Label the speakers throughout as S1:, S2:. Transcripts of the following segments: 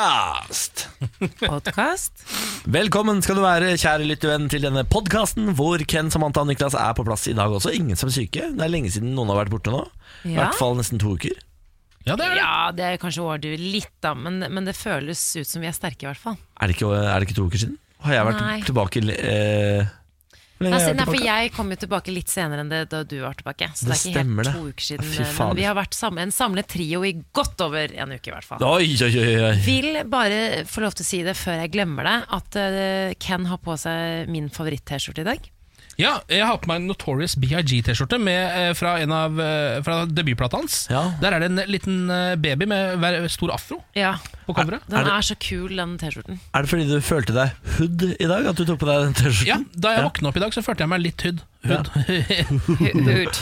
S1: podkast!
S2: Podkast.
S1: Velkommen skal du være, kjære lyttevenn, til denne podkasten hvor Ken, Samantha og Niklas er på plass i dag også. Ingen som er syke. Det er lenge siden noen har vært borte nå. I
S2: Ja.
S1: hvert fall nesten to uker.
S3: Ja, det er det.
S2: Ja, det er kanskje å overdrive litt, da, men, men det føles ut som vi er sterke, i hvert fall.
S1: Er det ikke, er det ikke to uker siden? Har jeg vært
S2: Nei.
S1: tilbake eh, Hvor lenge
S2: Altså,
S1: har
S2: Nei,
S1: jeg vært
S2: for
S1: tilbake?
S2: jeg kom jo tilbake litt senere enn det da du var tilbake. Så
S1: Det
S2: det, er ikke
S1: stemmer
S2: helt
S1: det.
S2: to uker
S1: Fy
S2: siden.
S1: fader.
S2: Men vi har vært sammen, en samlet trio i godt over en uke, i hvert fall.
S1: Oi, oi, oi, oi.
S2: Vil bare få lov til å si det før jeg glemmer det, at eh, Ken har på seg min favoritt-T-skjorte i dag.
S3: Ja, jeg har på meg en Notorious BIG-T-skjorte med, eh, fra, en av, eh, fra debutplata hans.
S1: Ja.
S3: Der er det en liten eh, baby med hver- stor afro
S2: Ja,
S3: på coveret.
S2: Den
S1: Er
S2: er,
S1: det-
S2: så kul, den T-skjorten.
S1: Er det fordi du følte deg hood i dag? At du tok på deg den
S3: Ja,
S1: T-skjorten?
S3: Da jeg våkna opp i dag, så følte jeg meg litt hood. hood.
S2: Hud.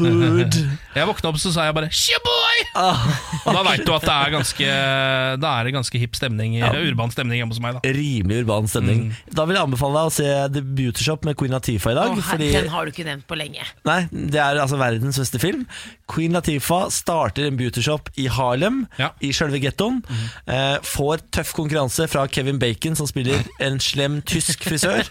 S1: Hood.
S3: jeg våkna opp, så sa jeg bare 'Shaboy!'
S1: Ah,
S3: Og da veit du at det er ganske Da er det ganske hipp stemning, urban stemning hjemme hos meg. da
S1: rimelig urban stemning.
S3: Mm.
S1: Da vil jeg anbefale deg å se The Beauty Shop med Queen Latifah i dag.
S2: Å, her-
S1: fordi
S2: Den har du ikke nevnt på lenge.
S1: Nei, det er altså verdens beste film. Queen Latifah starter en beauty shop i Harlem,
S3: Ja.
S1: i sjølve gettoen. Eh, får tøff konkurranse fra Kevin Bacon, som spiller en slem tysk frisør.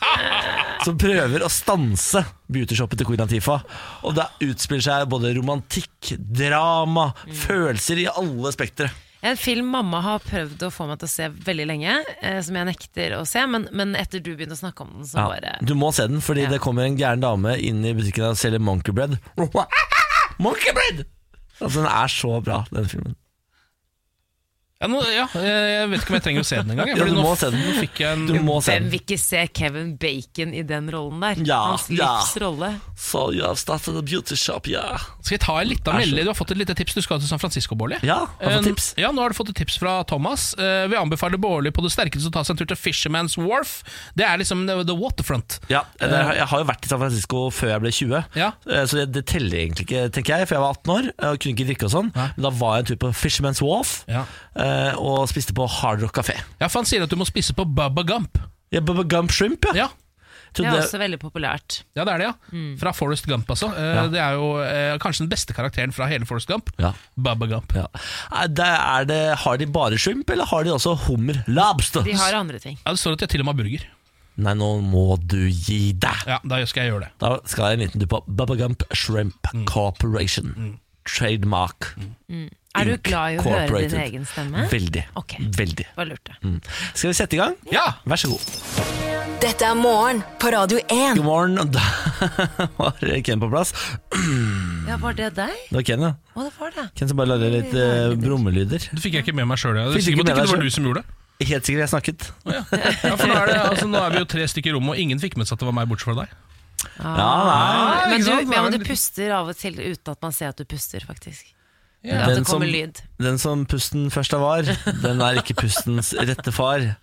S1: som prøver å stanse beautyshoppet til Queen Latifah. Og det utspiller seg både romantikk, drama, følelser i alle spektre.
S2: En film mamma har prøvd å få meg til å se veldig lenge, eh, som jeg nekter å se, men, men etter du begynte å snakke om den, så bare
S1: Du må se den, fordi
S2: Ja.
S1: det kommer en gæren dame inn i butikken og selger monkey bread. monkey bread! Altså, den er så bra, den filmen.
S3: ja, nå, ja, Jeg vet ikke om jeg trenger å se den engang. jeg,
S1: Ja,
S3: fordi
S1: du
S3: nå
S1: må se den.
S3: f- Fikk jeg en,
S1: Du må se den.
S2: Hvem vil ikke se Kevin Bacon i den rollen der?
S1: Ja,
S2: Hans
S1: ja.
S2: livs rolle.
S1: So you have started a beauty shop, ja.
S3: Skal jeg ta en liten
S1: Vær så
S3: melding? Du har fått et lite tips. Du skal til San Francisco, Bårli.
S1: Ja, har fått
S3: Eh,
S1: tips.
S3: Ja, nå har du fått et tips fra Thomas. Eh, vi anbefaler Bårli på det sterkeste å ta seg en tur til Fisherman's Wharf. Det er liksom the, the waterfront.
S1: Ja, eller jeg har- jeg har jo vært i San Francisco før jeg ble 20,
S3: Ja.
S1: Eh, så det, det teller egentlig ikke, tenker jeg. For jeg var 18 år og kunne ikke drikke og sånn.
S3: Nei.
S1: Men da var jeg en tur på Fisherman's Wharf
S3: Ja.
S1: eh, og spiste på Hard Rock Café.
S3: Ja, for Han sier at du må spise på Bubba Gump.
S1: Ja, Bubba Gump Shrimp, ja.
S3: Ja,
S1: Så
S2: Det er
S1: det-
S2: også veldig populært.
S3: ja det er det, ja. Fra Forest Gump, altså. Eh,
S1: Ja.
S3: Det er jo eh, kanskje den beste karakteren fra hele Forest Gump.
S1: ja.
S3: Bubba Gump.
S1: ja. Eh, det- Er det, har de bare shrimp, eller har de også hummer lobster?
S2: De har andre ting.
S3: Ja, Det står at jeg til og med har burger.
S1: Nei, nå må du gi deg!
S3: Ja, Da skal jeg gjøre det.
S1: Da skal jeg en liten tur på Bubba Gump Shrimp Corporation. Trademark.
S2: Mm. Er du
S1: Inc.
S2: glad i å høre din
S1: Corporated.
S2: egen stemme?
S1: Veldig.
S2: Ok.
S1: Veldig.
S2: Bare lurte.
S1: Mm. Skal vi sette i gang?
S3: Ja!
S1: Vær så god.
S4: Dette er morgen på Radio 1.
S1: God morgen. og Da var Ken på plass.
S2: Ja, var det deg?
S1: Det var Ken, ja.
S2: Å, det var det.
S1: Ken som bare lager litt eh, brummelyder.
S3: Det fikk jeg ikke med meg sjøl. Jeg er
S1: Fikk du
S3: sikker
S1: ikke
S3: på at
S1: med
S3: det ikke
S1: deg
S3: var du som gjorde det.
S1: Helt sikkert jeg snakket.
S3: Å, Ja. Ja, for nå er, det, altså, nå er vi jo tre stykker i rommet, og ingen fikk med seg at det var meg, bortsett fra deg.
S2: Ah.
S1: Ja,
S3: ikke
S2: Men du,
S3: sant? Det er
S2: ja, men
S3: en
S2: du
S3: liten-
S2: puster av og til uten at man ser at du puster, faktisk.
S3: Ja.
S2: At
S1: Den
S2: det
S1: som-
S2: kommer lyd.
S1: Den som pusten først av var, den er ikke pustens rette far.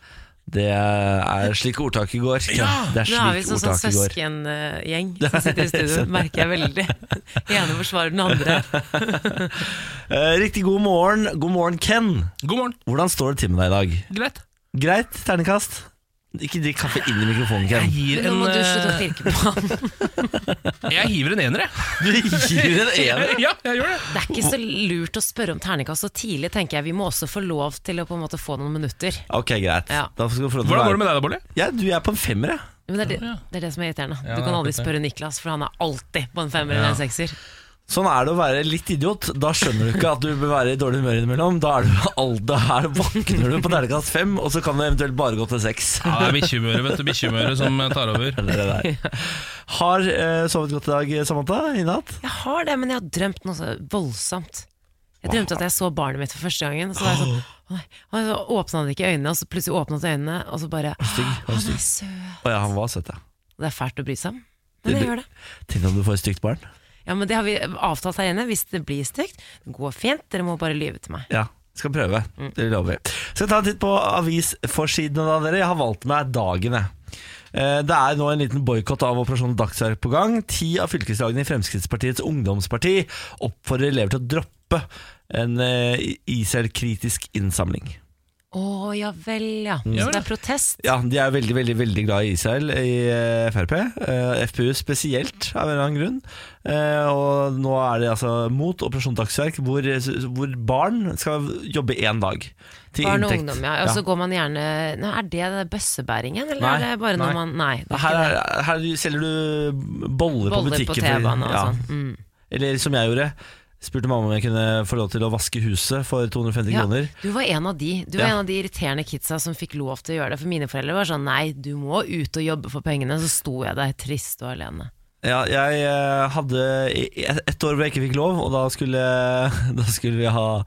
S1: Det er slik ordtaket går. Ken. Det er
S2: Nå er vi
S1: slik
S2: sånn sånn
S1: ordtaket går.
S2: søskengjeng som sitter i studio, merker jeg veldig. Den ene forsvarer den andre.
S1: Eh, Riktig god morgen. God morgen, Ken.
S3: God morgen.
S1: Hvordan står det til med deg i dag?
S3: Greit.
S1: Greit, terningkast. Ikke drikk kaffe inn i mikrofonen,
S3: Jeg
S1: Ken.
S3: gir
S2: Nå
S3: en,
S2: må du slutte å
S3: eh,
S2: pirke på han.
S3: jeg hiver en ener, jeg.
S1: Du gir en ener.
S3: Ja, jeg gjør det.
S2: Det er ikke så lurt å spørre om terningkast så tidlig, tenker jeg. Vi må også få lov til å på en måte få noen minutter.
S1: Ok, greit.
S2: Ja.
S1: Da skal du få lov til å
S3: Hvordan går
S1: være-
S3: det med deg da, Bolle?
S1: Ja, du, jeg er på en femmer, jeg.
S2: Men det er det,
S3: Ja.
S2: det er det som er irriterende.
S3: Ja,
S2: Du kan aldri
S3: det er
S2: spørre Niklas, for han er alltid på en femmer eller
S3: Ja.
S2: en sekser.
S1: Sånn er det å være litt idiot. Da skjønner du ikke at du bør være i dårlig humør innimellom. Da er du alder her, våkner du på terningkast fem, og så kan det eventuelt bare gå til seks.
S3: Ja, det er bikkjemøret, vet du. Bikkjemøret som eh, tar over.
S1: Det er det der. Har eh, sovet godt i dag, Samantha? I natt?
S2: Jeg har det, men jeg har drømt noe så voldsomt. Jeg drømte at jeg så barnet mitt for første gangen. Og så var jeg sånn, å nei, og så åpna han ikke øynene, og så plutselig åpnet han øynene, og så bare
S1: Stygg. Var du
S2: Han
S1: stygg?
S2: er søt.
S1: Å ja, han var søt, ja.
S2: Det er fælt å bry seg om,
S1: Det
S2: men jeg
S1: blir-
S2: gjør det.
S1: Tenk om du får et stygt barn.
S2: Ja, men Det har vi avtalt her inne. Hvis det blir stygt, det går fint. Dere må bare lyve til meg.
S1: Ja, skal prøve. Det lover vi. Skal ta en titt på avisforsidene da, dere. Jeg har valgt meg dagen, jeg. Eh, Det er nå en liten boikott av Operasjon Dagsverk på gang. Ti av fylkeslagene i Fremskrittspartiets ungdomsparti oppfordrer elever til å droppe en eh, Israel-kritisk innsamling.
S2: Å ja vel, ja.
S3: Ja
S1: Mm.
S2: Så
S3: vel.
S2: det er protest?
S1: Ja, de er veldig, veldig veldig glad i Israel i eh, Frp. eh, FPU spesielt, av en eller annen grunn. Eh, og nå er de altså mot Operasjon Dagsverk, hvor, hvor barn skal jobbe én dag. Til
S2: Barn og
S1: inntekt.
S2: ungdom, ja. Og så går man gjerne Nå, Er det det bøssebæringen, eller
S1: Nei,
S2: er det bare
S1: nei.
S2: når man Nei. det er
S1: Her,
S2: ikke
S1: er, her selger du boller, på
S2: Boller
S1: butikken.
S2: på
S1: fordi-
S2: T-banen og
S1: ja.
S2: sånn. Mm.
S1: Eller som jeg gjorde. Spurte mamma om jeg kunne få lov til å vaske huset for 250
S2: Ja,
S1: kroner.
S2: du var en av de Du var
S1: Ja.
S2: en av de irriterende kidsa som fikk lov til å gjøre det. For mine foreldre var sånn Nei, du må ut og jobbe for pengene. Så sto jeg der trist og alene.
S1: Ja, jeg eh, hadde i- i- ett år hvor jeg ikke fikk lov, og da skulle, da skulle vi ha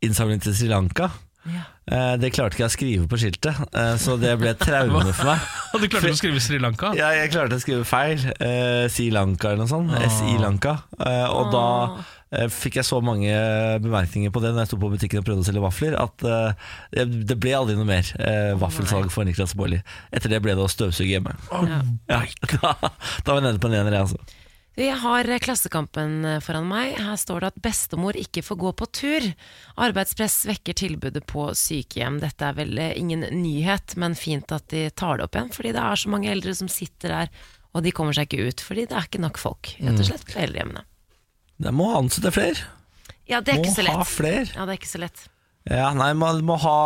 S1: innsamling til Sri Lanka.
S2: Ja.
S1: Eh, Det klarte ikke jeg å skrive på skiltet, eh, så det ble et traume for meg.
S3: Og du klarte ikke å skrive Sri Lanka?
S1: Ja, jeg klarte å skrive feil. Eh, Sri Lanka eller noe sånt.
S2: Ah.
S1: SI Lanka. Eh, og da eh, fikk jeg så mange bemerkninger på det når jeg sto på butikken og prøvde å selge vafler, at eh, det ble aldri noe mer eh, vaffelsalg for Niklas Baarli. Etter det ble det å støvsuge hjemme. Ja, da, da var jeg nede på en ener, jeg, altså.
S2: Du, Jeg har eh, Klassekampen eh, foran meg. Her står det at bestemor ikke får gå på tur. Arbeidspress svekker tilbudet på sykehjem. Dette er vel eh, ingen nyhet, men fint at de tar det opp igjen. Fordi det er så mange eldre som sitter der, og de kommer seg ikke ut. Fordi det er ikke nok folk, rett og slett, på eldrehjemmene.
S1: Jeg må ansette flere.
S2: Ja, det er
S1: Må
S2: ikke så
S1: ha
S2: lett.
S1: flere.
S2: Ja, det er ikke så lett.
S1: Ja, nei, man må, ha,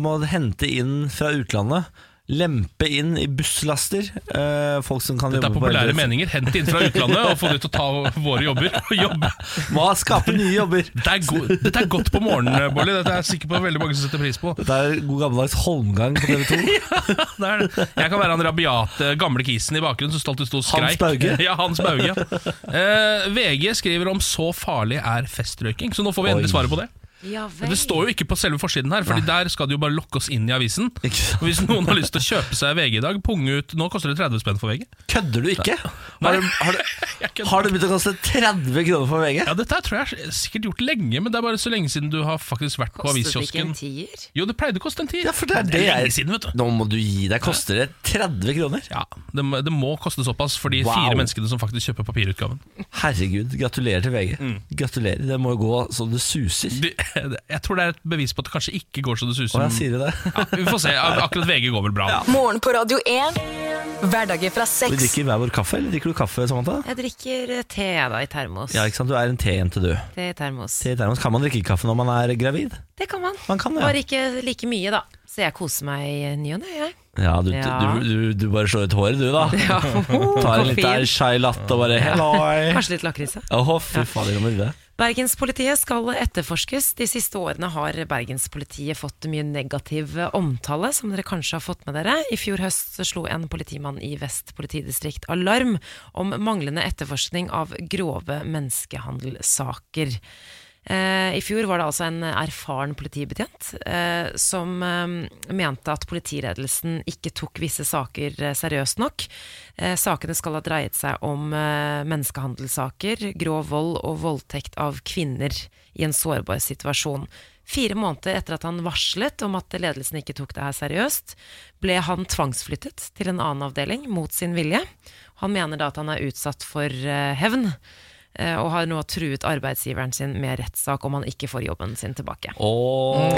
S1: må hente inn fra utlandet. Lempe inn i busslaster. eh, folk som kan
S3: Det er
S1: jobbe på
S3: populære
S1: eldre-
S3: meninger. Hent det inn fra utlandet og få det til å ta våre jobber. Og jobbe.
S1: Må skape nye jobber.
S3: Det er, go Dette er godt på morgenen, Bolli. Dette er jeg sikker på veldig mange som setter pris på.
S1: Det er god gammeldags holmgang på TV 2.
S3: Det er det. Jeg kan være han rabiate gamle kisen i bakgrunnen som stolt sto og skreik.
S1: Hans Bauge?
S3: Ja, Hans Bauge. Eh, VG skriver om 'så farlig er festrøyking', så nå får vi endelig
S1: Oi.
S3: svaret på det.
S2: Ja
S3: Men
S2: vel.
S3: det står jo ikke på selve forsiden her, Fordi der skal de jo bare lokke oss inn i avisen.
S1: Ikke sant?
S3: Og Hvis noen har lyst til å kjøpe seg VG i dag, punge ut Nå koster det 30 spenn for VG.
S1: Kødder du ikke?
S3: Nei.
S1: Har, du- har, du-
S3: Jeg kødder.
S1: har det begynt å koste 30 kroner for VG?
S3: Ja, Dette her tror jeg er sikkert gjort lenge, men det er bare så lenge siden du har faktisk vært på
S2: Kostet det ikke
S3: aviskiosken.
S2: en tier?
S3: Jo, det pleide å koste en tier.
S1: Ja, for det er det
S3: lenge
S1: jeg
S3: siden, vet du.
S1: Nå må du gi deg. Koster det 30 kroner?
S3: Ja, det, må- det må koste såpass for de
S1: Wow.
S3: fire menneskene som faktisk kjøper papirutgaven.
S1: Herregud, gratulerer til VG.
S3: Mm.
S1: Gratulerer. Det må jo gå så det suser.
S3: De, jeg tror det er et bevis på at det kanskje ikke går så det
S1: Og
S3: suser.
S1: jeg sier det.
S3: Ja, vi får se. Ak- Akkurat VG går vel bra.
S4: Morgen på Radio 1. Hverdager fra
S1: Vi
S4: seks.
S1: drikker hver vår kaffe, eller drikker du kaffe, Samantha?
S2: Jeg drikker eh, te jeg, da, i termos.
S1: Ja, ikke sant? Du er en T-jente, du.
S2: Te i termos.
S1: Te i termos. Kan man drikke kaffe når man er gravid?
S2: Det kan man.
S1: Man kan det, ja.
S2: Bare ikke like mye, da. Så jeg koser meg i ny og ne, jeg.
S1: Ja, du,
S2: Ja.
S1: Du, du, du bare slår ut håret, du, da.
S2: Ja.
S1: Tar en
S2: Koffein.
S1: liten chai latte og bare helloi.
S2: Kanskje litt lakris. ja.
S1: Åh, fy fader, jeg må rydde.
S2: Bergenspolitiet skal etterforskes. De siste årene har bergenspolitiet fått mye negativ omtale, som dere kanskje har fått med dere. I fjor høst så slo en politimann i Vest politidistrikt alarm om manglende etterforskning av grove menneskehandelsaker. Eh, I fjor var det altså en erfaren politibetjent eh, som eh, mente at politiledelsen ikke tok visse saker eh, seriøst nok. Eh, sakene skal ha dreiet seg om eh, menneskehandelssaker, grov vold og voldtekt av kvinner i en sårbar situasjon. Fire måneder etter at han varslet om at ledelsen ikke tok det her seriøst, ble han tvangsflyttet til en annen avdeling mot sin vilje. Han mener da at han er utsatt for eh, hevn. eh, Og har nå truet arbeidsgiveren sin med rettssak om han ikke får jobben sin tilbake.
S1: Å,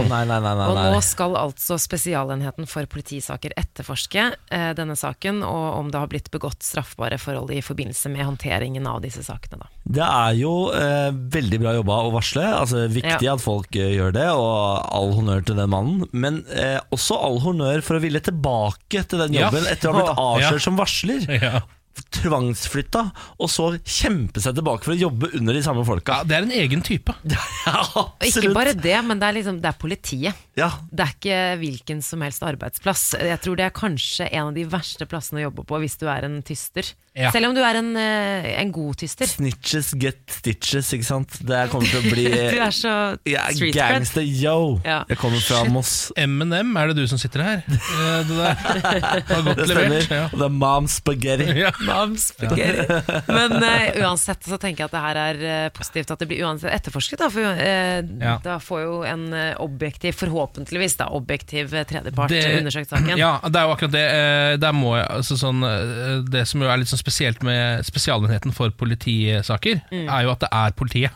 S1: nei, nei, nei, nei,
S2: Mm. Og
S1: nei.
S2: nå skal altså Spesialenheten for politisaker etterforske eh, denne saken, og om det har blitt begått straffbare forhold i forbindelse med håndteringen av disse sakene. Da.
S1: Det er jo eh, veldig bra jobba å varsle. Altså, viktig
S2: Ja.
S1: at folk eh, gjør det, og all honnør til den mannen. Men eh, også all honnør for å ville tilbake til den
S3: Ja.
S1: jobben etter å ha blitt
S3: Ja.
S1: avslørt som varsler.
S3: Ja.
S1: Tvangsflytta, og så kjempe seg tilbake for å jobbe under de samme folka.
S3: Ja, det er en egen type.
S1: Ja,
S2: Og ikke bare det, men det er, liksom, det er politiet.
S1: Ja.
S2: Det er ikke hvilken som helst arbeidsplass. Jeg tror det er kanskje en av de verste plassene å jobbe på hvis du er en tyster.
S3: Ja.
S2: Selv om du er en, eh, en god tyster.
S1: Snitches get stitches, ikke sant. Det kommer til å bli
S2: Du er så
S1: Jeg er
S2: street cred.
S1: gangster, yo!
S2: Ja.
S1: Jeg kommer fra Moss.
S3: M&M, er det du som sitter her? Eh, Det der Det var godt
S1: Det
S3: levert.
S1: stemmer.
S3: Ja.
S1: Og det er mom spaghetti.
S3: Ja.
S2: Mams, beklager. Men eh, uansett så tenker jeg at det her er eh, positivt at det blir uansett etterforsket. Da, for eh,
S3: Ja.
S2: da får jo en eh, objektiv, forhåpentligvis da, objektiv eh, tredjepart
S3: Det-
S2: undersøkt saken.
S3: Ja, det er jo akkurat det. Eh, Der må jeg, altså sånn, eh, det som jo er litt sånn spesielt med Spesialenheten for politisaker, er jo at det er politiet.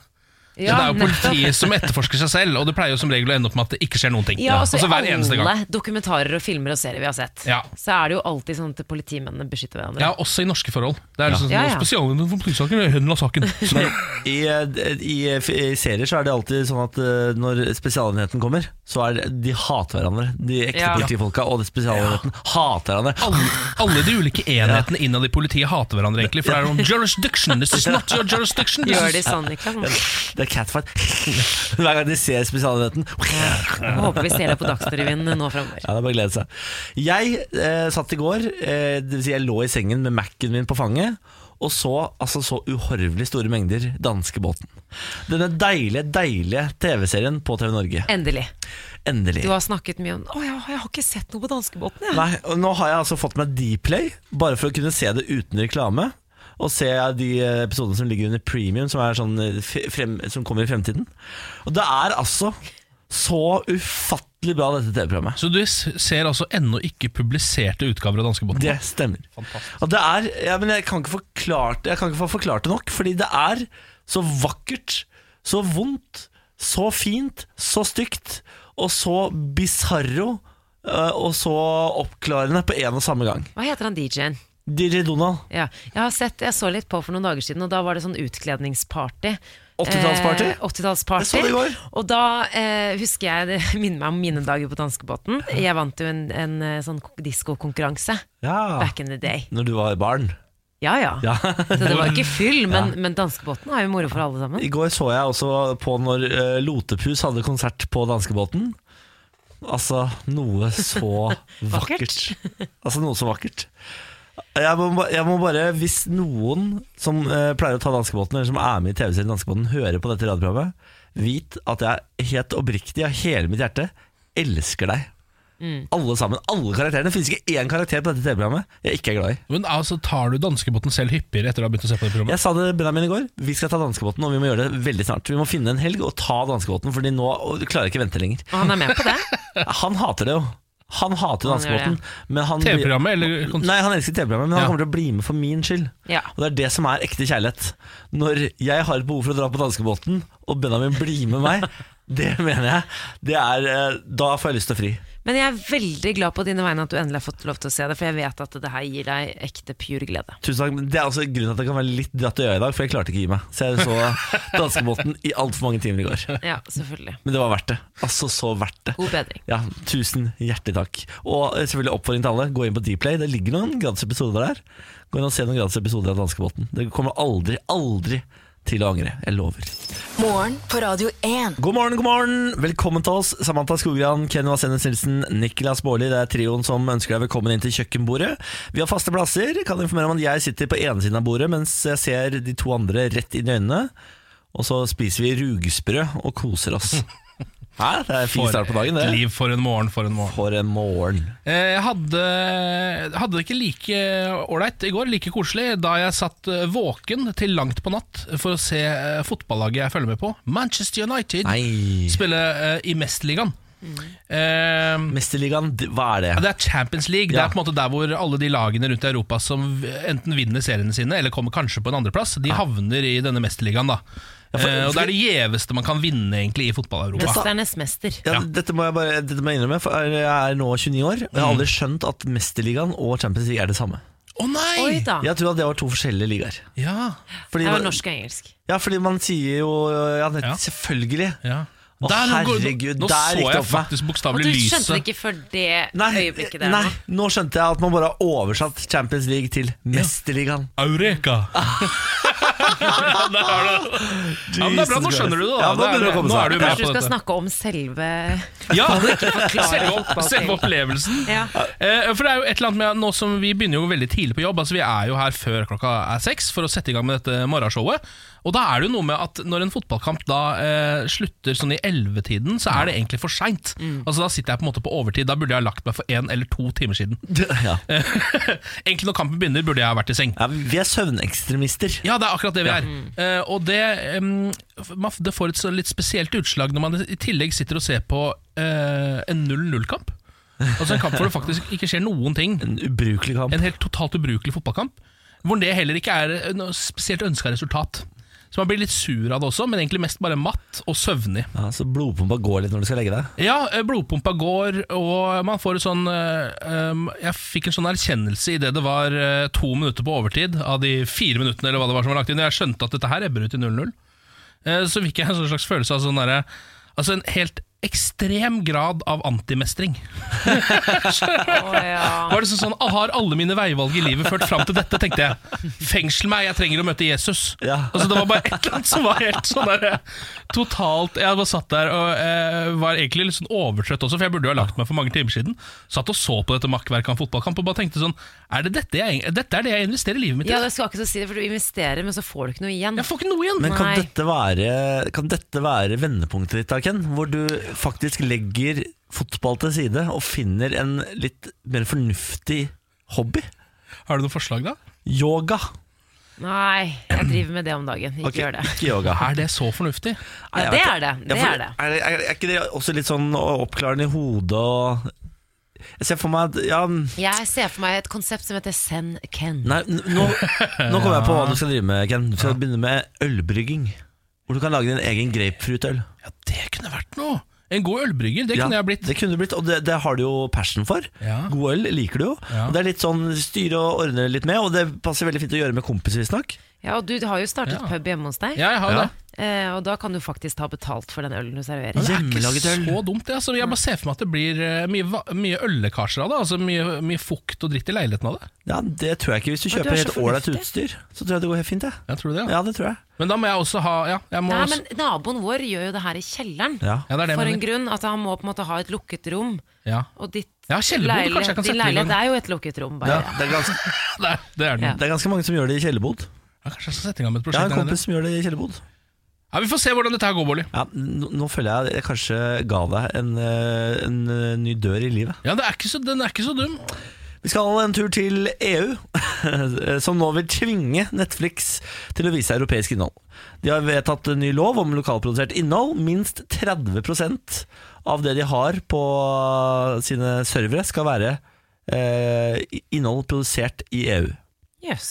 S3: Så det er
S2: Mm. Ja,
S3: jo
S2: nettopp.
S3: politiet som etterforsker seg selv, og det pleier jo som regel å ende opp med at det ikke skjer noen ting.
S2: Ja, altså, I
S3: altså hver eneste gang.
S2: alle dokumentarer og filmer og serier vi har sett,
S3: Ja.
S2: så er det jo alltid sånn at politimennene beskytter hverandre.
S3: Ja, også i norske forhold. Det er liksom
S2: Ja, ja.
S3: sånn Spesialenheten for politisaker er hønen av saken. Så,
S1: I, eh, i, I serier så er det alltid sånn at eh, når Spesialenheten kommer, så er det, de hater hverandre. De ekte
S2: Ja.
S1: politifolka og Spesialenheten hater hverandre.
S3: alle, alle de ulike enhetene innad i politiet hater hverandre, egentlig. For det er sånn jurisdiction, this is not your jurisdiction. this
S2: Gjør de
S3: is-
S2: sånn, Niklas?
S1: Det er catfight. Hver gang de ser Spesialenheten
S2: Jeg Håper vi ser deg på Dagsrevyen nå framover.
S1: Ja, det er bare å glede seg. Jeg eh, satt i går, eh, dvs. Si jeg lå i sengen med Mac-en min på fanget, og så altså så uhorvelig store mengder danskebåten. Denne deilige, deilige TV-serien på TV Norge.
S2: Endelig.
S1: Endelig.
S2: Du har snakket mye om Å ja, jeg har ikke sett noe på danskebåten, jeg.
S1: Nei, og nå har jeg altså fått meg Dplay, bare for å kunne se det uten reklame. Og se de eh, episodene som ligger under premium, som, er sånn, eh, f- frem, som kommer i fremtiden. Og det er altså så ufattelig bra, dette TV-programmet.
S3: Så du s- ser altså ennå ikke publiserte utgaver av danskebåten?
S1: Det stemmer. Og det er, ja, men jeg kan, ikke forklart, jeg kan ikke få forklart det nok, fordi det er så vakkert, så vondt, så fint, så stygt, og så bisarro, eh, og så oppklarende på en og samme gang.
S2: Hva heter han DJ-en?
S1: DJ Donald,
S2: Ja. Jeg har sett, jeg så litt på for noen dager siden, og da var det sånn utkledningsparty.
S1: 80-tallsparty?
S2: Eh, 80-tallsparty.
S1: Jeg så det i går.
S2: Og da eh, husker jeg det minner meg om mine dager på danskebåten. Jeg vant jo en, en eh, sånn diskokonkurranse
S1: ja.
S2: back in the day.
S1: når du var barn.
S2: Ja ja.
S1: Ja.
S2: Så det var ikke fyll, men, men danskebåten er jo moro for alle sammen.
S1: I går så jeg også på når eh, Lotepus hadde konsert på danskebåten. Altså, noe så vakkert.
S2: Vakkert.
S1: Altså, noe så vakkert. Jeg må, ba- jeg må bare, hvis noen som eh, pleier å ta danskebåten, eller som er med i TV-serien Danskebåten, hører på dette radioprogrammet, vit at jeg helt oppriktig av hele mitt hjerte elsker deg. Alle sammen, alle karakterene. Det finnes ikke én karakter på dette TV-programmet jeg ikke er glad i.
S3: Men altså, Tar du danskebåten selv hyppigere etter å ha begynt å se på det programmet?
S1: Jeg sa det Benjamin i går, vi skal ta danskebåten, og vi må gjøre det veldig snart. Vi må finne en helg og ta danskebåten, Fordi nå og du klarer jeg ikke vente lenger.
S2: Og han er med på det.
S1: Han hater det jo. Han hater
S2: Han gjør
S1: danskebåten. men han blir-
S3: TV-programmet eller kons-
S1: Nei, han elsker TV-programmet, men han
S3: Ja.
S1: kommer til å bli med for min skyld.
S2: Ja.
S1: Og det er det som er ekte kjærlighet. Når jeg har et behov for å dra på danskebåten, og Benjamin blir med meg, det mener jeg. Det er, eh, da får jeg lyst til å fri.
S2: Men jeg er veldig glad på dine vegne at du endelig har fått lov til å se det, for jeg vet at det her gir deg ekte pure glede.
S1: Tusen takk, men Det er altså grunnen til at jeg kan være litt dratt i øya i dag, for jeg klarte ikke å gi meg. Så jeg så danskebåten i altfor mange timer i går.
S2: Ja, selvfølgelig.
S1: Men det var verdt det. Altså så verdt det.
S2: God bedring.
S1: Ja, Tusen hjertelig takk. Og eh, selvfølgelig oppfordring til alle, gå inn på Dplay. Det ligger noen gratis episoder der. Gå inn og se noen gratis episoder av Danskebåten. Dere kommer aldri, aldri til å angre. Jeg lover.
S4: Morgen på Radio 1.
S1: God morgen, god morgen! Velkommen til oss, Samantha Skogran, Kenny Vasenes Nilsen, Niklas Baarli. Det er trioen som ønsker deg velkommen inn til kjøkkenbordet. Vi har faste plasser. Kan informere om at jeg sitter på ene siden av bordet, mens jeg ser de to andre rett inn i øynene. Og så spiser vi rugsprø og koser oss. Hæ? Det er en fin
S3: For
S1: start på dagen,
S3: et
S1: det.
S3: Liv for en morgen, for en morgen.
S1: For en morgen.
S3: Eh, Jeg hadde, hadde det ikke like ålreit i går, like koselig, da jeg satt eh, våken til langt på natt for å se eh, fotballaget jeg følger med på, Manchester United,
S1: Nei.
S3: spille eh, i Mesterligaen. Eh,
S1: Mesterligaen, d- hva er det?
S3: ja, det er Champions League. Det
S1: Ja.
S3: er på en måte der hvor alle de lagene rundt i Europa som v- enten vinner seriene sine, eller kommer kanskje på en andreplass, de havner i denne mesterligaen. da
S1: for-
S3: Eh, Og det er det gjeveste man kan vinne egentlig i fotball-Europa.
S2: Mesternes mester.
S1: Ja,
S3: Ja.
S1: dette, må jeg bare, dette må jeg innrømme, for jeg er nå 29 år, og jeg har aldri skjønt at Mesterligaen og Champions League er det samme.
S3: Å nei!
S2: Oi da.
S1: Jeg tror at det var to forskjellige ligaer.
S3: Ja,
S1: Fordi
S2: Det er
S1: man-
S2: jo Ah. norsk og engelsk.
S1: Ja, fordi man sier jo øh, ja, det,
S3: Ja.
S1: Selvfølgelig.
S3: ja.
S1: Å,
S3: nå går-
S1: herregud,
S3: nå
S1: der gikk
S3: så
S1: det
S3: jeg
S1: opp for meg.
S3: faktisk
S2: Og
S3: bokstavelig
S2: du
S3: lyset.
S2: skjønte det ikke før det øyeblikket der
S1: nei,
S2: nå?
S1: nå skjønte jeg at man bare har oversatt Champions League til Mesterligaen.
S3: Eureka! Der har du det. Ja, men det er bra, nå
S1: Jesus
S3: skjønner du det. da
S1: Ja, nå
S3: Det er-
S1: begynner det å komme
S3: nå
S1: seg.
S3: er du
S2: Kanskje
S3: med på
S2: du skal
S3: dette.
S2: snakke om selve
S3: Ja,
S2: forklare
S3: selve, opp-
S2: fotball
S3: selve
S2: til.
S3: opplevelsen.
S2: Ja.
S3: Eh, for det er jo et eller annet med at nå som Vi begynner jo veldig tidlig på jobb. Altså Vi er jo her før klokka er seks for å sette i gang med dette morgenshowet. Og da er det jo noe med at når en fotballkamp da eh, slutter sånn i ellevetiden, så er det egentlig for seint. Altså, da sitter jeg på en måte på overtid. Da burde jeg ha lagt meg for én eller to timer siden.
S1: Ja.
S3: egentlig når kampen begynner, burde jeg ha vært i seng.
S1: Ja, vi er søvnekstremister.
S3: Ja, det er akkurat det vi er. Eh, og det, em, man, det får et så litt spesielt utslag når man i tillegg sitter og ser på eh, en 0-0-kamp. Altså En kamp hvor det faktisk ikke skjer noen ting.
S1: En ubrukelig kamp.
S3: eh, En helt totalt ubrukelig fotballkamp. Hvor det heller ikke er noe spesielt ønska resultat. Så man blir litt sur av det også, men egentlig mest bare matt og søvnig.
S1: Ja, så blodpumpa går litt når du skal legge deg?
S3: Ja, eh, blodpumpa går, og man får et sånn eh, um, Jeg fikk en sånn erkjennelse idet det var eh, to minutter på overtid av de fire minuttene eller hva det var som var lagt inn. og Jeg skjønte at dette her ebber ut i 0-0. Eh, Så fikk jeg en sånn slags følelse av sånn derre Altså en helt ekstrem grad av antimestring.
S2: Å, ja.
S3: Var det sånn, sånn, ah, Har alle mine veivalg i livet ført fram til dette, tenkte jeg. Fengsel meg, jeg trenger å møte Jesus.
S1: Ja.
S3: Altså Det var bare et eller annet som var helt sånn der eh, totalt Jeg bare satt der og eh, var egentlig litt sånn overtrøtt også, for jeg burde jo ha lagt meg for mange timer siden. Satt og så på dette makkverket av en fotballkamp og bare tenkte sånn Er det dette, jeg, dette er det jeg investerer livet mitt i?
S2: ja, det skal ikke så si det, for du investerer, men så får du ikke noe igjen.
S3: Jeg får ikke noe igjen!
S1: Men kan
S2: Nei.
S1: dette, være, kan dette være vendepunktet ditt, da, Ken? Hvor du faktisk legger fotball til side og finner en litt mer fornuftig hobby?
S3: Har du noe forslag, da?
S1: Yoga.
S2: Nei, jeg driver med det om dagen. Ikke
S1: Ok,
S2: gjør det.
S1: Ikke yoga.
S3: Er det så fornuftig?
S1: Nei, jeg
S2: det
S1: vet
S2: er det, det
S1: Ja, for
S2: er det.
S1: Er, er, er ikke det også litt sånn oppklarende i hodet og Jeg ser for meg at Ja, nei,
S2: Jeg ser for meg et konsept som heter Zen Ken.
S1: n- nå, nå kommer jeg på hva du skal drive med, Ken. Du skal begynne med ølbrygging. Hvor du kan lage din egen grapefruitøl.
S3: Ja, det kunne vært noe! En god ølbrygger, det kunne
S1: Ja,
S3: jeg blitt.
S1: Det kunne du blitt, og det, det har du jo passion for.
S3: Ja.
S1: God øl liker du jo.
S3: Ja.
S1: Og det er litt sånn styre og ordne litt med, og det passer veldig fint å gjøre med kompiser, visstnok.
S2: Ja, og du har jo startet
S3: Ja.
S2: pub hjemme hos deg,
S3: Ja, jeg har
S1: Ja.
S3: det.
S2: eh, og da kan du faktisk ta betalt for den ølen du serverer.
S3: Men
S1: Hjemmelaget
S3: Det er
S1: øl.
S3: ikke så dumt, det. Altså, jeg bare ser for meg at det blir eh, mye, va- mye øllekkasjer av det. Altså mye, mye fukt og dritt i leiligheten av det.
S1: Ja, det tror jeg ikke. Hvis du
S2: Men du
S1: kjøper
S2: er så
S1: helt ålreit
S2: fornuftig.
S1: utstyr, så tror jeg det går helt fint, jeg.
S3: Jeg tror det, ja.
S1: Ja, det tror jeg.
S3: Men da må jeg også ha ja, jeg må
S2: Nei,
S3: også-
S2: men naboen vår gjør jo det her i kjelleren.
S1: Ja.
S3: ja, det er det jeg
S2: For en
S3: mener.
S2: grunn at han må på en måte ha et lukket rom.
S3: Ja.
S2: Og ditt
S3: Ja, kjellerbod, kanskje jeg kan sette
S2: din
S3: det i gang.
S2: leilighet er jo et lukket rom,
S1: Ja,
S2: bare.
S1: det, er ganske,
S3: Det, er- det er den.
S2: Ja.
S1: det er ganske mange som gjør det i kjellerbod.
S3: Ja, kanskje jeg skal sette i gang med et
S1: Jeg har
S3: prosjekt.
S1: en
S3: der nede.
S1: kompis som gjør det i kjellerbod.
S3: Ja, vi får se hvordan dette her går, Bolly.
S1: Ja, nå, nå føler jeg at jeg kanskje ga deg en, eh, en eh, ny dør i livet.
S3: Ja, det er ikke så, den er ikke så dum.
S1: Vi skal en tur til EU, som nå vil tvinge Netflix til å vise europeisk innhold. De har vedtatt en ny lov om lokalprodusert innhold. Minst 30 av det de har på sine servere, skal være eh, innhold produsert i E EU.
S2: Jøss.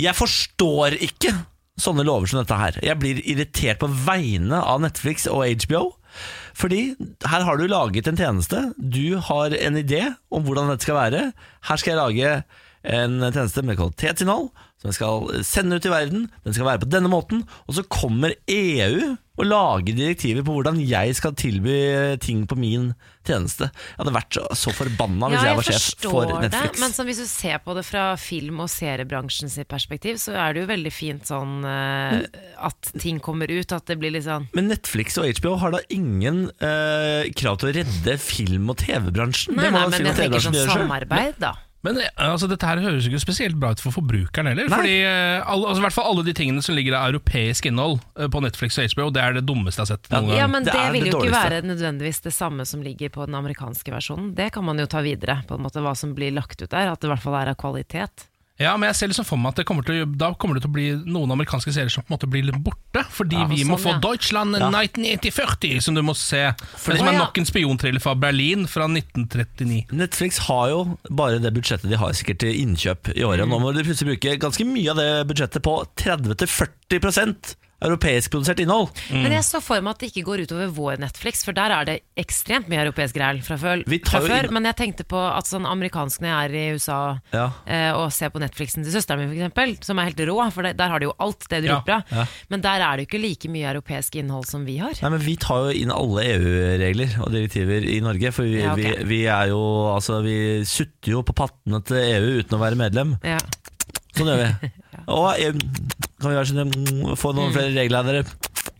S1: Jeg forstår ikke sånne lover som dette her. Jeg blir irritert på vegne av Netflix og HBO. Fordi her har du laget en tjeneste. Du har en idé om hvordan dette skal være. Her skal jeg lage en tjeneste med kvalitetsinnhold som jeg skal sende ut i verden. Den skal være på denne måten. Og så kommer EU og lager direktiver på hvordan jeg skal tilby ting på min tjeneste. Jeg hadde vært så- så forbanna hvis
S2: Ja,
S1: jeg
S2: jeg
S1: var sjef for
S2: forstår det,
S1: Netflix.
S2: men sånn, hvis du ser på det fra film- og seriebransjen sitt perspektiv, så er det jo veldig fint sånn
S1: Mm.
S2: eh, at ting kommer ut, at det blir litt sånn
S1: Men Netflix og HBO har da ingen eh, krav til å redde film- og TV-bransjen?
S2: Nei,
S1: Det må
S2: nei,
S1: da
S2: men
S1: film- og
S2: jeg tenker
S1: TV-bransjen
S2: sånn
S1: gjøre selv.
S2: samarbeid, da.
S3: Men eh, altså, dette her høres jo ikke spesielt bra ut for forbrukeren heller.
S1: Nei.
S3: Fordi eh, alle, altså, i hvert fall alle de tingene som ligger av europeisk innhold eh, på Netflix og HBO, det er det dummeste jeg har sett. noen gang.
S2: Ja, men
S1: det
S2: det,
S1: er
S2: vil
S1: det
S2: jo ikke
S1: dårligste.
S2: være nødvendigvis det samme som ligger på den amerikanske versjonen. Det kan man jo ta videre, på en måte hva som blir lagt ut der. At det i hvert fall er av kvalitet.
S3: Ja, men jeg ser liksom for meg at det kommer til, å- da kommer det til å bli noen amerikanske serier som på en måte blir litt borte, fordi
S2: Ja,
S3: vi
S2: sånn,
S3: må få
S2: ja.
S3: Deutschland
S1: Ja.
S3: 1940, som du må se.
S2: det-
S3: som
S2: Å,
S3: er
S2: ja.
S3: nok en spionthriller fra Berlin fra 1939.
S1: Netflix har jo bare det budsjettet de har sikkert til innkjøp i
S2: Mm.
S1: året. Nå må de plutselig bruke ganske mye av det budsjettet på 30-40 europeiskprodusert innhold.
S2: Men jeg så for meg at det ikke går utover vår Netflix, for der er det ekstremt mye europeisk greier fra før.
S1: Vi tar
S2: Fra
S1: jo
S2: før
S1: inn-
S2: men jeg tenkte på at sånn amerikansk når jeg er i USA
S1: Ja.
S2: eh, og ser på Netflixen til søsteren min, for eksempel, som er helt rå, for der, der har de jo alt det de
S3: Ja,
S2: roper av. Men der er det jo ikke like mye europeisk innhold som vi har.
S1: Nei, men Vi tar jo inn alle EU-regler og direktiver i Norge. For vi,
S2: Ja, ok.
S1: vi, vi er jo Altså, vi sutter jo på pattene til EU uten å være medlem.
S2: Ja.
S1: Sånn gjør vi. Og eh, kan vi være sånn få
S2: Mm.
S1: noen flere regler av dere?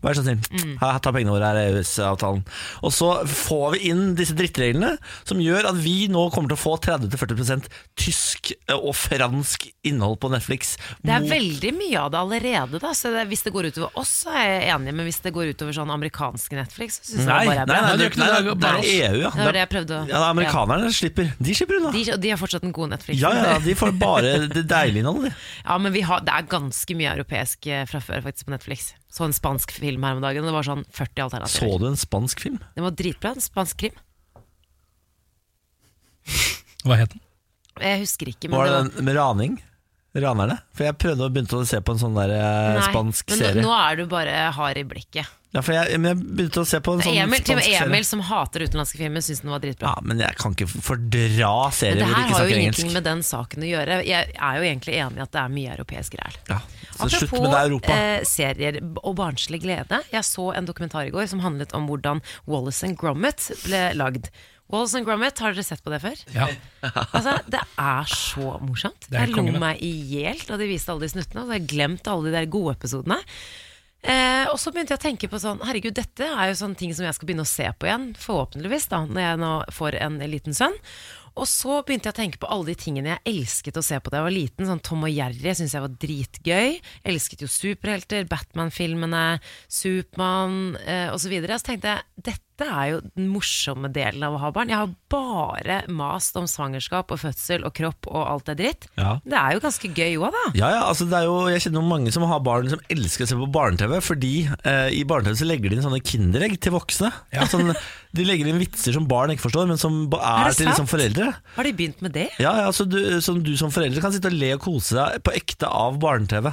S1: Vær så snill. Her, ta pengene våre, her er EØS-avtalen. Og så får vi inn disse drittreglene, som gjør at vi nå kommer til å få 30-40 tysk eh, og fransk innhold på Netflix.
S2: Det er
S1: Mot-
S2: veldig mye av det allerede, da. Så det, hvis det går utover oss, så er jeg enig. Men hvis det går utover sånn amerikansk Netflix, så syns jeg
S1: Nei,
S2: det
S1: nei,
S2: bare er
S1: nei,
S2: bra.
S1: nei,
S3: Nei, det
S1: det,
S3: er ikke
S1: nei,
S3: noe-
S1: nei, det
S3: bare oss.
S1: er EU, ja.
S2: Det var det jeg prøvde å
S1: ja, det er amerikanerne slipper. De slipper unna.
S2: De, og de har fortsatt den gode Netflixen.
S1: Ja, ja, de får bare det deilige innholdet, de.
S2: Ja, men vi har, det er ganske mye europeisk eh, fra før faktisk på Netflix. Så en spansk film her om dagen, og det var sånn 40
S1: Så
S2: alternativer.
S1: du en spansk film?
S2: Den var dritbra, en spansk krim.
S3: Hva het den?
S2: Jeg husker ikke, men
S1: Var
S2: det
S1: det
S2: var
S1: den med raning? Ranerne. For jeg prøvde å begynte å se på en sånn der eh,
S2: Nei,
S1: spansk
S2: men nå-
S1: serie.
S2: Nå er du bare hard i blikket.
S1: Ja, for jeg, men jeg begynte å se på en sånn
S2: Emil, til
S1: spansk
S2: og med
S1: serie.
S2: Emil som hater utenlandske filmer, syns den var
S1: Ja,
S2: dritbra.
S1: men jeg kan ikke fordra
S2: Men
S1: serier hvor
S2: det
S1: de
S2: her
S1: ikke
S2: har jo
S1: snakker
S2: ingenting
S1: engelsk.
S2: med den saken å gjøre. Jeg er jo egentlig enig i at det er mye europeisk ræl.
S1: Ja, så slutt med det Europa.
S2: eh, serier og barnslig glede. Jeg så en dokumentar i går som handlet om hvordan Wallace and Gromit ble lagd. Wallace and Gromit, har dere sett på det før?
S3: Ja.
S2: Altså, det er så morsomt.
S3: er helt
S2: Jeg lo
S3: konge, det.
S2: meg i hjel da de viste alle de snuttene. Og så har jeg glemt alle de der gode episodene. Eh, og så begynte jeg å tenke på sånn Herregud, dette er jo sånne ting som jeg skal begynne å se på igjen. Forhåpentligvis, da, når jeg nå får en liten sønn. Og så begynte jeg å tenke på alle de tingene jeg elsket å se på da jeg var liten. Sånn Tom og Jerry syntes jeg var dritgøy. Elsket jo superhelter, Batman-filmene, Supermann eh, osv. Så, videre. så tenkte jeg dette er jo den morsomme delen av å ha barn. Jeg har bare mast om svangerskap og fødsel og kropp og alt det dritt.
S1: Ja.
S2: Det er jo ganske gøy òg, da.
S1: Ja, ja, altså det er jo, Jeg kjenner jo mange som har barn som elsker å se på barne-TV, fordi eh, i barne-TV så legger de inn sånne kinderegg til voksne. Sånn, de legger inn vitser som barn ikke forstår, men som ba-
S2: Er
S1: er,
S2: det
S1: til liksom,
S2: sant?
S1: foreldre.
S2: Har de begynt med det?
S1: Ja, ja, så du, Som du som foreldre kan sitte og le og kose deg på ekte av barne-TV.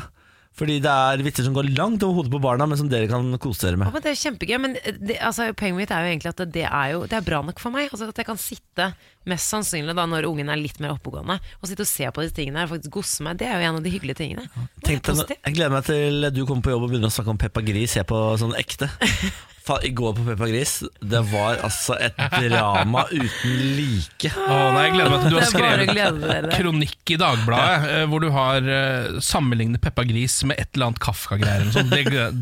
S1: Fordi det er vitser som går langt over hodet på barna, men som dere kan kose dere
S2: Ja,
S1: med.
S2: men det er kjempegøy, men det, altså, poenget mitt er jo egentlig at det, det er jo det er bra nok for meg. Altså, at jeg kan sitte, mest sannsynlig da når ungen er litt mer oppegående, og sitte og se på disse tingene her og faktisk gosse meg. Det er jo en av de hyggelige tingene. Det er
S1: Tenk deg, nå-
S2: positivt.
S1: jeg gleder meg til du kommer på jobb og begynner å snakke om Peppa Gris. Jeg på sånn ekte. Fa, I går på Peppa Gris, det var altså et drama uten like.
S3: Å nei, jeg gleder meg til
S2: Det er bare
S3: du har
S2: å
S3: skrevet
S2: glede dere.
S3: kronikk i Dagbladet eh, hvor du har eh, sammenlignet Peppa Gris med et eller annet Kafka-greier. eller noe sånt. Det, det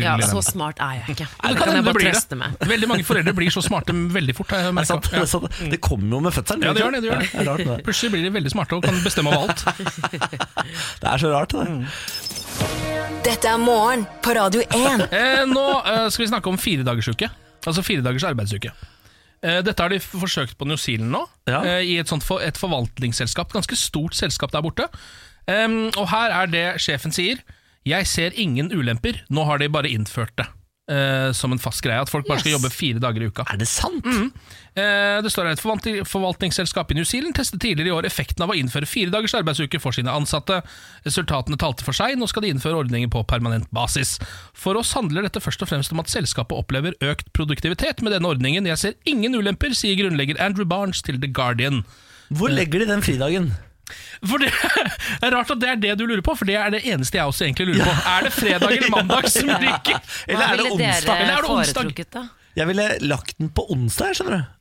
S2: Ja, så
S3: jeg meg til.
S2: smart er jeg ikke.
S3: Ja,
S2: Det kan jeg
S3: hende
S2: bare
S3: blir
S2: trøste med.
S3: Veldig mange foreldre blir så smarte veldig fort. Har jeg
S1: Det er sant,
S3: merket.
S1: det, er sant. det kommer jo med fødselen.
S3: Ja, det
S1: ikke
S3: gjør det, det gjør det.
S1: sant? er rart, det.
S3: Plutselig blir de veldig smarte og kan bestemme over alt.
S1: det er så rart, det.
S2: Mm.
S4: Dette er morgen på Radio 1.
S3: Eh, nå eh, skal vi snakke om firedagersuke. Altså fire dagers arbeidsuke. Eh, dette har de f- forsøkt på New Zealand nå,
S1: Ja.
S3: eh, i et, sånt for, et forvaltningsselskap. Ganske stort selskap der borte. Em, og her er det sjefen sier. Jeg ser ingen ulemper. Nå har de bare innført det. eh, som en fast greie, at folk bare skal
S2: Yes.
S3: jobbe fire dager i uka.
S1: Er det sant?
S2: Mm.
S3: Eh, Det står her et forvalt- forvaltningsselskap i New Zealand testet tidligere i år effekten av å innføre fire dagers arbeidsuke for sine ansatte. Resultatene talte for seg, nå skal de innføre ordningen på permanent basis. For oss handler dette først og fremst om at selskapet opplever økt produktivitet med denne ordningen. Jeg ser ingen ulemper, sier grunnlegger Andrew Barnes til The Guardian.
S1: Hvor legger de den fridagen?
S3: For det det er rart at det er det du lurer på, for det er det eneste jeg også egentlig lurer på. Er det fredag eller mandag som ryker?
S1: Eller er det
S2: Hva ville
S1: onsdag?
S3: Eller er
S2: dere
S3: det onsdag?
S2: foretrukket, da?
S1: Jeg ville lagt den på onsdag, jeg, skjønner du.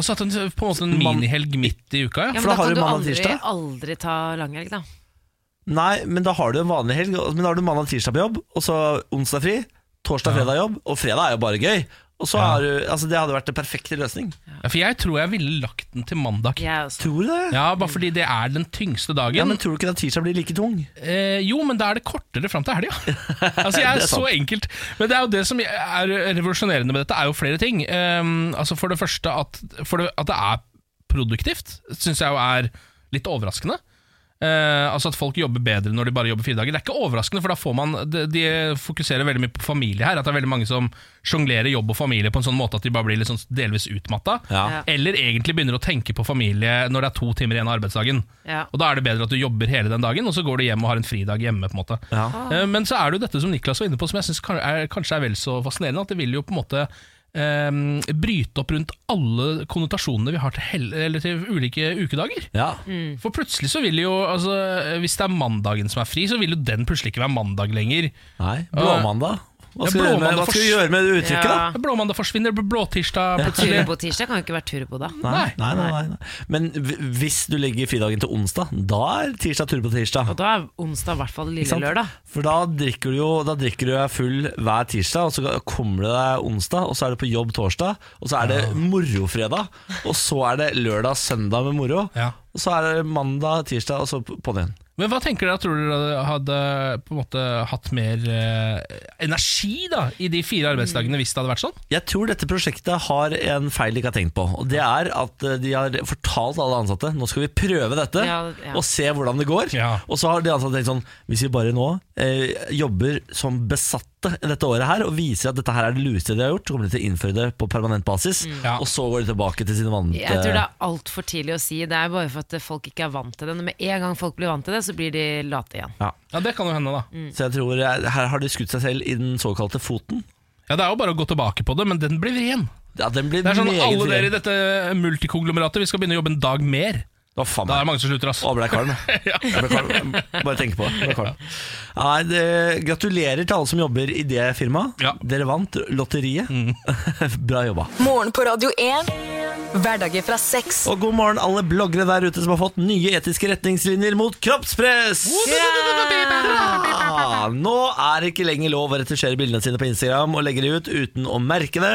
S3: Altså at en, på en måte en
S1: Man-
S3: minihelg midt i uka,
S2: Ja,
S1: For
S3: ja.
S1: da
S2: men da
S1: har
S2: kan
S1: du
S2: du
S1: mandag og
S2: aldri,
S1: tirsdag.
S2: aldri ta langhelg, da.
S1: Nei, men da har du en vanlig helg. Men da har du mandag og tirsdag på jobb, og så onsdag fri. Torsdag og fredag jobb, og fredag er jo bare gøy. Og så har du, altså Det hadde vært den perfekte løsning.
S3: ja. For jeg tror jeg ville lagt den til mandag.
S2: Jeg også.
S1: Tror du det?
S3: Ja, bare fordi det er den tyngste dagen.
S1: Ja, men Tror du ikke at tirsdag blir like tung?
S3: eh, jo, men da er det kortere fram til helga. altså, jeg
S1: Det
S3: er,
S1: er
S3: så
S1: sant.
S3: enkelt. Men det er jo det som er revolusjonerende med dette, er jo flere ting. Ehm, altså For det første at, for det, at det er produktivt, syns jeg jo er litt overraskende. Eh, altså At folk jobber bedre når de bare jobber fire dager. Det er ikke overraskende, for da får man de, de fokuserer veldig mye på familie her. At det er veldig mange som sjonglerer jobb og familie på en sånn måte at de bare blir litt sånn delvis utmatta.
S1: Ja.
S3: Eller egentlig begynner å tenke på familie når det er to timer igjen av arbeidsdagen.
S2: Ja.
S3: Og Da er det bedre at du jobber hele den dagen, og så går du hjem og har en fridag hjemme. på en måte
S1: Ja.
S3: Eh, Men så er det jo dette som Niklas var inne på, som jeg synes kan- er, kanskje er vel så fascinerende. At det vil jo på en måte eh, bryte opp rundt alle konnotasjonene vi har til, hel eller til ulike ukedager.
S1: Ja. Mm.
S3: For plutselig så vil jo altså, Hvis det er mandagen som er fri, så vil jo den plutselig ikke være mandag lenger.
S1: Nei. Blåmandag? Hva
S3: Ja,
S1: skal, du gjøre med,
S3: blåmandag
S1: hva skal du
S3: for-
S1: gjøre med det uttrykket, da?
S2: Ja.
S3: Blåmandag forsvinner, blåtirsdag plutselig.
S2: Turbo-tirsdag kan jo ikke være turbo, da.
S1: Nei, nei, nei, nei, nei. Men hv- hvis du legger fridagen til onsdag, da er tirsdag tur på tirsdag.
S2: Og da er onsdag i hvert fall
S1: Ikke
S2: lille
S1: sant?
S2: lørdag.
S1: For da drikker du jo Da drikker du deg full hver tirsdag, og så kommer du deg onsdag, og så er du på jobb torsdag, og så er det morofredag, og så er det lørdag søndag med moro,
S3: Ja.
S1: og så er det mandag, tirsdag, og så p- på'n igjen.
S3: Men hva tenker dere, tror dere hadde på en måte hatt mer eh, energi da, i de fire arbeidsdagene hvis det hadde vært sånn?
S1: Jeg tror dette prosjektet har en feil de ikke har tenkt på. Og Det er at eh, de har fortalt alle ansatte Nå skal vi prøve dette
S2: Ja, ja.
S1: og se hvordan det går.
S3: Ja.
S1: Og så har de ansatte tenkt sånn Hvis vi bare nå eh, jobber som besatte dette året her og viser at dette her er det lureste de har gjort, så kommer de til å innføre det på permanent basis.
S3: Ja.
S1: Og så går de tilbake til sine vante
S2: Mm. Jeg tror det er altfor tidlig å si. Det er bare for at folk ikke er vant til det. Når med en gang folk blir vant til det, så blir de late igjen.
S1: Ja.
S3: Ja, Det kan jo hende, da.
S1: Så jeg tror eh, her har de skutt seg selv i den såkalte foten.
S3: Ja, Det er jo bare å gå tilbake på det, men den blir vrien.
S1: Ja, den blir
S3: Det er sånn
S1: meget
S3: alle dere i
S1: vrien.
S3: dette multikonglomeratet, vi skal begynne å jobbe en dag mer.
S1: Å, faen
S3: Da
S1: meg.
S3: er det mange som slutter, ass.
S1: Å, ble jeg kvalm. jeg. Jeg ble kvalm. Bare tenke på det. jeg ble kvalm. Nei, det. Gratulerer til alle som jobber i det firmaet.
S3: Ja.
S1: Dere vant lotteriet. Bra jobba.
S4: Morgen på Radio 1. Hverdager fra seks.
S1: Og god morgen alle bloggere der ute som har fått nye etiske retningslinjer mot kroppspress! Ja! Nå er det ikke lenger lov å retusjere bildene sine på Instagram og legge de ut uten å merke det.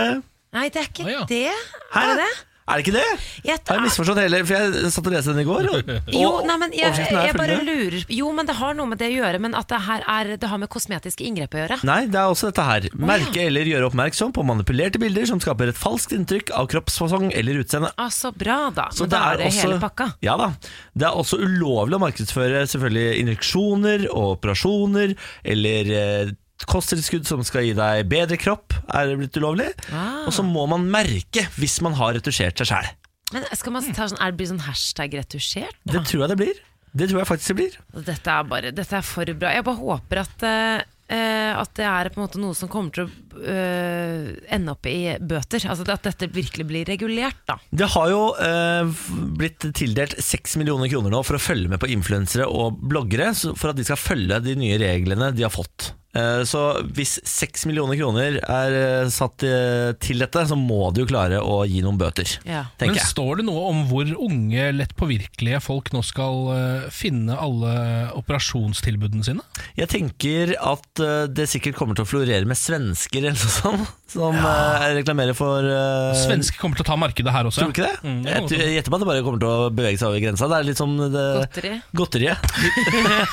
S2: Nei, det er ikke
S3: Å, ja.
S2: det.
S1: Hæ?
S2: Er det det?
S1: Er det ikke det?
S2: Jeg-
S1: Har jeg misforstått hele, for jeg satt og leste den i går. Og,
S2: Jo,
S1: og
S2: nei, men jeg,
S1: overskriften er
S2: jeg bare
S1: følgende.
S2: lurer Jo, men det har noe med det å gjøre, men at det her er Det har med kosmetiske inngrep å gjøre.
S1: Nei, det er også dette her. Merke eller gjøre oppmerksom på manipulerte bilder som skaper et falskt inntrykk av kroppsfasong eller utseende.
S2: Altså, bra, da.
S1: Så
S2: Men da er det hele pakka.
S1: Ja da. Det er også ulovlig å markedsføre selvfølgelig injeksjoner og operasjoner eller eh, kosttilskudd som skal gi deg bedre kropp, er det blitt ulovlig.
S2: Ah.
S1: Og så må man merke hvis man har retusjert seg sjæl.
S2: Men skal man ta sånn, er det blir sånn hashtag retusjert?
S1: Det tror jeg det blir. Det tror jeg faktisk det blir.
S2: Dette er bare Dette er for bra. Jeg bare håper at eh, eh, at det er på en måte noe som kommer til å eh, ende opp i bøter. Altså At dette virkelig blir regulert, da.
S1: Det har jo eh, blitt tildelt 6 millioner kroner nå for å følge med på influensere og bloggere, så- for at de skal følge de nye reglene de har fått. Eh, Så hvis 6 millioner kroner er eh, satt eh, til dette, så må de jo klare å gi noen bøter,
S2: Ja.
S1: tenker
S3: Men
S1: jeg.
S3: står det noe om hvor unge, lett påvirkelige folk nå skal eh, finne alle operasjonstilbudene sine?
S1: Jeg tenker at eh, det sikkert kommer til å florere med svensker eller noe sånt, som eh, reklamerer for eh,
S3: Svenske kommer til å ta markedet her også.
S1: Tror du ikke det?
S3: Mm, det
S1: jeg
S3: kan godt
S1: tror- jeg gjetter på at det bare kommer til å bevege seg over grensa. Det er litt sånn, eh, som det,
S2: Godteri.
S1: godteriet.
S3: Ja,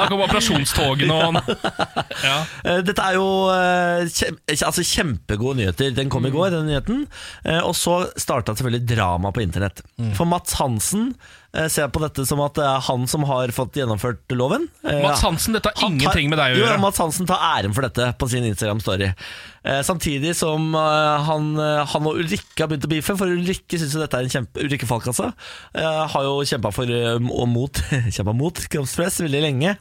S3: Her kommer operasjonstogene og ja.
S1: Eh, Dette er jo eh, kjem, altså kjempegode nyheter. Den
S3: Mm.
S1: kom i går, den nyheten. Eh, Og så starta selvfølgelig drama på internett.
S3: Mm.
S1: For Mats Hansen eh, ser på dette som at det er han som har fått gjennomført loven. Eh,
S3: Mats Hansen, dette har
S1: han tar-
S3: ingenting med deg å
S1: Jo,
S3: gjøre.
S1: Mats Hansen tar æren for dette på sin Instagram-story. Eh, samtidig som eh, han, eh, han og Ulrikke har begynt å beefe, for Ulrikke syns jo dette er en kjempe Ulrikke Falk, altså. Eh, har jo kjempa for eh, og mot, kjempet mot kroppspress veldig lenge.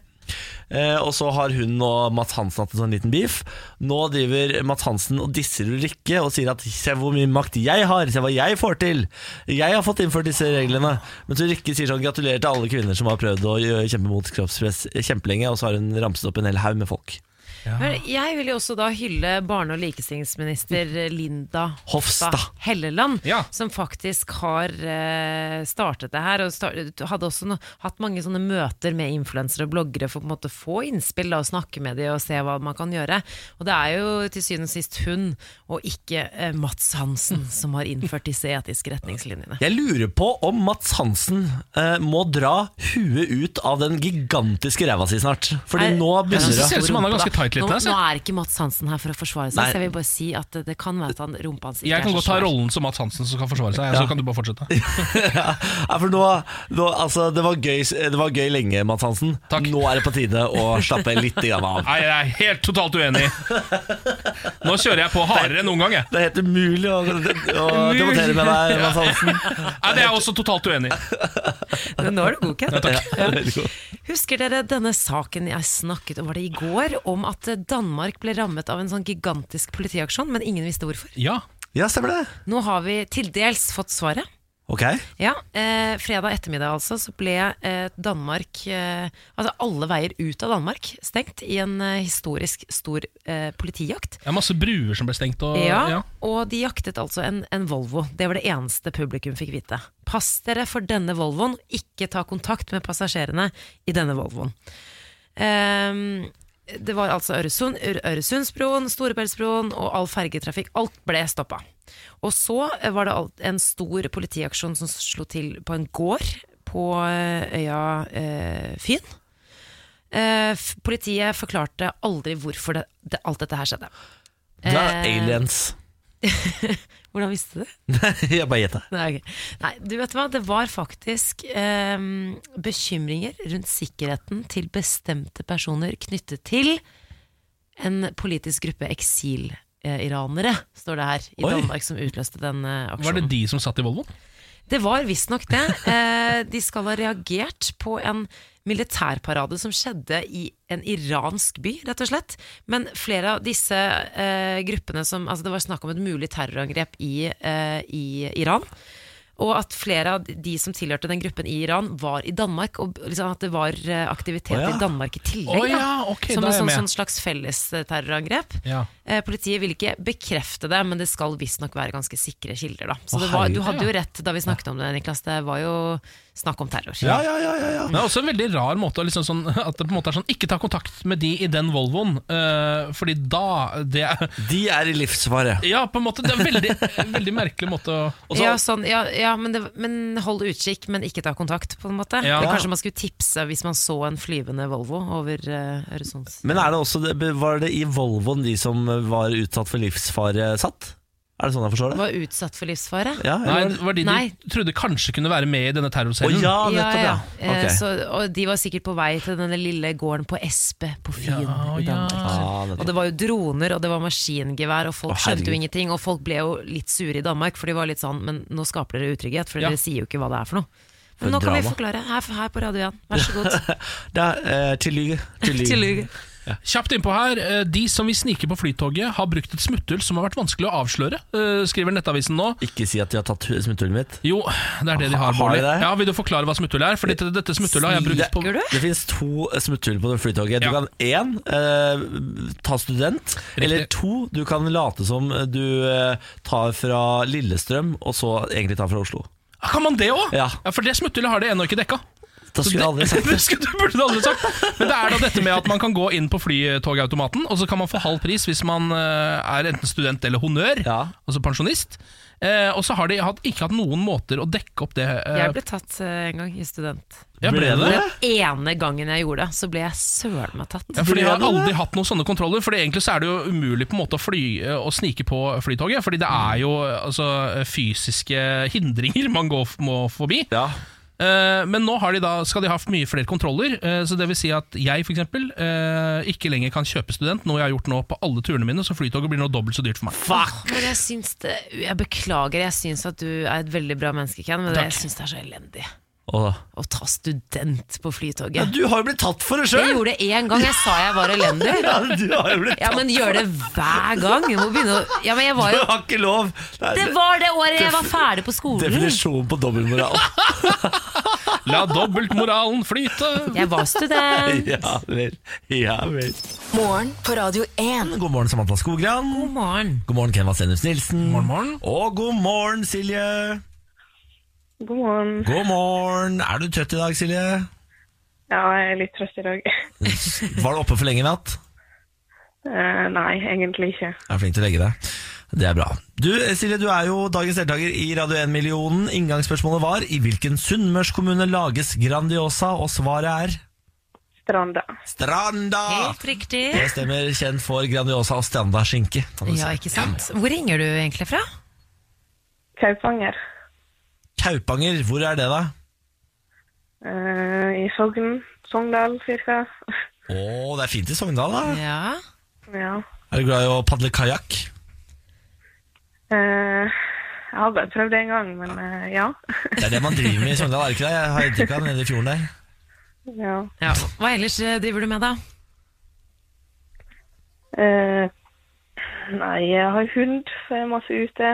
S1: Eh, og så har hun og Mats Hansen hatt en sånn liten beef. Nå driver Mats Hansen og disser Ulrikke og sier at 'se hvor mye makt jeg har', 'se hva jeg får til'. 'Jeg har fått innført disse reglene'. Mens Ulrikke sier sånn 'gratulerer til alle kvinner som har prøvd å gjø- kjempe mot kroppspress kjempelenge', og så har hun ramset opp en hel haug med folk.
S2: Men jeg vil jo også da hylle barne- og likestillingsminister Linda
S1: Hofstad.
S2: Helleland,
S3: Ja.
S2: som faktisk har eh, startet det her. Og start, hadde også no, hatt mange sånne møter med influensere og bloggere for å på en måte få innspill da, og snakke med dem og se hva man kan gjøre. Og det er jo til syvende og sist hun, og ikke eh, Mats Hansen, som har innført disse etiske retningslinjene.
S1: Jeg lurer på om Mats Hansen eh, må dra huet ut av den gigantiske ræva si snart. Fordi
S2: Er-
S1: nå
S3: Jeg
S1: begynner
S3: synes det
S1: det
S3: ser ut som han har
S2: Rumpa, da. nå,
S3: ganske tight litt der, så.
S2: nå er ikke Mats Hansen her for å forsvare seg,
S1: Nei.
S2: så jeg vil bare si at det, det kan være at han, rumpa hans ikke
S3: Jeg kan
S2: er
S3: godt
S2: så
S3: ta
S2: svær.
S3: rollen som Mats Hansen som skal forsvare seg. Så kan du bare fortsette.
S1: ja, for nå, nå, altså, det, var gøy, det var gøy lenge, Mats Hansen.
S3: Takk.
S1: Nå er det på tide å slappe litt grann av.
S3: Nei, jeg er helt totalt uenig. Nå kjører jeg på hardere enn noen gang, jeg.
S1: Det er helt umulig å, å debattere med deg, Mads Hansen.
S3: Nei, det er jeg også totalt uenig. i.
S2: Men nå er du godkjent.
S1: Ja, veldig god.
S2: Husker dere denne saken jeg snakket om, var det i går, om at Danmark ble rammet av en sånn gigantisk politiaksjon, men ingen visste hvorfor?
S3: Ja,
S1: ja, stemmer det.
S2: Nå har vi til dels fått svaret.
S1: Ok.
S2: Ja, eh, Fredag ettermiddag altså, så ble eh, Danmark eh, Altså alle veier ut av Danmark stengt i en eh, historisk stor eh, politijakt.
S3: det er masse bruer som ble stengt og
S2: Ja,
S3: ja.
S2: og de jaktet altså en, en Volvo. Det var det eneste publikum fikk vite. Pass dere for denne Volvoen, ikke ta kontakt med passasjerene i denne Volvoen. Ehm, det var altså Øresund, Ø- Øresundsbroen, Storebeltsbroen og all fergetrafikk. Alt ble stoppa. Og så eh, var det alt, en stor politiaksjon som slo til på en gård på eh, øya eh, Fyn. Eh, f- politiet forklarte
S1: Eh.
S2: aldri hvorfor det, det, alt dette her skjedde.
S1: Det er
S2: Eh,
S1: aliens.
S2: Hvordan visste du det?
S1: Jeg bare gjetta.
S2: Nei, ok. Nei, du vet hva, det var faktisk eh, bekymringer rundt sikkerheten til bestemte personer knyttet til en politisk gruppe eksil-iranere, står det her, i
S1: Oi.
S2: Danmark, som utløste den eh, aksjonen.
S3: Var det de som satt i Volvoen?
S2: Det var visstnok det. Eh, de skal ha reagert på en militærparade som skjedde i en iransk by, rett og slett. Men flere av disse eh, gruppene som Altså, det var snakk om et mulig terrorangrep i, eh, i Iran. Og at flere av de som tilhørte den gruppen i Iran, var i Danmark. Og liksom at det var eh, aktivitet
S1: Å ja.
S2: i Danmark i tillegg.
S3: Å
S2: da.
S3: ja, ok,
S2: som
S3: da er
S2: et
S3: jeg
S2: sånn,
S3: med.
S2: sånn slags fellesterrorangrep.
S3: Ja.
S2: Eh, Politiet vil ikke bekrefte det, men det skal visstnok være ganske sikre kilder. Da. Så
S1: Å,
S2: det var, du
S1: herregud,
S2: hadde jo rett da vi snakket om det, Niklas. Det var jo snakk om terror.
S1: Ja, ja, ja, ja, ja.
S3: Det er også en veldig rar måte å liksom sånn, At det på en måte er sånn Ikke ta kontakt med de i den Volvoen, eh, fordi da det er,
S1: De er i livsfare.
S3: Ja, på en måte. Det er en veldig, veldig merkelig måte å og så-
S2: ja, sånn, ja, ja men, det, men hold utkikk, men ikke ta kontakt, på en måte.
S3: Ja.
S2: Eller Kanskje man skulle tipse hvis man så en flyvende Volvo over eh, Øresunds...
S1: Men er det også, det- var det i Volvoen de som var utsatt for livsfare, satt? Er det sånn jeg forstår det?
S2: Var utsatt for livsfare.
S1: Ja,
S3: Nei,
S1: eller
S3: det var de
S2: Nei.
S3: du trodde kanskje kunne være med i denne
S1: Å
S3: terrorcellen.
S1: ja, nettopp, ja.
S2: Eh,
S1: Ok.
S2: Så, og de var sikkert på vei til denne lille gården på Espe på Fyn
S3: Ja,
S2: i Danmark.
S3: ja.
S1: Ah, nettopp.
S2: Og det var jo droner, og det var maskingevær, og
S1: Å,
S2: folk
S1: herregud.
S2: skjønte jo ingenting. Og folk ble jo litt sure i Danmark, for de var litt sånn Men nå skaper dere utrygghet, for
S3: Ja.
S2: dere sier jo ikke hva det er for noe.
S1: For
S2: Men nå kan vi
S1: drama.
S2: forklare her, her på Radio 1. Vær så god.
S1: Da, eh, til lyge. Til lyge.
S2: Tillykke.
S3: Kjapt innpå her. eh, De som vil snike på Flytoget, har brukt et smutthull som har vært vanskelig å avsløre, eh, skriver Nettavisen nå.
S1: Ikke si at de har tatt hu- smutthullet mitt.
S3: Jo, det er det de
S1: Har
S3: har,
S1: de
S3: Bårdli.
S1: det?
S3: Ja, Vil du forklare hva smutthullet er? For dette, dette smutthullet har jeg brukt på
S2: Slikker du?
S1: Det finnes to eh, smutthull på det flytoget. Du
S3: Ja.
S1: kan én eh, ta student, eller to du kan late som du eh, tar fra Lillestrøm, og så egentlig tar fra Oslo.
S3: Ah, Kan man det òg?
S1: Ja.
S3: for det smutthullet har det ennå ikke dekka.
S1: Da skulle jeg aldri sagt
S3: det skulle du burde du aldri sagt. Men det er da dette med at man kan gå inn på flytogautomaten, og så kan man få halv pris hvis man eh, er enten student eller honnør,
S1: Ja.
S3: altså pensjonist. Eh, og så har de hatt, ikke hatt noen måter å dekke opp det. eh,
S2: Jeg ble tatt eh, en gang i student.
S3: ja, ble
S1: Ble
S3: det?
S1: det?
S2: Den ene gangen jeg gjorde det, så ble jeg søren meg tatt.
S3: Ja, for De har
S1: Ble det det?
S3: aldri hatt noen sånne kontroller. Fordi Egentlig så er det jo umulig på en måte å fly og snike på Flytoget. Fordi det er jo altså, fysiske hindringer man går, f- må forbi.
S1: Ja.
S3: Eh, men nå har de da, skal de ha mye flere kontroller. eh, så det vil si at jeg f.eks. Uh, ikke lenger kan kjøpe student, noe jeg har gjort nå på alle turene mine. Så Flytoget blir nå dobbelt så dyrt for meg.
S1: Fuck!
S2: Men jeg syns det Jeg beklager, jeg syns at du er et veldig bra menneske, Ken, men det, jeg syns det er så elendig
S1: Og da.
S2: å ta student på
S1: Ja,
S2: Flytoget.
S1: du har jo blitt tatt for det
S2: Jeg
S1: sjøl!
S2: gjorde det én gang, jeg sa jeg var elendig.
S1: Ja, du har jo blitt
S2: Ja,
S1: tatt
S2: men gjør det hver gang. Jeg må begynne å Ja, men jeg var
S1: Du
S2: jo
S1: har ikke lov! Nei,
S2: Det
S1: det-
S2: var det året jeg var ferdig på skolen.
S1: Definisjonen på dobbeltmoral.
S3: La dobbeltmoralen flyte!
S2: Jeg var student.
S1: ja vel. Ja vel.
S4: Morgen på Radio 1.
S1: God morgen, Samantha Skogran.
S2: God morgen.
S1: God morgen, Ken Vasenus Nilsen.
S3: Morgen, morgen.
S1: Og god morgen, Silje.
S5: God morgen.
S1: God morgen. Er du trøtt i dag, Silje?
S5: Ja, jeg er litt trøst i dag.
S1: Var du oppe for lenge i natt?
S5: Eh, nei, egentlig ikke.
S1: Jeg er flink til å legge deg. Det er bra. Du, eh, Silje, du er jo dagens deltaker i Radio 1-millionen. Inngangsspørsmålet var i hvilken sunnmørskommune lages Grandiosa, og svaret er
S5: Stranda.
S1: Stranda!
S2: Helt riktig.
S1: Det stemmer. Kjent for Grandiosa og Stranda skinke. kan du si.
S2: Ja, ikke sant. Hvor ringer du egentlig fra?
S5: Kaupanger.
S1: Kaupanger, hvor er det, da?
S5: Eh, I Sogn. Sogndal, cirka.
S1: Å, det er fint i Sogndal, da.
S2: Ja.
S5: Ja.
S1: Er du glad i å padle kajakk?
S5: Eh, jeg har bare prøvd det en gang, men eh, ja.
S1: Det er det man driver med i Sogndal, er det ikke det? Jeg har inntrykk av det nede i fjorden der.
S5: ja.
S2: ja. Hva ellers eh, driver du med, da?
S5: Eh, nei, jeg har hund, så jeg er masse ute.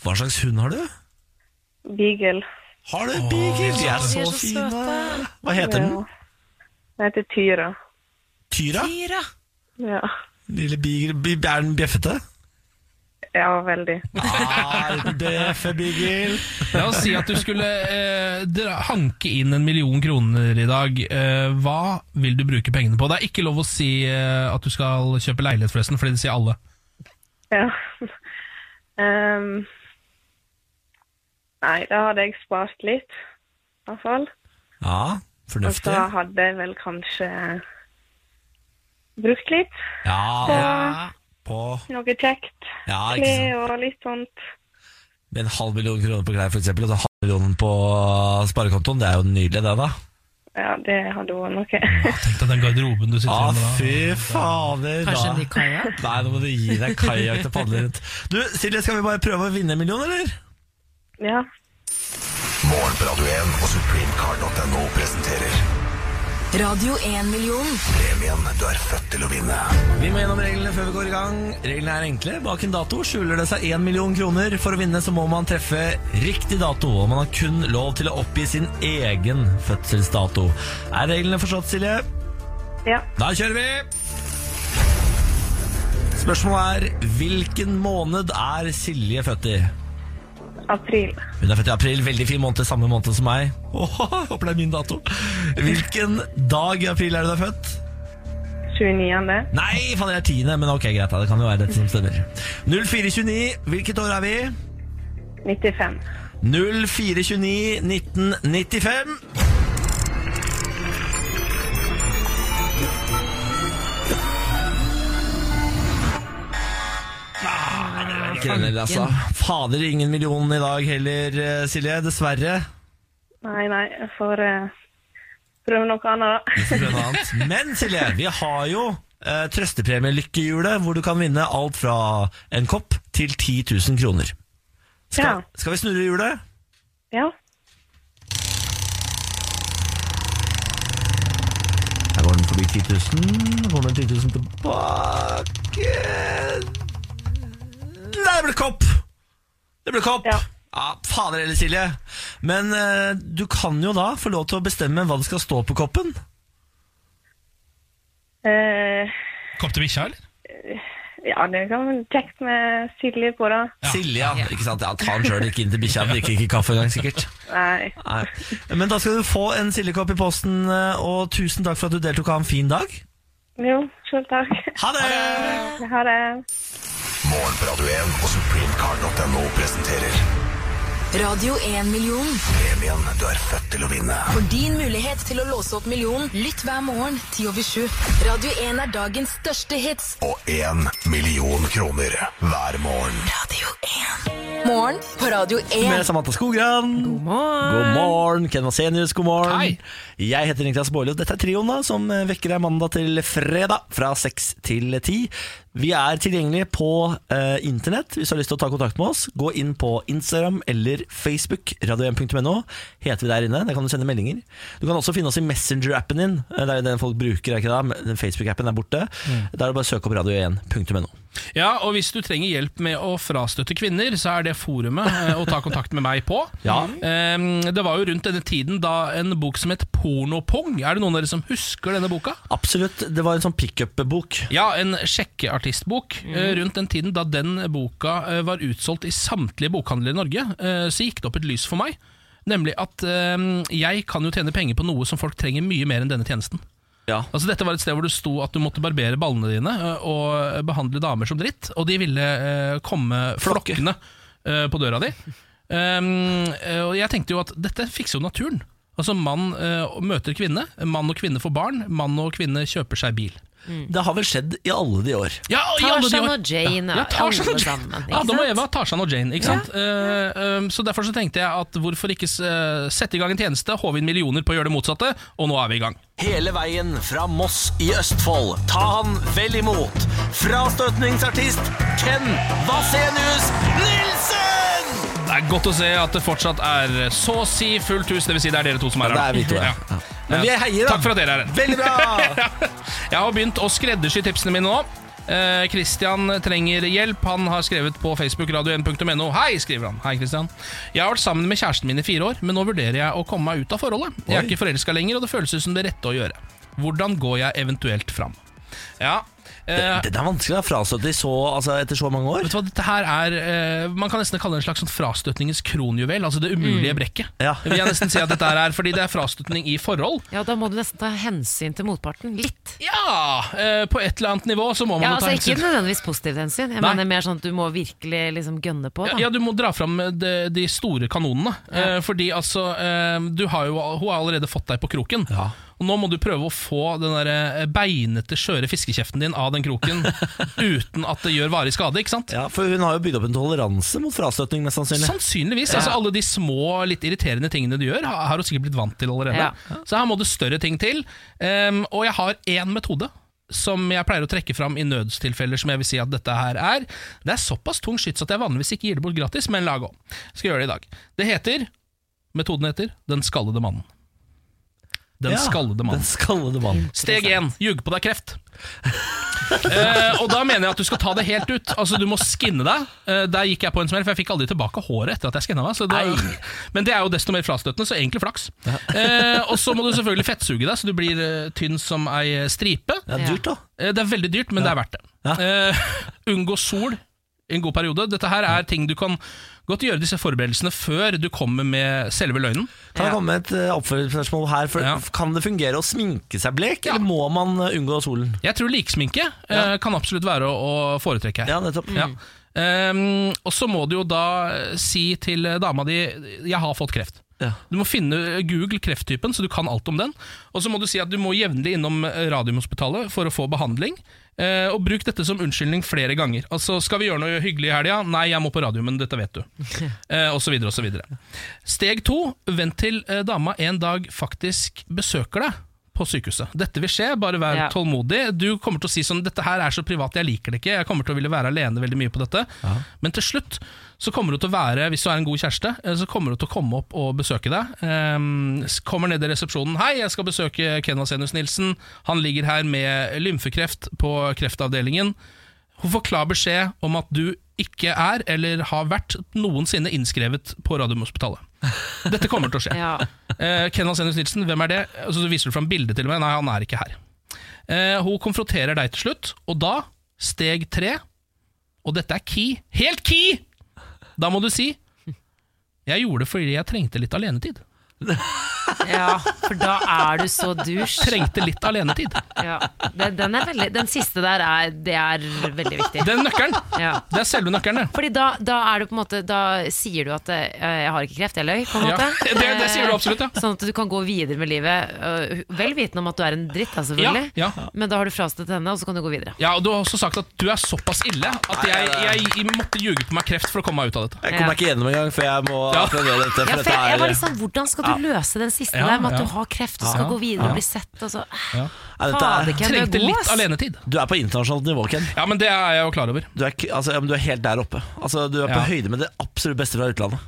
S1: Hva slags hund har du?
S5: Beagle.
S1: Har du beagle? De er
S2: de
S1: så
S2: er så
S1: fine.
S2: søte.
S1: Hva heter den?
S5: Ja. Den heter Tyra.
S1: Tyra?
S2: Tyra.
S5: Ja.
S1: Lille beagle. Bi- Er den bjeffete?
S5: ja, veldig.
S1: Ah, liten bjeffe beagle.
S3: La oss si at du skulle eh, dra, hanke inn en million kroner i dag. Eh, hva vil du bruke pengene på? Det er ikke lov å si eh, at du skal kjøpe leilighet, forresten, fordi det sier alle.
S5: Ja. Ehm, nei, da hadde jeg spart litt, i hvert fall.
S1: Ja,
S5: Og så
S1: fornuftig.
S5: hadde jeg vel kanskje brukt litt.
S1: Ja,
S5: Ja.
S1: på
S5: Noe kjekt.
S1: Ja, ikke
S5: Klær og litt sånt.
S1: med en halv million kroner på klær, for eksempel, og så halv million på sparekontoen, det er jo nydelig, det, da.
S5: Ja, det hadde vært noe.
S3: Tenk deg den garderoben du sitter
S1: Ja,
S3: i med. da.
S1: Ah, fy fader, da.
S2: Kanskje en ny kajakk?
S1: Nei, nå må du gi deg kajakk til å padle rundt. Du, Silje, skal vi bare prøve å vinne en million, eller?
S5: Ja.
S6: Morgen på Radio 1 og supremecard.no presenterer
S4: Radio 1-million.
S6: premien du er født til å vinne.
S1: Vi må gjennom reglene før vi går i gang. Reglene er enkle. Bak en dato skjuler det seg 1 million kroner. For å vinne så må man treffe riktig dato, og man har kun lov til å oppgi sin egen fødselsdato. Er reglene forstått, Silje?
S5: Ja.
S1: Da kjører vi! Spørsmålet er hvilken måned er Silje født i?
S5: April.
S1: Hun er født i april, veldig fin måned, samme måned som meg. Åh, håper det er min dato. Hvilken dag i april er du da født?
S5: 29.
S1: Nei, faen, det er tiende, men ok, greit. da, Det kan jo være dette som stemmer. 0429, hvilket år er vi?
S5: 95.
S1: 0429 1995. Nei, det var ikke den heller, altså. Fader, ingen million i dag heller, eh, Silje. Dessverre.
S5: Nei, nei, jeg får eh, prøve noe annet, da.
S1: prøve noe annet. Men Silje, vi har jo eh, trøstepremie Lykkehjulet, hvor du kan vinne alt fra en kopp til 10 000 kroner. Skal,
S5: Ja.
S1: skal vi snurre hjulet?
S5: Ja.
S1: Her går den forbi 10 000. Nå kommer den 10 000 tilbake Nei, det ble kopp! Det ble kopp!
S5: Ja.
S1: Ja, Fader heller, Silje. Men eh, du kan jo da få lov til å bestemme hva det skal stå på koppen.
S5: Eh,
S3: Kopp til bikkja, eller?
S5: ja, det kan være kjekt med Silje på, da.
S1: Silje, ja. Ikke sant? Ja, ta den sjøl, ikke inn til bikkja. Drikker ikke kaffe engang, sikkert.
S5: Nei.
S1: Nei. Men da skal du få en sildekopp i posten, eh, og tusen takk for at du deltok. Ha en fin dag.
S5: Jo, selv takk.
S1: Ha det!
S5: Ha det.
S6: Morgen på Radio 1 og supremecard.no presenterer
S4: Radio 1-million.
S6: premien du er født til å vinne.
S4: For din mulighet til å låse opp million, lytt hver morgen 10 over 7. Radio 1 er dagens største hits.
S6: Og 1 million kroner hver morgen.
S4: Radio 1. Morgen på Radio 1.
S1: Med Samantha Skogran.
S2: God morgen.
S1: God morgen, Ken Vasenius, god morgen.
S3: Hei.
S1: Jeg heter Niklas Baarli, og dette er trioen da, som eh, vekker deg mandag til fredag fra 6 til 10. Vi er tilgjengelige på eh, internett hvis du har lyst til å ta kontakt med oss. Gå inn på Instagram eller Facebook, radio1.no. Heter vi der inne, der kan du sende meldinger. Du kan også finne oss i Messenger-appen din. Eh, Det er jo den folk bruker, er ikke det? Men den Facebook-appen er borte.
S2: Mm.
S1: Der er det bare å søke opp radio1.no.
S3: Ja, og hvis du trenger hjelp med å frastøtte kvinner, så er det forumet eh, å ta kontakt med meg på.
S1: Ja.
S3: Ehm, Det var jo rundt denne tiden da en bok som het Pornopong. Er det noen av dere som husker denne boka?
S1: Absolutt, det var en sånn pickup-bok.
S3: Ja, en sjekkeartistbok. Eh, Rundt den tiden da den boka eh, var utsolgt i samtlige bokhandler i Norge, eh, så gikk det opp et lys for meg. Nemlig at eh, jeg kan jo tjene penger på noe som folk trenger mye mer enn denne tjenesten.
S1: Ja.
S3: Altså Dette var et sted hvor det sto at du måtte barbere ballene dine eh, og behandle damer som dritt, og de ville eh, komme
S1: Flokke.
S3: flokkene eh, på døra di. Um, eh, og jeg tenkte jo at dette fikser jo naturen. Altså Mann eh, møter kvinne, mann og kvinne får barn, mann og kvinne kjøper seg bil.
S1: Det har vel skjedd i alle de år.
S3: Ja, i alle de
S2: Tarzan
S3: år-
S2: og Jane,
S3: ja, ja, Tarzan
S2: alle
S3: og Jane.
S2: sammen, ikke
S3: Adam og
S2: sant?
S3: Eva, Tarzan og Jane. Ikke sant? Eh, um, så Derfor så tenkte jeg at hvorfor ikke eh, sette i gang en tjeneste, håve inn millioner på å gjøre det motsatte, og nå er vi i gang.
S1: Hele veien fra Moss i Østfold. Ta han vel imot. Frastøtningsartist Ken Vasenius Nilsen!
S3: Det er godt å se at det fortsatt er så å si fullt hus. Det vil si, det er dere to som er
S1: Ja, det
S3: her.
S1: er vi to, ja. Ja. Men vi heier, da.
S3: Takk for at dere er her.
S1: Veldig bra!
S3: Jeg har begynt å skreddersy tipsene mine nå. Eh, Christian trenger hjelp. Han har skrevet på Facebook radio1.no. Hei, skriver han. Hei, Christian. Jeg har vært sammen med kjæresten min i fire år, men nå vurderer jeg å komme meg ut av forholdet. Jeg
S1: Oi.
S3: er ikke forelska lenger, og det føles ut som det rette å gjøre. Hvordan går jeg eventuelt fram? Ja eh,
S1: Den er vanskelig å frastøte i så, altså, etter så mange år.
S3: Vet du hva, dette her er eh, Man kan nesten kalle det en slags sånn frastøtningens kronjuvel. Altså det umulige brekket.
S1: Mm. Ja.
S3: Vil jeg nesten si at dette her er Fordi det er frastøtning i forhold.
S2: Ja, da må du nesten ta hensyn til motparten. Litt.
S3: Ja! eh, på et eller annet nivå så må man
S2: Ja,
S3: jo ta
S2: altså Ikke
S3: hensyn.
S2: nødvendigvis positivt hensyn. Jeg
S3: Nei.
S2: mener mer sånn at du må virkelig liksom gønne på.
S3: Ja,
S2: Da.
S3: ja, du må dra fram de, de eh, store kanonene. Eh, fordi altså eh, du har jo, Hun har allerede fått deg på kroken.
S1: Ja.
S3: Og nå må du prøve å få den der eh, beinete, skjøre fiskekjeften din av den kroken uten at det gjør varig skade. ikke sant?
S1: Ja, For hun har jo bygd opp en toleranse mot frastøtning, mest sannsynlig.
S3: Sannsynligvis. altså Alle de små, litt irriterende tingene du gjør, har har du sikkert blitt vant til allerede.
S2: Ja.
S3: Så her må det større ting til. Ehm, og jeg har én metode som jeg pleier å trekke fram i nødstilfeller, som jeg vil si at dette her er. Det er såpass tung skyts at jeg vanligvis ikke gir det bort gratis, men la gå. Skal gjøre det i dag. Det heter Metoden heter Den skallede mannen. Den
S1: Ja,
S3: skallede mannen.
S1: Den skallede mannen.
S3: Steg én ljug på deg kreft. Eh, og da mener jeg at du skal ta det helt ut. Altså Du må skinne deg. Eh, der gikk jeg på en smell, for jeg fikk aldri tilbake håret etter at jeg skinna meg. Så det, men det er jo desto mer frastøtende, så egentlig flaks. Eh, og så må du selvfølgelig fettsuge deg, så du blir eh, tynn som ei stripe.
S1: Det er
S2: Ja.
S1: dyrt, da.
S3: Eh, det er veldig dyrt, men det er verdt det.
S1: Ja.
S3: Eh, unngå sol i en god periode. Dette her er ting du kan godt gjøre disse forberedelsene før du kommer med selve løgnen.
S1: Kan det
S2: Ja.
S1: komme et eh, oppfølgingsspørsmål her? For
S3: Ja.
S1: Kan det fungere å sminke seg blek,
S3: Ja.
S1: eller må man eh, unngå solen?
S3: Jeg tror liksminke eh, kan absolutt være å, å foretrekke her.
S1: Ja, nettopp.
S3: Ja. Ehm, og så må du jo da eh, si til dama di 'jeg har fått kreft'.
S1: Ja.
S3: Du må finne eh, Google krefttypen, så du kan alt om den. Og så må du si at du må jevnlig innom eh, Radiumhospitalet for å få behandling. Eh, og bruk dette som unnskyldning flere ganger. Altså, 'Skal vi gjøre noe hyggelig i helga?' 'Nei, jeg må på Radiumen, dette vet du.' Eh, og så videre og så videre. Steg to. Vent til eh, dama en dag faktisk besøker deg på sykehuset. Dette vil skje, bare vær
S2: Ja.
S3: tålmodig. Du kommer til å si sånn 'Dette her er så privat, jeg liker det ikke. Jeg kommer til å ville være alene veldig mye på dette.' Men til slutt så kommer du til å være, hvis du er en god kjæreste, eh, så kommer du til å komme opp og besøke deg. Ehm, s- kommer ned i resepsjonen 'Hei, jeg skal besøke Ken Vasenius Nilsen. Han ligger her med lymfekreft på kreftavdelingen.' Hun får klar beskjed om at du ikke er, eller har vært, noensinne innskrevet på Radiumhospitalet. Dette kommer til å skje.
S2: Ja.
S3: Eh, Ken Vasenius Nilsen, hvem er det? Og så viser du fram bildet til og med. Nei, han er ikke her. Eh, hun konfronterer deg til slutt, og da, steg tre, og dette er key, helt key! Da må du si Jeg gjorde det fordi jeg trengte litt alenetid.
S2: ja, for da er du så douche.
S3: Trengte litt alenetid.
S2: Ja. Den, den, er veldig, den siste der er, det er veldig viktig.
S3: Den nøkkelen!
S2: Ja.
S3: Det er selve nøkkelen, det.
S2: Fordi da, da er det på en måte Da sier du at eh, 'jeg har ikke kreft, jeg løy', på en
S3: Ja,
S2: måte.
S3: det- det sier du absolutt, ja.
S2: Eh, Sånn at du kan gå videre med livet, eh, vel vitende om at du er en dritt, da, selvfølgelig.
S3: Ja, ja.
S2: Men da har du frastøtt henne, og så kan du gå videre.
S3: Ja, og Du har også sagt at du er såpass ille at jeg, jeg, måtte ljuge på meg kreft for å komme meg ut av dette.
S1: Jeg kommer meg ikke gjennom engang, for jeg må
S3: Ja.
S1: applaudere dette. For
S2: Ja, for jeg, jeg
S1: dette
S2: var
S1: er, eh,
S2: litt sånn, Hvordan skal du løse den siste
S3: eh, Ja,
S2: der, med at
S3: ja.
S2: du har kreft og skal
S3: Ja,
S2: gå videre og bli sett? Og så.
S1: Nei, dette er,
S2: Fader, Ken, du er
S3: Trengte
S2: god,
S3: litt
S2: ass.
S3: alenetid.
S1: du er på internasjonalt nivå, Ken.
S3: Ja, men det er jeg jo klar over.
S1: Du er, ikke- altså, ja, men du er helt der oppe. Altså, du er på
S3: Ja.
S1: høyde med det absolutt beste fra utlandet.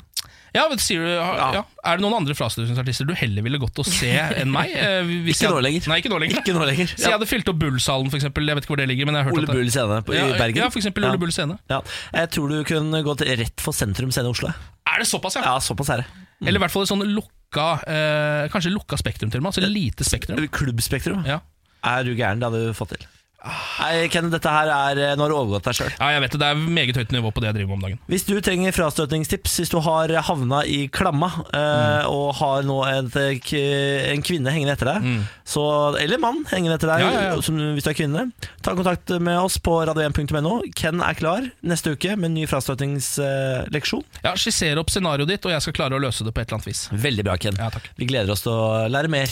S3: Ja, men sier du, ja. Ja. Er det noen andre frastøtningsartister du heller ville gått og se enn meg? Eh, hvis
S1: Ikke
S3: jeg-
S1: nå lenger.
S3: Nei, ikke nå lenger.
S1: Ikke nå lenger.
S3: Så jeg hadde fylt opp Bullsalen, for eksempel. Jeg vet ikke hvor det ligger, men jeg har hørt
S1: Ole
S3: at det-
S1: Bull scene på,
S3: ja,
S1: i Bergen.
S3: Ja, for eksempel Ole Bull scene.
S1: Ja. Jeg tror du kunne gått rett for sentrum scene i Oslo. jeg.
S3: Er det såpass, ja?
S1: Ja, såpass er det.
S3: Eller i hvert fall et sånn lukka eh, Kanskje lukka spektrum til og med. Altså lite spektrum.
S1: Klubbspektrum.
S3: Ja.
S1: Er du gæren? Det hadde du fått til. Nei, Ken, dette her er eh, Nå har du overgått deg sjøl.
S3: ja, jeg vet det. Det er meget høyt nivå på det jeg driver med om dagen.
S1: Hvis du trenger frastøtningstips, hvis du har havna i klamma eh, og har nå et, eh, k- en kvinne hengende etter deg, så, eller mann hengende etter deg
S3: Ja, ja, ja.
S1: Som, hvis du er kvinne, ta kontakt med oss på radio1.no. Ken er klar neste uke med en ny frastøtningsleksjon.
S3: Ja, Skisser opp scenarioet ditt, og jeg skal klare å løse det på et eller annet vis.
S1: Veldig bra, Ken.
S3: Ja, takk.
S1: Vi gleder oss til å lære mer.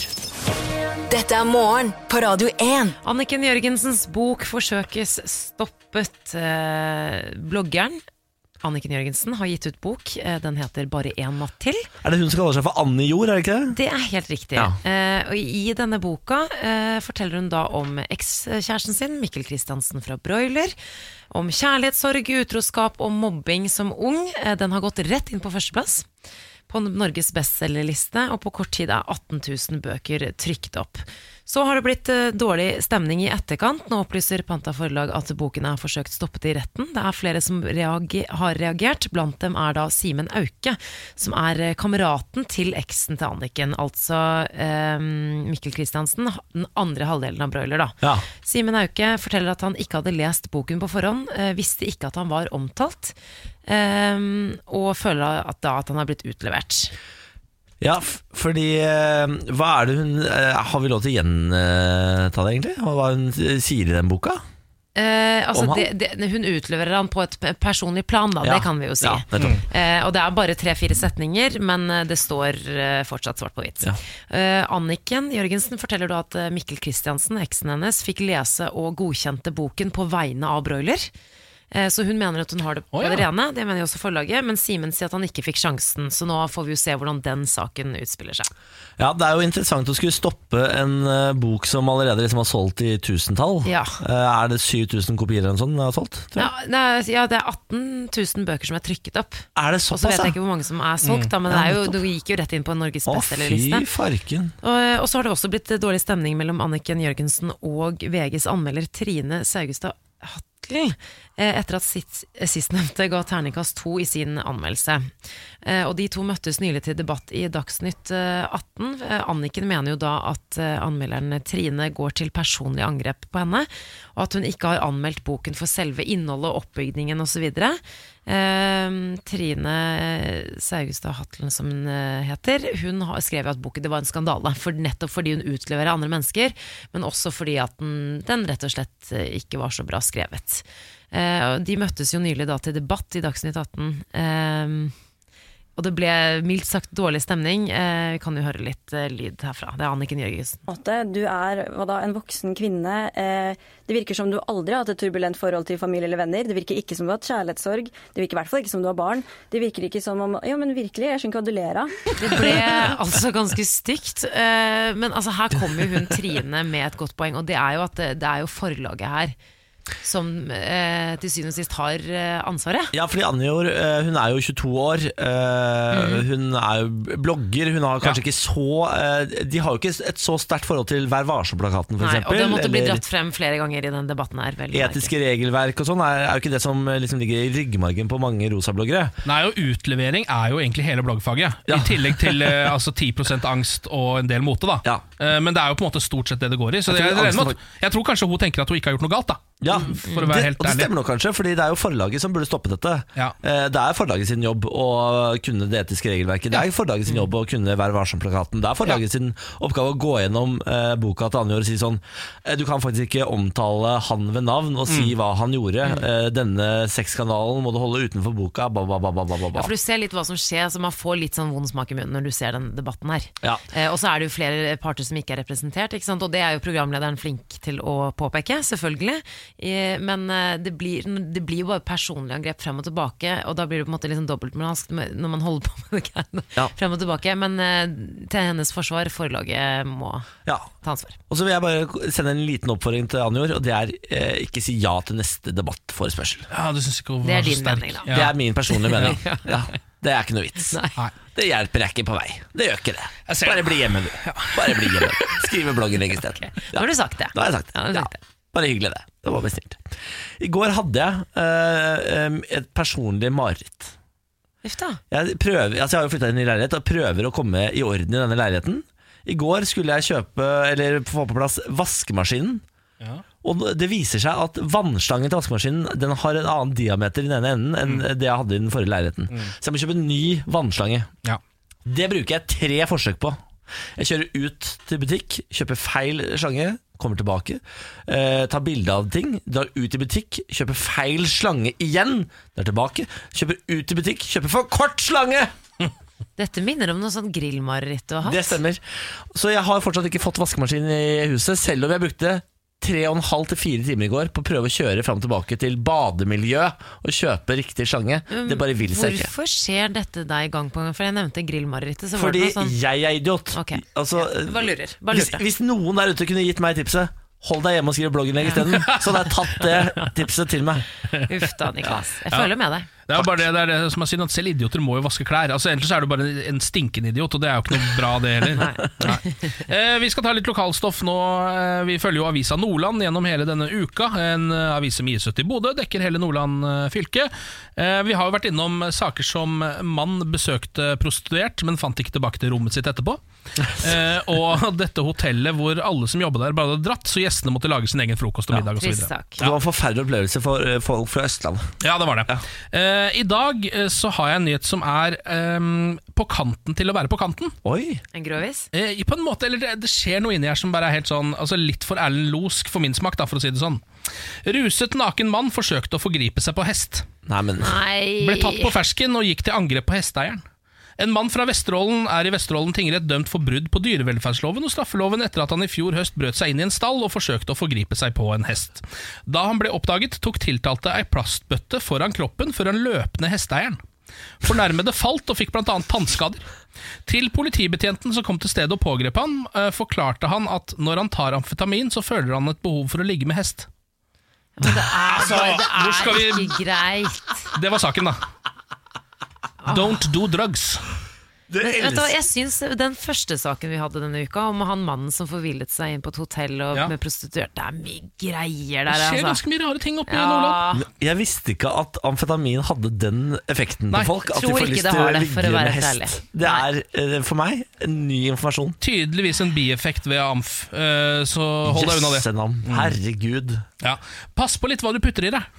S4: Dette er morgen på Radio 1.
S2: Anniken Jørgensens bok forsøkes stoppet. Eh, bloggeren Anniken Jørgensen har gitt ut bok. Eh, den heter 'Bare én natt til'.
S1: Er det hun som kaller seg for Annie Jord, er det ikke det?
S2: Det er helt riktig.
S1: Ja.
S2: Eh, og I denne boka eh, forteller hun da om ekskjæresten sin, Mikkel Kristiansen fra Broiler. Om kjærlighetssorg, utroskap og mobbing som ung. Eh, den har gått rett inn på førsteplass på Norges bestselgerliste, og på kort tid er 18 000 bøker trykt opp. Så har det blitt eh, dårlig stemning i etterkant. Nå opplyser Panta forlag at boken er forsøkt stoppet i retten. Det er flere som reage- har reagert. Blant dem er da Simen Auke, som er eh, kameraten til eksen til Anniken. Altså eh, Mikkel Kristiansen, den andre halvdelen av Broiler, da.
S1: Ja.
S2: Simen Auke forteller at han ikke hadde lest boken på forhånd, eh, visste ikke at han var omtalt, eh, og føler at, da at han har blitt utlevert.
S1: Ja, f- fordi eh, Hva er det hun eh, Har vi lov til å gjenta det, egentlig? Hva hva hun eh, sier i den boka?
S2: Eh, altså,
S1: Om han?
S2: det, det, hun utleverer han på et pe- personlig plan, da.
S1: Ja.
S2: Det kan vi jo si.
S1: Ja, nettopp.
S2: Eh, og det er bare tre-fire setninger, men eh, det står eh, fortsatt svart på hvitt.
S1: Ja.
S2: Eh, Anniken Jørgensen forteller da at eh, Mikkel Kristiansen, eksen hennes, fikk lese og godkjente boken på vegne av Broiler. Eh, Så hun mener at hun har det på
S3: Å, ja.
S2: det rene, det mener jo også forlaget. Men Simen sier at han ikke fikk sjansen, så nå får vi jo se hvordan den saken utspiller seg.
S1: Ja, Det er jo interessant å skulle stoppe en eh, bok som allerede liksom har solgt i tusentall.
S2: Ja.
S1: Eh, er det 7000 kopier eller noe sånt den har solgt? tror jeg?
S2: Ja, det er, ja, det er 18 000 bøker som er trykket opp.
S1: Er det
S2: Og så
S1: såpass,
S2: vet jeg
S1: ja? Mm.
S2: ikke hvor mange som er solgt, da, men det, er jo, det gikk jo rett inn på Norges
S1: Å, fy
S2: bestselgerliste.
S1: farken.
S2: Og, og så har det også blitt dårlig stemning mellom Anniken Jørgensen og VGs anmelder Trine Saugestad Hattel eh, etter at sitt- sistnevnte ga terningkast to i sin anmeldelse. Eh, Og de to møttes nylig til debatt i Dagsnytt eh, 18. Eh, Anniken mener jo da at eh, anmelderen Trine går til personlig angrep på henne, og at hun ikke har anmeldt boken for selve innholdet, oppbygningen osv. Eh, Trine Saugestad Hatlen, som hun eh, heter, hun har skrev jo at boken det var en skandale. For, nettopp fordi hun utleverer andre mennesker, men også fordi at den, den rett og slett eh, ikke var så bra skrevet. Eh, og de møttes jo nylig da til debatt i Dagsnytt 18. Eh, og det ble mildt sagt dårlig stemning. Eh, vi kan jo høre litt eh, lyd herfra. Det er Anniken Jørgensen.
S7: måte. Du er hva da, en voksen kvinne. Eh, Det virker som du aldri har hatt et turbulent forhold til familie eller venner. Det virker ikke som du har hatt kjærlighetssorg. Det virker i hvert fall ikke som du har barn. Det virker ikke som om Ja, men virkelig, jeg skjønner ikke hva du ler av.
S2: Det ble altså ganske stygt. eh, Men altså, her kommer jo hun Trine med et godt poeng, og det er jo at det, det er jo forlaget her som eh, til syvende og sist har eh, ansvaret.
S1: Ja, fordi Anjor eh, hun er jo 22 år. eh,
S2: Mhm.
S1: Hun er jo blogger. Hun har kanskje
S3: Ja.
S1: ikke så eh, De har jo ikke et så sterkt forhold til Vær varsom-plakaten,
S2: Nei,
S1: f.eks.
S2: og det måtte bli dratt frem flere ganger i den debatten her. vel å merke.
S1: Etiske regelverk og sånn er, er jo ikke det som eh, liksom ligger i ryggmargen på mange rosabloggere.
S3: Nei, og Utlevering er jo egentlig hele bloggfaget.
S1: Ja.
S3: I tillegg til eh, altså 10 angst og en del mote. da
S1: Ja.
S3: Eh, Men det er jo på en måte stort sett det det går i. Så
S1: Jeg
S3: jeg,
S1: tror
S3: jeg, regner
S1: angsten
S3: med at, jeg tror kanskje hun tenker at hun ikke har gjort noe galt. da
S1: Ja,
S3: Mm, For å være
S1: det,
S3: helt
S1: og det
S3: ærlig.
S1: stemmer nok kanskje, fordi det er jo forlaget som burde stoppe dette.
S3: Ja.
S1: Eh, Det er forlaget sin jobb å kunne det etiske regelverket. Det er forlaget
S3: Mm.
S1: sin jobb å kunne Vær varsom-plakaten. Det er forlaget sin oppgave å gå gjennom eh, boka til Anjor og si sånn eh, Du kan faktisk ikke omtale han ved navn og
S3: Mm.
S1: si hva han gjorde. Eh, Denne sexkanalen må du holde utenfor boka. Ba, ba, ba, ba, ba, ba,
S2: Ja,
S1: ba.
S2: for Du ser litt hva som skjer, så man får litt sånn vond smak i munnen når du ser den debatten her.
S1: Ja.
S2: Eh, og så er det jo flere parter som ikke er representert, ikke sant? og det er jo programlederen flink til å påpeke, selvfølgelig. Eh, men eh, det blir, det blir jo bare personlige angrep frem og tilbake, og da blir det på en måte liksom dobbeltmoralsk med- når man holder på med det greiene
S1: Ja.
S2: frem og tilbake. Men eh, til hennes forsvar, forlaget må
S1: Ja.
S2: ta ansvar.
S1: Og så vil jeg bare sende en liten oppfordring til Anjor, og det er eh, ikke si ja til neste debattforespørsel.
S3: Ja, du synes ikke hun
S2: Det er
S3: var så
S2: din
S3: sterk.
S2: mening, da.
S3: Ja.
S1: Det er min personlige mening. ja. Det er ikke noe vits.
S3: Nei.
S1: Det hjelper jeg ikke på vei. Det gjør ikke det.
S3: Jeg ser
S1: Bare
S3: det.
S1: bli hjemme, du. Bare bli hjemme. Skrive blogginnlegg i stedet.
S2: Nå har du sagt det.
S1: Da har jeg sagt
S2: Ja,
S1: det.
S2: nå har du
S1: Ja.
S2: sagt det.
S1: Bare hyggelig, det. Det var bestilt. I går hadde jeg eh, em, et personlig mareritt.
S2: Uff da.
S1: Jeg, prøver, altså jeg har jo flytta inn i leilighet og prøver å komme i orden i denne leiligheten. I går skulle jeg kjøpe, eller få på plass vaskemaskinen.
S3: Ja.
S1: Og det viser seg at vannslangen til vaskemaskinen Den har en annen diameter i den ene enden enn det jeg hadde i den forrige leiligheten. Så jeg må kjøpe en ny vannslange.
S3: Ja.
S1: Det bruker jeg tre forsøk på. Jeg kjører ut til butikk, kjøper feil slange, kommer tilbake, eh, tar bilde av ting, drar ut i butikk, kjøper feil slange igjen, drar tilbake, kjøper ut i butikk, kjøper for kort slange!
S2: Dette minner om noe sånn grillmareritt du har hatt.
S1: Det stemmer. Så jeg har fortsatt ikke fått vaskemaskin i huset, selv om jeg brukte tre og en halv til fire timer i går på å prøve å kjøre fram og tilbake til bademiljøet og kjøpe riktig slange. Det bare vil seg ikke.
S2: Um, Hvorfor skjer dette deg gang på gang? For jeg nevnte grillmarerittet. Så var
S1: Fordi
S2: det noe sånn
S1: jeg er idiot.
S2: Ok.
S1: Altså,
S2: Bare lurer. Bare
S1: hvis,
S2: lurer.
S1: hvis noen der ute kunne gitt meg tipset Hold deg hjemme og skriv blogginnlegg isteden. Så hadde jeg tatt det tipset til meg.
S2: Uff da, Niklas. Jeg føler med deg.
S3: Det er jo bare det, det, er det som er synd, at selv idioter må jo vaske klær. Altså Ellers så er du bare en stinkende idiot, og det er jo ikke noe bra, det heller. Nei. Eh, vi skal ta litt lokalstoff nå. Eh, Vi følger jo avisa Nordland gjennom hele denne uka. En eh, avis som gis ut i Bodø, dekker hele Nordland eh, fylke. Eh, vi har jo vært innom saker som mann besøkte prostituert, men fant ikke tilbake til rommet sitt etterpå. Eh, og dette hotellet hvor alle som jobba der, bare hadde dratt, så gjestene måtte lage sin egen frokost og middag og så
S2: Trist
S3: videre
S2: sak.
S1: Det var en forferdelig opplevelse for eh, folk fra Østlandet.
S3: ja, det var det. Eh, I dag eh, så har jeg en nyhet som er ehm, på på kanten til å være på kanten.
S1: Oi!
S2: En grovis?
S3: Eh, i- på en måte, eller det, det skjer noe inni her som bare er helt sånn altså Litt for Erlend Losk for min smak, da, for å si det sånn. Ruset naken mann forsøkte å forgripe seg på hest.
S1: Nei, men
S2: Nei
S3: Ble tatt på fersken og gikk til angrep på hesteeieren. En mann fra Vesterålen er i Vesterålen tingrett dømt for brudd på dyrevelferdsloven og straffeloven etter at han i fjor høst brøt seg inn i en stall og forsøkte å forgripe seg på en hest. Da han ble oppdaget, tok tiltalte ei plastbøtte foran kroppen før han løp ned hesteeieren. Fornærmede falt og fikk bl.a. tannskader. Til politibetjenten som kom til stedet og pågrep han, eh, forklarte han at når han tar amfetamin, så føler han et behov for å ligge med hest.
S2: Men det er, bare- det
S3: Altså, hvor skal
S2: er
S3: vi-
S2: ikke greit.
S3: Det var saken, da. Don't do drugs.
S1: det
S2: Vet du, hva,
S1: elsker
S2: jeg synes Den første saken vi hadde denne uka, om han mannen som forvillet seg inn på et hotell og
S3: Ja.
S2: med prostituert Det er mye greier
S3: Det
S2: der,
S3: skjer
S2: altså.
S3: ganske mye rare ting oppi
S2: Ja.
S3: Nordland.
S1: Jeg visste ikke at amfetamin hadde den effekten
S3: Nei,
S1: på folk. At de
S2: tror
S1: får
S2: ikke
S1: lyst
S2: det
S1: til å
S2: har det,
S1: ligge
S2: for å være
S1: med
S2: helt
S1: hest. Det er eh, for meg en ny informasjon.
S3: Tydeligvis en bieffekt ved amf, eh, så hold deg unna det.
S1: Jøssenavn.
S2: Mm.
S1: Herregud.
S3: Ja. Pass på litt hva du putter i deg.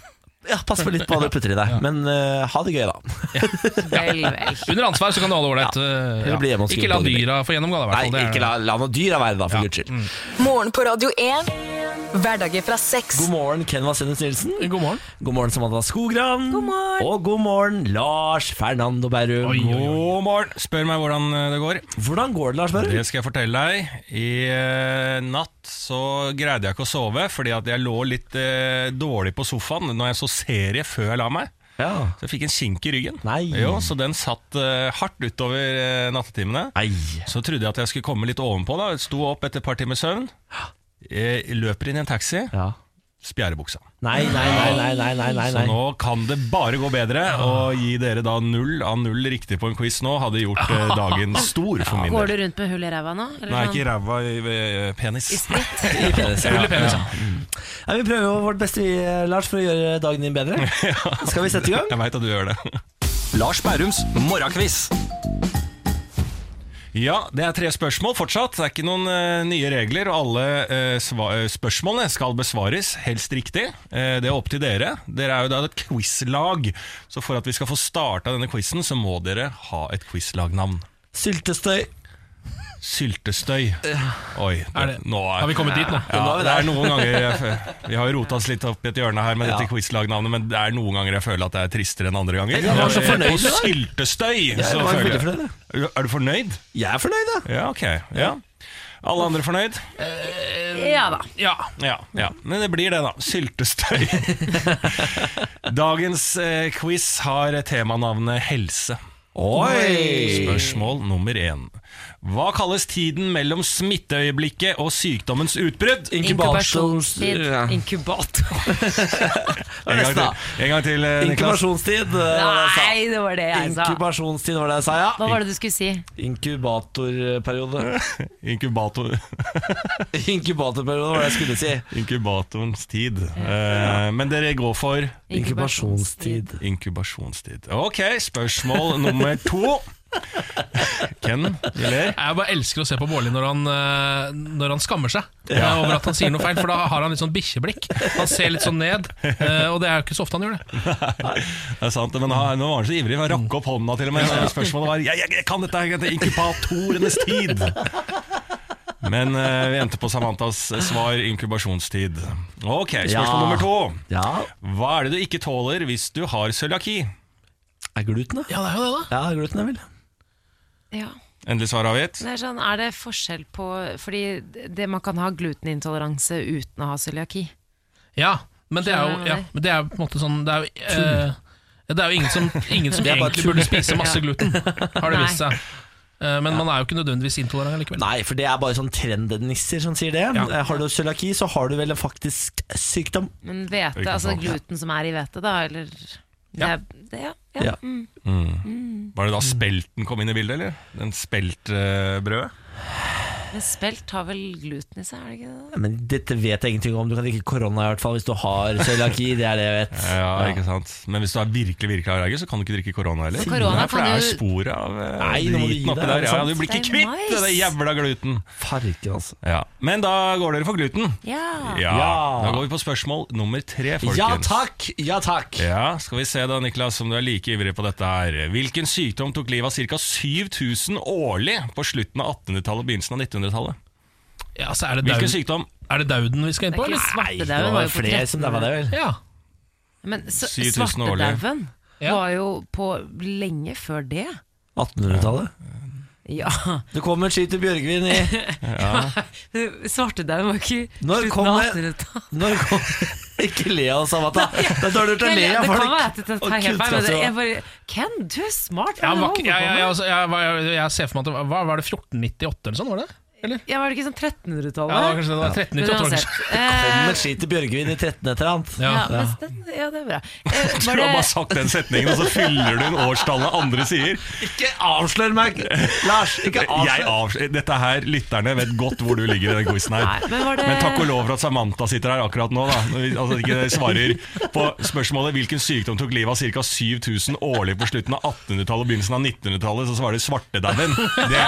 S1: Ja, pass på litt på hva du putter i deg, men eh, ha det gøy, da.
S2: Vel, vel.
S3: Under ansvar så kan du ha det ålreit. eh,
S1: Eller bli hjemme og skrive
S3: Ikke la
S1: på det.
S3: dyra få gjennomgå, da. i hvert
S1: Nei,
S3: fall. Det er-
S1: ikke la, la noe dyr av være, da, for
S3: Ja.
S1: guds
S2: Mm.
S1: skyld.
S4: Morgen på Radio 1. Hverdager fra seks.
S1: God morgen, Ken Vasenus Nilsen.
S3: God morgen.
S1: God morgen, Samantha Skogran. God morgen. Og god morgen, Lars Fernando Berrum.
S3: Oi, oi, oi.
S8: God morgen! Spør meg hvordan eh, det går.
S1: Hvordan går det, Lars Berrum?
S8: Det skal jeg fortelle deg. I eh, natt så greide jeg ikke å sove, fordi at jeg lå litt eh, dårlig på sofaen når jeg så serie før jeg la meg.
S1: Ja.
S8: Så jeg fikk en kink i ryggen.
S1: Nei.
S8: Jo, så den satt eh, hardt utover eh, nattetimene.
S1: Nei.
S8: Så trodde jeg at jeg skulle komme litt ovenpå. da Sto opp etter et par timers søvn. Eh, løper inn i en taxi,
S1: Ja.
S8: spjærer buksa.
S1: Nei, nei, nei, nei, nei, nei, nei,
S8: Så
S1: nei.
S8: nå kan det bare gå bedre. Og gi dere da null av null riktig på en quiz nå hadde gjort eh, dagen stor for min
S2: Går
S8: del.
S2: du rundt med hull i ræva nå? Eller
S8: Nei,
S2: sånn?
S8: ikke i ræva i eh, penis.
S2: I spritt?
S8: Ja, ja.
S1: Mm. Nei, vi prøver jo vårt beste, vi, eh, Lars, for å gjøre dagen din bedre. Skal vi sette i gang?
S8: Jeg veit at du gjør det.
S9: Lars Bærums morgenkviss.
S8: Ja, det er tre spørsmål fortsatt. Det er ikke noen eh, nye regler. Og alle eh, sva eh, spørsmålene skal besvares, helst riktig. Eh, det er opp til dere. Dere er jo da et quizlag. Så for at vi skal få starta denne quizen, så må dere ha et quizlagnavn.
S1: Syltestøy.
S8: Syltestøy. Oi,
S3: Eh, Er
S8: det,
S3: det-
S8: nå
S3: Har vi kommet dit nå?
S8: Ja,
S1: Nå er vi
S8: det
S1: der.
S8: er noen ganger Vi har jo rota oss litt opp i et hjørne her med
S1: Ja.
S8: dette quizlagnavnet, men det er noen ganger jeg føler at det er tristere enn andre ganger.
S1: Jeg var så
S8: Og, eh,
S1: fornøyd
S8: På
S1: med det.
S8: syltestøy!
S1: Jeg
S8: så
S1: var
S8: føler
S1: veldig
S8: jeg-
S1: fornøyd. jeg.
S8: Er du fornøyd?
S1: Jeg er fornøyd, da.
S8: Ja, ok. Ja. Alle andre fornøyd?
S2: Ja da.
S3: Ja.
S8: Ja, ja. Men det blir det, da. Syltestøy. Dagens eh, quiz har temanavnet helse.
S1: Oi!
S8: Spørsmål nummer én. Hva kalles tiden mellom smitteøyeblikket og sykdommens utbrudd?
S1: Inkubasjonstid. Ja.
S2: Inkubator.
S8: En gang til, en gang til eh, Niklas.
S1: Inkubasjonstid eh, var det jeg sa.
S2: Nei, det var det jeg sa.
S1: Inkubasjonstid var det jeg sa, ja.
S2: Hva var det du skulle si?
S1: Inkubatorperiode.
S8: Inkubator,
S1: Inkubatorperiode var det jeg skulle si.
S8: inkubatorens tid. Eh, men dere går for
S1: Inkubasjonstid.
S8: inkubasjonstid. Ok, spørsmål nummer to. Ken, du ler.
S3: Jeg bare elsker å se på Bårli når, han, eh, når han skammer seg eh, over at han sier noe feil, for da har han litt sånn bikkjeblikk. Han ser litt sånn ned, eh, og det er jo ikke så ofte han gjør det.
S8: Det er sant, men han- nå var han så ivrig. Han rakk opp hånda til og med. Så Spørsmålet var jeg, jeg, jeg kan dette her, dette er inkubatorenes tid. Men eh, vi endte på Samantas svar inkubasjonstid. Ok, spørsmål
S1: Ja.
S8: nummer to.
S1: Ja.
S8: Hva er det du ikke tåler hvis du har cøliaki?
S1: Er gluten, da?
S3: Ja, det er jo det, da.
S1: Ja, gluten er vel
S2: Ja.
S8: Endelig svar avgitt.
S2: Det er, sånn, er det forskjell på Fordi det man kan ha glutenintoleranse uten å ha cøliaki.
S3: Ja, men det er
S2: Skjønner
S3: jo
S2: du
S3: ja,
S2: det?
S3: men det er på en måte sånn Det er jo, eh, det er jo ingen som, ingen som
S1: Det er bare
S3: egentlig
S1: tull.
S3: burde spise masse gluten, har det
S2: Nei.
S3: vist seg. Eh, Men man er jo ikke nødvendigvis intolerant likevel.
S1: Nei, for det er bare sånn trendnisser som sier det.
S3: Ja.
S1: Eh, Har du cøliaki, så har du vel en faktisk sykdom.
S2: Men hvete,
S8: Ikke
S2: altså
S8: sant.
S2: gluten som er i hvete, da, eller det
S3: Ja.
S2: er, det, ja, ja. Mm.
S1: Ja.
S8: Mm. Var det da spelten kom inn i bildet, eller? Den speltbrødet?
S2: Men spelt har vel gluten i seg, er det ikke det?
S1: Ja, Men dette vet jeg ingenting om. Du kan drikke korona i hvert fall hvis du har cøliaki. Det er det jeg vet.
S8: Ja, ikke sant Men hvis du er virkelig virkelig allergisk, så kan du ikke drikke korona heller.
S2: korona
S8: Nei, for det
S2: kan
S8: er
S2: jo-
S8: sporet av eh,
S1: Nei, nå må du gi
S8: driten oppi
S1: deg, er
S8: der.
S1: det
S8: Ja,
S1: sant?
S8: du blir ikke
S2: Det er
S8: kvitt det der
S2: nice.
S8: jævla gluten.
S1: Farken, altså.
S8: Ja. Men da går dere for gluten.
S2: Ja.
S8: Ja.
S1: Ja.
S8: Da går vi på spørsmål nummer tre, folkens.
S1: Ja takk! Ja takk!
S8: Ja, Skal vi se da, Niklas, om du er like ivrig på dette her. Hvilken sykdom tok livet av ca. 7000 årlig på slutten av 1800-tallet og begynnelsen av 1900-tallet?
S3: Ja, så er det,
S8: Hvilken
S3: dauden,
S8: sykdom?
S3: er det dauden vi skal inn
S2: Det
S3: på,
S2: er ikke
S3: eller?
S1: Nei, det
S2: svartedauden
S1: var
S2: var
S1: jo
S2: jo på
S1: flere som
S2: 1300.
S1: der var det, vel?
S3: Ja.
S2: Men s-
S8: 7000 årlig.
S2: svartedauden
S3: Ja.
S2: var jo på lenge før det.
S1: 1800-tallet.
S2: Ja.
S1: Det kom en ski til Bjørgvin i
S2: Svartedauden var ikke
S1: Når
S2: slutten
S1: kom
S2: av
S1: det-
S2: 1800-tallet.
S1: Når kom Ikke le av oss, Amata. Det er dårlig gjort å
S2: Nei,
S1: le
S2: Det
S1: av
S2: kan
S1: folk.
S2: være at det
S1: Og
S2: tar helt feil, men det-
S1: kunnskaps-
S2: jeg bare Ken, du er smart. Hva er
S3: Jeg,
S2: det du
S3: var, ikke-
S2: holder på
S3: jeg, jeg,
S2: med?
S3: altså, jeg, var- jeg, jeg ser for meg at det var- hva, Var det 1498 eller sånn? Var det? Eller?
S2: Ja, var det ikke sånn
S3: Ja, det var
S2: 1300-tallet?
S3: kanskje det var
S2: Men
S3: 1398 var det
S2: uansett,
S3: kanskje.
S1: Kom
S2: eh,
S1: en ski til Bjørgvin i 13 et eller annet.
S3: Ja.
S2: ja, men den- ja, det er bra. Eh,
S8: Du
S2: var
S8: har bare
S2: det,
S8: sagt den setningen, og så fyller du en årstallet andre sier.
S1: Ikke avslør meg, Lars! Ikke
S8: Jeg
S1: avslør.
S8: avs- Dette her, lytterne vet godt hvor du ligger i den quizen her.
S2: Nei, men var det-
S8: Men takk og lov for at Samantha sitter her akkurat nå, da. Når vi- Altså ikke svarer på spørsmålet hvilken sykdom tok livet av ca. 7000 årlig på slutten av 1800-tallet og begynnelsen av 1900-tallet, så svarer svartedauden. Det,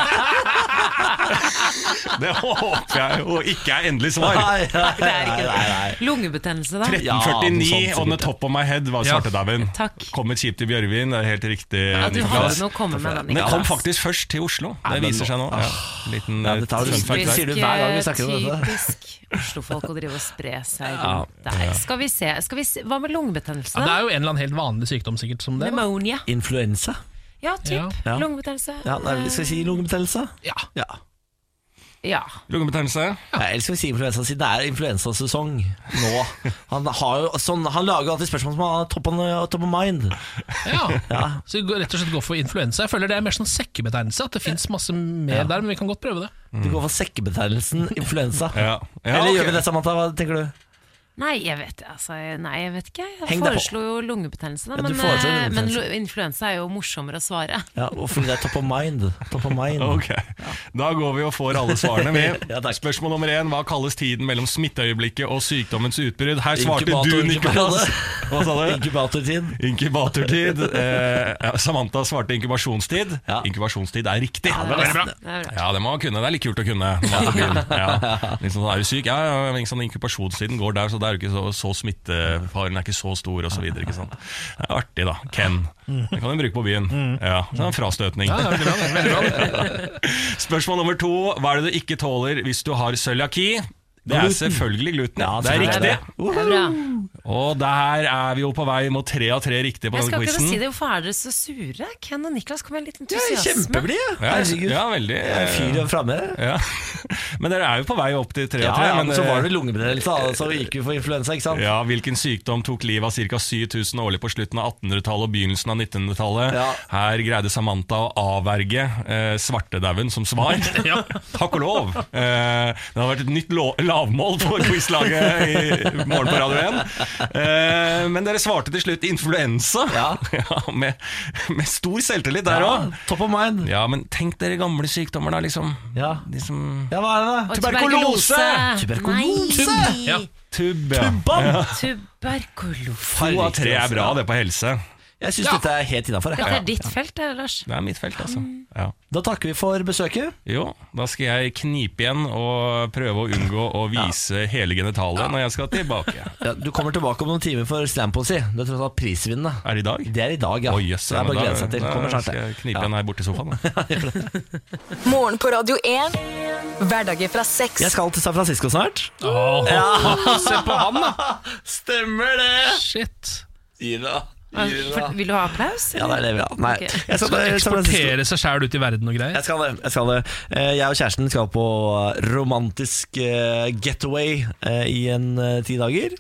S8: det håper jeg jo ikke er endelig svar.
S1: Nei, nei,
S2: det
S1: nei,
S2: er ikke
S1: nei, nei.
S2: det. Lungebetennelse, da?
S1: Ja, noe sånt
S8: 1949,
S1: sikkert,
S8: on the
S1: ja.
S8: top of my head, var
S3: Ja.
S8: svartedauden.
S2: Takk.
S8: Kom et skip til Bjørvin, det er helt riktig.
S2: Ja, du hadde
S8: Niklas.
S2: noe å komme med den.
S8: Men det kom
S2: Niklas.
S8: faktisk først til Oslo. Det
S1: men
S8: viser seg nå.
S1: nå-
S8: Ja. Liten
S1: Ja,
S8: eh,
S1: dette har du
S8: fun
S1: spist.
S8: fact
S1: Det
S8: der.
S1: sier du hver gang vi snakker om dette.
S2: eh, Typisk Oslo-folk å drive og spre seg rundt der. Skal vi se, skal vi se. Hva med lungebetennelse?
S3: Ja, det
S2: da?
S3: er jo en eller annen helt vanlig sykdom, sikkert. som det da.
S2: Pneumonia.
S1: Influensa?
S2: Ja, typ.
S3: Ja.
S1: Ja.
S2: Lungebetennelse.
S1: Ja, nei, skal vi si lungebetennelse?
S3: Ja.
S1: Ja.
S2: Eh, Ja.
S8: Lungebetennelse.
S1: Ja, eller skal vi si influensa, siden det er influensasesong nå. Han, har jo, sånn, han lager jo alltid spørsmål som er top, on, top of mind.
S3: Ja.
S1: Ja.
S3: Så vi går rett og slett går for influensa. Jeg føler det er mer sånn sekkebetegnelse. At det fins masse mer der, men vi kan godt prøve det.
S1: Du går for sekkebetegnelsen influensa.
S8: Ja. Ja,
S1: eller
S8: ok.
S1: gjør vi det, Samantha? Hva tenker du?
S2: Nei, jeg vet, altså, nei, jeg vet ikke. Jeg
S1: Heng deg på.
S2: foreslo jo lungebetennelse, da,
S1: Ja, du
S2: men,
S1: foreslo
S2: eh, men
S1: lungebetennelse.
S2: lu- influensa er jo morsommere å svare.
S1: Ja, og fordi det er top of mind. Top of mind.
S8: Ok, Da går vi og får alle svarene med.
S1: Ja, takk.
S8: Spørsmål nummer én hva kalles tiden mellom smitteøyeblikket og sykdommens utbrudd? Her svarte du,
S1: Inkubator-
S8: Niklas. Hva sa du?
S1: Inkubatortid.
S8: Inkubatortid. Eh, ja, Samantha svarte inkubasjonstid.
S1: Ja.
S8: Inkubasjonstid er riktig.
S2: det er
S3: bra.
S2: Det er bra.
S8: Ja, det må man kunne. Det er litt kult å kunne. når man er på byen. Ja. Liksom, sånn, er du syk? Ja, ja, ja, men ikke sant, inkubasjonstiden går der, så det er jo ikke så, så smittefaren er ikke så stor, osv. Det er artig, da. Ken.
S1: Mm.
S8: Den kan du bruke på byen. Ja, så er det en frastøtning.
S3: Ja, det er veldig bra, det er veldig bra. det.
S8: Spørsmål nummer to. Hva er det du ikke tåler hvis du har cøliaki? Det er
S1: Gluten.
S8: selvfølgelig gluten.
S1: Ja,
S8: det er
S1: selvfølgelig
S8: riktig.
S1: er
S2: Det er bra.
S8: Og der er vi jo på vei mot tre av tre riktige på
S2: Jeg
S8: denne
S2: skal ikke
S8: quizen.
S2: si det, hvorfor er dere så sure? Ken og Niklas kom med en liten
S1: Jeg er
S2: entusiasme.
S1: Kjempeblid! jeg.
S8: Ja,
S1: Herregud.
S8: ja, veldig.
S1: Jeg er en Fyr og framme.
S8: Ja. Men dere er jo på vei opp til tre
S1: Ja,
S8: av tre.
S1: ja, men så
S8: eh,
S1: var det lungebetennelse, da, så gikk vi for influensa, ikke sant?
S8: Ja, Hvilken sykdom tok livet av ca. 7000 årlig på slutten av 1800-tallet og begynnelsen av 1900-tallet?
S1: Ja.
S8: Her greide Samantha å avverge eh, svartedauden som svar. Takk og lov! Eh, det har vært et nytt lo- lavmål på quizlaget i morgen på Radio 1. Eh, men dere svarte til slutt influensa,
S1: Ja.
S8: Ja, med, med stor selvtillit der
S1: Ja,
S8: òg.
S1: top of mind.
S8: Ja, men tenk dere gamle sykdommer, da, liksom.
S1: Ja.
S8: De som
S1: ja, hva er det,
S2: Og
S1: da?
S8: Tuberkulose!
S1: Tuberkulose!
S2: Nei.
S3: Ja.
S8: Tubbe.
S1: Bam!
S2: Tuberkulose.
S8: To av tre er bra, det, på helse.
S1: Jeg syns dette er helt innafor.
S2: Dette er ditt felt, det, Lars.
S8: Det er mitt felt, altså.
S1: Mm.
S8: Ja.
S1: Da takker vi for besøket.
S8: Jo, da skal jeg knipe igjen og prøve å unngå å vise hele genitalet når jeg skal tilbake.
S1: Ja, du kommer tilbake om noen timer for slampoesi. Du er tross alt prisvinnende.
S8: Er det i dag?
S1: Det er i dag, ja.
S8: Å, jøss,
S1: så det er bare å
S8: men da-
S1: glede seg til. Kommer
S8: Da
S1: snart.
S8: skal jeg
S1: det.
S8: knipe
S1: Ja.
S8: igjen her borte i sofaen. Da.
S4: Morgen på Radio 1. Hverdager fra seks.
S1: Jeg skal til San Francisco snart.
S3: Åh,
S1: Se på han, da! Stemmer det!
S3: shit.
S1: Ida.
S2: For, vil du ha applaus?
S1: Ja, det er det vi har. Nei.
S2: Ok.
S1: Jeg skal til San Francisco.
S3: Eksportere seg sjæl ut i verden og greier.
S1: Jeg skal det. Jeg, skal det. Eh, jeg og kjæresten skal på romantisk eh, getaway eh, i en eh, ti dager.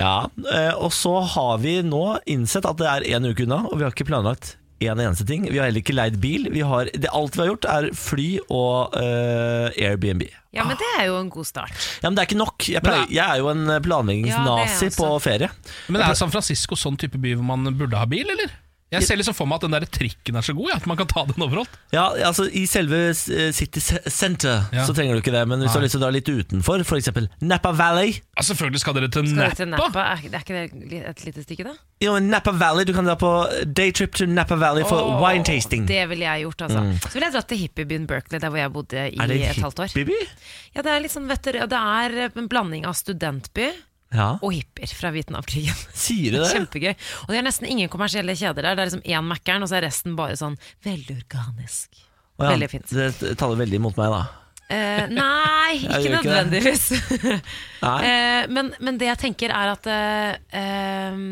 S1: Ja, eh, Og så har vi nå innsett at det er én uke unna, og vi har ikke planlagt en eneste ting. Vi har heller ikke leid bil. Vi har, det, alt vi har gjort, er fly og eh, Airbnb.
S2: Ja, men det er jo en god start.
S1: Ja, Men det er ikke nok. Jeg, pleier, jeg er jo en eh,
S2: Ja, det er
S1: planleggingsnazi
S2: jeg også.
S1: på ferie.
S3: Men er San Francisco sånn type by hvor man burde ha bil, eller? Jeg ser liksom for meg at den der trikken er så god, ja, at man kan ta den overalt.
S1: Ja, altså I selve eh, City ce- Center
S3: Ja.
S1: så trenger du ikke det, men hvis du har lyst til å dra litt utenfor, f.eks. Napa Valley
S3: Ja, selvfølgelig skal dere til
S2: Skal du til
S3: Nappa.
S2: Napa? Er, er ikke det li- et lite stykke, da?
S1: Jo, men Napa Valley, Du kan dra på daytrip to Napa Valley for
S2: Åh,
S1: wine tasting.
S2: Det ville jeg gjort, altså. Så ville jeg dratt til hippiebyen Berkeley, der hvor jeg bodde
S1: Mm.
S2: i
S1: er det
S2: et halvt år.
S1: hippieby?
S2: Ja, det er litt sånn, vet dere, det er en blanding av studentby
S1: Ja.
S2: og hippier fra Vietnamkrigen.
S1: Sier du det?
S2: Kjempegøy. Og det er nesten ingen kommersielle kjeder der. Det er liksom én Mækkern, og så er resten bare sånn veldig organisk.
S1: Å ja,
S2: Veldig fint.
S1: Det taler veldig mot meg, da.
S2: Eh, nei,
S1: Jeg
S2: ikke
S1: gjør ikke det.
S2: nødvendigvis.
S1: Nei.
S2: Eh, men, men det jeg tenker, er at eh, eh,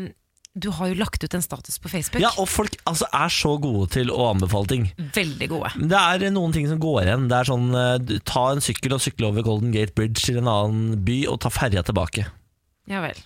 S2: du har jo lagt ut en status på Facebook.
S1: Ja, og folk altså, er så gode til å anbefale ting.
S2: Mm. Veldig gode.
S1: Men Det er eh, noen ting som går igjen. Det er sånn, eh, du- Ta en sykkel og sykle over Golden Gate Bridge til en annen by, og ta ferja tilbake.
S2: Ja vel.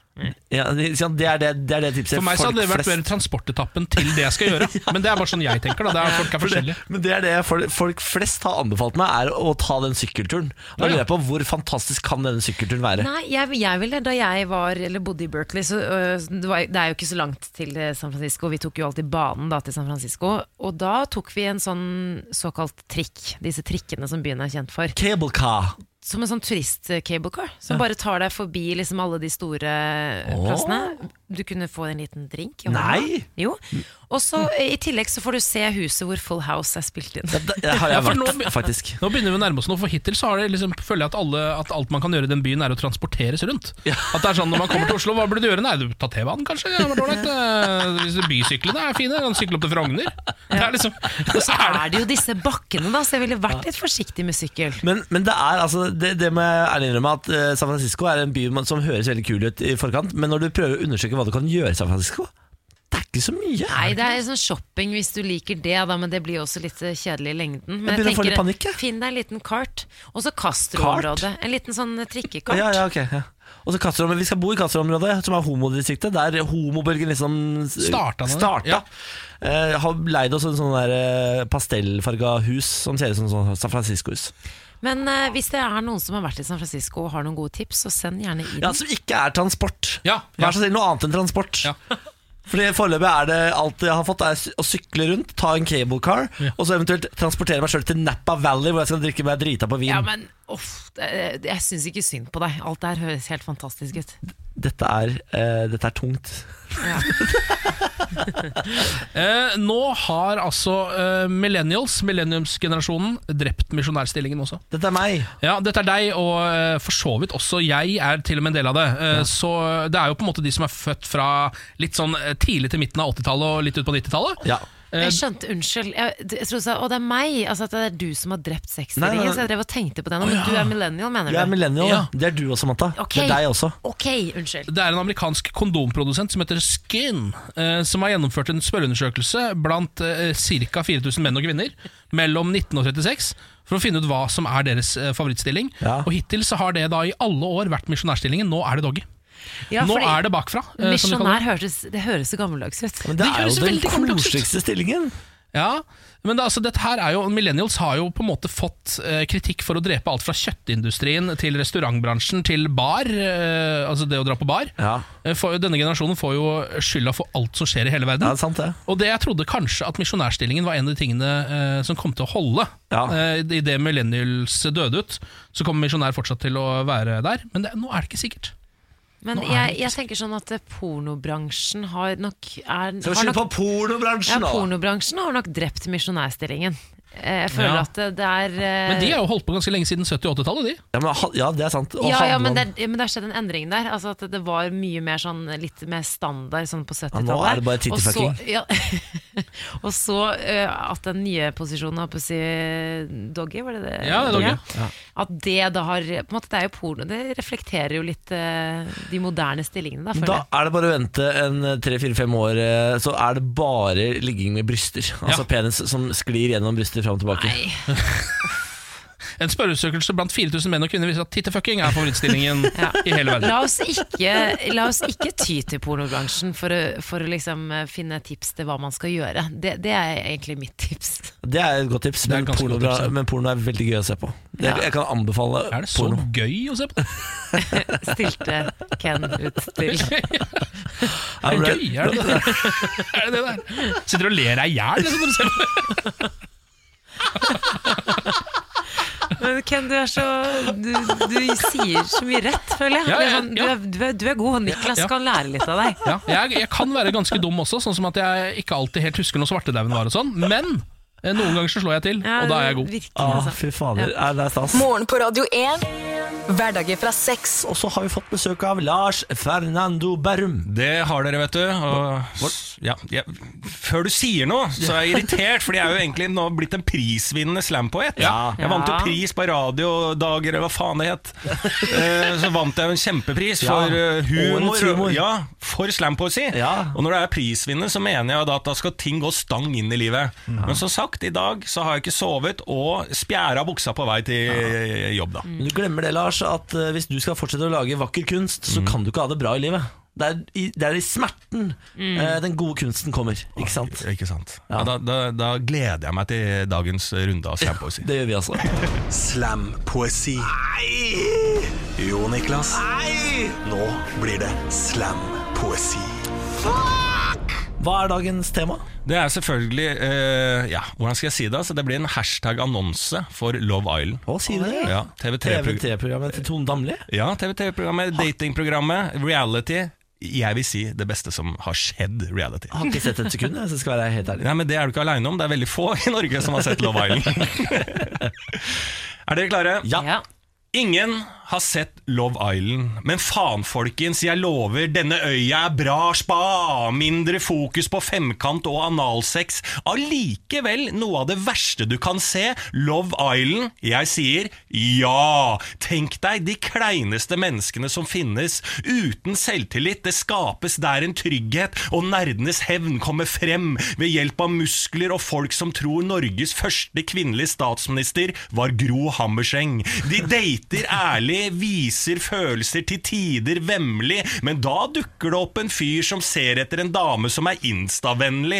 S1: Ja, det, ikke sant? det, er det, det er det tipset.
S3: For meg så
S1: folk
S3: hadde det vært
S1: flest-
S3: mer transportetappen til det jeg skal gjøre. Men det er bare sånn jeg tenker, da. Det er, folk er forskjellige.
S1: Men det er det folk, folk flest har anbefalt meg, er å ta den sykkelturen. Og
S3: Ja, ja.
S1: jeg lurer på Hvor fantastisk kan denne sykkelturen være?
S2: Nei, jeg, jeg ville, da jeg var, eller bodde i Berkeley, så øh, det, var, det er jo ikke så langt til eh, San Francisco. Vi tok jo alltid banen da til San Francisco. Og da tok vi en sånn såkalt trikk, disse trikkene som byen er kjent for.
S1: Cable car.
S2: Som en sånn turist-cablecar, som bare tar deg forbi liksom alle de store eh,
S1: Åh.
S2: plassene. Du kunne få en liten drink. i hånda.
S1: Nei.
S2: Jo. Og så eh, i tillegg så får du se huset hvor Full House er spilt inn.
S1: Ja, det- det har
S3: Ja,
S1: jeg
S3: for
S1: vært,
S3: nå be-
S1: faktisk.
S3: Nå begynner vi å nærme oss noe, for hittil så har det liksom, føler jeg at, alle, at alt man kan gjøre i den byen, er å transporteres rundt. At det er sånn Når man kommer til Oslo, hva burde du gjøre? Nei, du tar T-banen, kanskje? Det hadde vært ålreit. Eh, disse Bysyklene er fine. Kan sykle opp til Frogner. Det er liksom så er det.
S2: Er det jo disse bakkene, da, så jeg ville vært litt forsiktig med sykkel.
S1: Men, men det er altså det, det må jeg ærlig innrømme at eh, San Francisco er en by man- som høres veldig kul ut i forkant, men når du prøver å undersøke hva du kan gjøre i San Francisco, det er ikke så mye.
S2: Nei, det er sånn shopping hvis du liker det, da, men det blir jo også litt eh, kjedelig i lengden. Men
S1: Jeg begynner å få litt
S2: tenker,
S1: panikk, jeg.
S2: Finn deg en liten kart, og så Castro-området. En liten sånn eh, trikkekart.
S1: Ja, ja, ok ja. Og så Castro- Vi skal bo i Castro-området, som er homodistriktet, der homobølgen liksom s-
S3: Starta den, ja.
S1: Eh, har leid oss en sånn der eh, pastellfarga hus som ser ut som sånn San Francisco-hus.
S2: Men eh, hvis det er noen som har vært i San Francisco og har noen gode tips, så send gjerne inn.
S1: Ja, Som ikke er transport.
S3: Ja, ja.
S1: Vær så snill, noe annet enn transport.
S3: Ja.
S1: Fordi Foreløpig er det alt jeg har fått, er sy- å sykle rundt, ta en cable car, og så eventuelt transportere meg sjøl til Napa Valley, hvor jeg skal drikke meg drita på vin.
S2: Ja, men uff, det- det- jeg syns ikke synd på deg. Alt det her høres helt fantastisk ut.
S1: dette, er, eh, dette er tungt.
S3: Eh, nå har altså eh, millennials, millenniumsgenerasjonen, drept misjonærstillingen også.
S1: Dette er meg.
S3: Ja, dette er deg, og eh, for så vidt også jeg er til og med en del av det. Eh, Så det er jo på en måte de som er født fra litt sånn eh, tidlig til midten av 80-tallet og litt ut på 90-tallet.
S1: Ja.
S3: Eh,
S2: Jeg skjønte, unnskyld. Jeg, jeg trodde du sa å, det er meg. Altså at det er du som har drept
S1: Nei, nei, nei.
S2: sexringen. Så jeg drev og tenkte på det nå. Men du er millennial, mener du?
S1: Jeg er millennial.
S3: Ja.
S1: Det er du også, Matta.
S2: Ok.
S1: Det er deg også.
S2: Ok, unnskyld.
S3: Det er en amerikansk kondomprodusent som heter Skin, eh, som har gjennomført en spørreundersøkelse blant eh, ca. 4000 menn og kvinner mellom 19 og 36 for å finne ut hva som er deres eh, favorittstilling.
S1: Ja.
S3: Og hittil så har det da i alle år vært misjonærstillingen. Nå er det doggy.
S2: Ja,
S3: Nå
S2: fordi-
S3: er det bakfra.
S1: sånn
S3: eh, som de kaller det.
S2: Misjonær hørtes, det høres så gammeldags ut.
S1: Men det,
S3: Det
S1: er
S3: høres
S1: jo den
S3: veldig gammeldags ut.
S1: koseligste stillingen.
S3: Ja, men det, er altså, dette her er jo Millennials har jo på en måte fått eh, kritikk for å drepe alt fra kjøttindustrien til restaurantbransjen til bar. Eh, altså det å dra på bar.
S1: Ja.
S3: Eh, For, denne generasjonen får jo skylda for alt som skjer i hele verden.
S1: Ja, altså. det er sant, det.
S3: Og det jeg trodde kanskje at misjonærstillingen var en av de tingene eh, som kom til å holde.
S1: Ja.
S3: Eh, i- i det millennials døde ut, så kommer misjonær fortsatt til å være der. Men det, nå er det ikke sikkert.
S2: Men jeg, jeg tenker sånn at eh, pornobransjen har nok er,
S1: Skal vi
S2: har
S1: skylde
S2: nok,
S1: på
S2: ja,
S1: pornobransjen, da?
S2: Pornobransjen har nok drept misjonærstillingen. Eh, Jeg føler
S3: Ja.
S2: at det- det er eh,
S3: Men de har jo holdt på ganske lenge siden 70- og 80-tallet, de.
S1: Ja, men, ha- ja, det er sant. Og
S2: ja, ja,
S1: Hadeland.
S2: men det, er- ja, men det har skjedd en endring der. Altså at det var mye mer sånn litt mer standard sånn på 70-tallet.
S1: Ja, nå er det bare
S2: Og så-
S1: tittifucking.
S2: Ja, og så eh, at den nye posisjonen, holdt på å si doggy, var det det?
S3: Ja, det er doggy.
S2: At det da har På en måte, det er jo porno. Det reflekterer jo litt eh, de moderne stillingene, da, føler
S1: Da
S2: jeg.
S1: er det bare å vente en tre-fire-fem år, eh, så er det bare ligging med bryster. Altså
S3: Ja.
S1: penis som sklir gjennom bryster fram og tilbake.
S2: Nei.
S3: En spørreundersøkelse blant 4000 menn og kvinner viser at tittefucking er favorittstillingen i hele verden.
S2: La oss ikke, la oss ikke ty til pornobransjen for å, for å liksom eh, finne tips til hva man skal gjøre. Det, det er egentlig mitt tips.
S1: Det er et godt tips,
S3: er et
S1: men,
S3: ganske
S1: porno,
S3: godt tips, ja.
S1: men porno er veldig gøy å se på. Det,
S2: Ja.
S1: Jeg kan anbefale
S3: Er det så
S1: porno.
S3: gøy å se på?
S2: Stilte Ken ut til.
S1: Ja,
S3: Er
S1: men
S3: det
S1: det-
S3: gøy, er det det der? Er det det der? Sitter og ler deg i hjel liksom, når du ser på det.
S2: Men Ken, du er så Du, du sier så mye rett, føler jeg.
S3: Ja,
S2: Det er
S3: ja,
S2: sånn, du,
S3: ja.
S2: er, du, er, du er god, og Niklas
S3: Ja.
S2: kan lære litt av deg.
S3: Ja, jeg, jeg kan være ganske dum også, sånn som at jeg ikke alltid helt husker når svartedauden var og sånn, men eh, noen ganger så slår jeg til, og da er jeg god.
S2: Virkelig,
S1: Ah,
S2: altså.
S1: fy fader, Nei, det er stas.
S4: Morgen på Radio 1. Hverdager fra seks.
S1: Og så har vi fått besøk av Lars Fernando Berrum.
S8: Det har dere, vet du. Og, ja, jeg, før du sier noe, så er jeg irritert, for jeg er jo egentlig nå blitt en prisvinnende slampoet.
S1: Ja.
S8: Jeg vant jo
S2: Ja.
S8: pris på radiodager, eller hva faen det het. Eh, Så vant jeg jo en kjempepris
S1: Ja.
S8: for eh, humor.
S1: Årets humor.
S8: Ja, for slampoesi.
S1: Ja.
S8: Og når det er prisvinner, så mener jeg da at da skal ting gå stang inn i livet. Men som sagt, i dag så har jeg ikke sovet og spjæra buksa på vei til eh, jobb, da.
S1: Du glemmer det, Lars, at eh, hvis du skal fortsette å lage vakker kunst,
S3: Mm.
S1: så kan du ikke ha det bra i livet. Det er i, det er i smerten
S3: Mm.
S1: eh, den gode kunsten kommer, ikke sant?
S8: Ikke sant? Ja, da, da, da gleder jeg meg til dagens runde av slampoesi.
S1: Det gjør vi altså.
S6: Slampoesi. Nei! Jo, Niklas. Nei! Nå blir det slampoesi.
S1: Hva er dagens tema?
S8: Det er selvfølgelig eh, Ja, hvordan skal jeg si det? Altså, det blir en hashtag-annonse for Love Island.
S1: Å, sier du det?
S8: Ja, TV3-programmet
S1: TV3-programmet til Tone Damli?
S8: ja, TV3 -programmet, datingprogrammet, reality. Jeg vil si det beste som har skjedd reality.
S1: Har ikke sett et sekund, jeg, så skal jeg være helt ærlig.
S8: Nei, men Det er du ikke aleine om. Det er veldig få i Norge som har sett Love Island. er dere klare?
S1: Ja.
S2: Ja.
S8: Ingen har sett Love Island, men faen, folkens, jeg lover, denne øya er bra spa! Mindre fokus på femkant og analsex. Allikevel noe av det verste du kan se. Love Island, jeg sier ja! Tenk deg de kleineste menneskene som finnes. Uten selvtillit, det skapes der en trygghet, og nerdenes hevn kommer frem ved hjelp av muskler og folk som tror Norges første kvinnelige statsminister var Gro Hammerseng. De dater ærlig, viser følelser til tider vemmelig, men da dukker det opp en fyr som ser etter en dame som er instavennlig.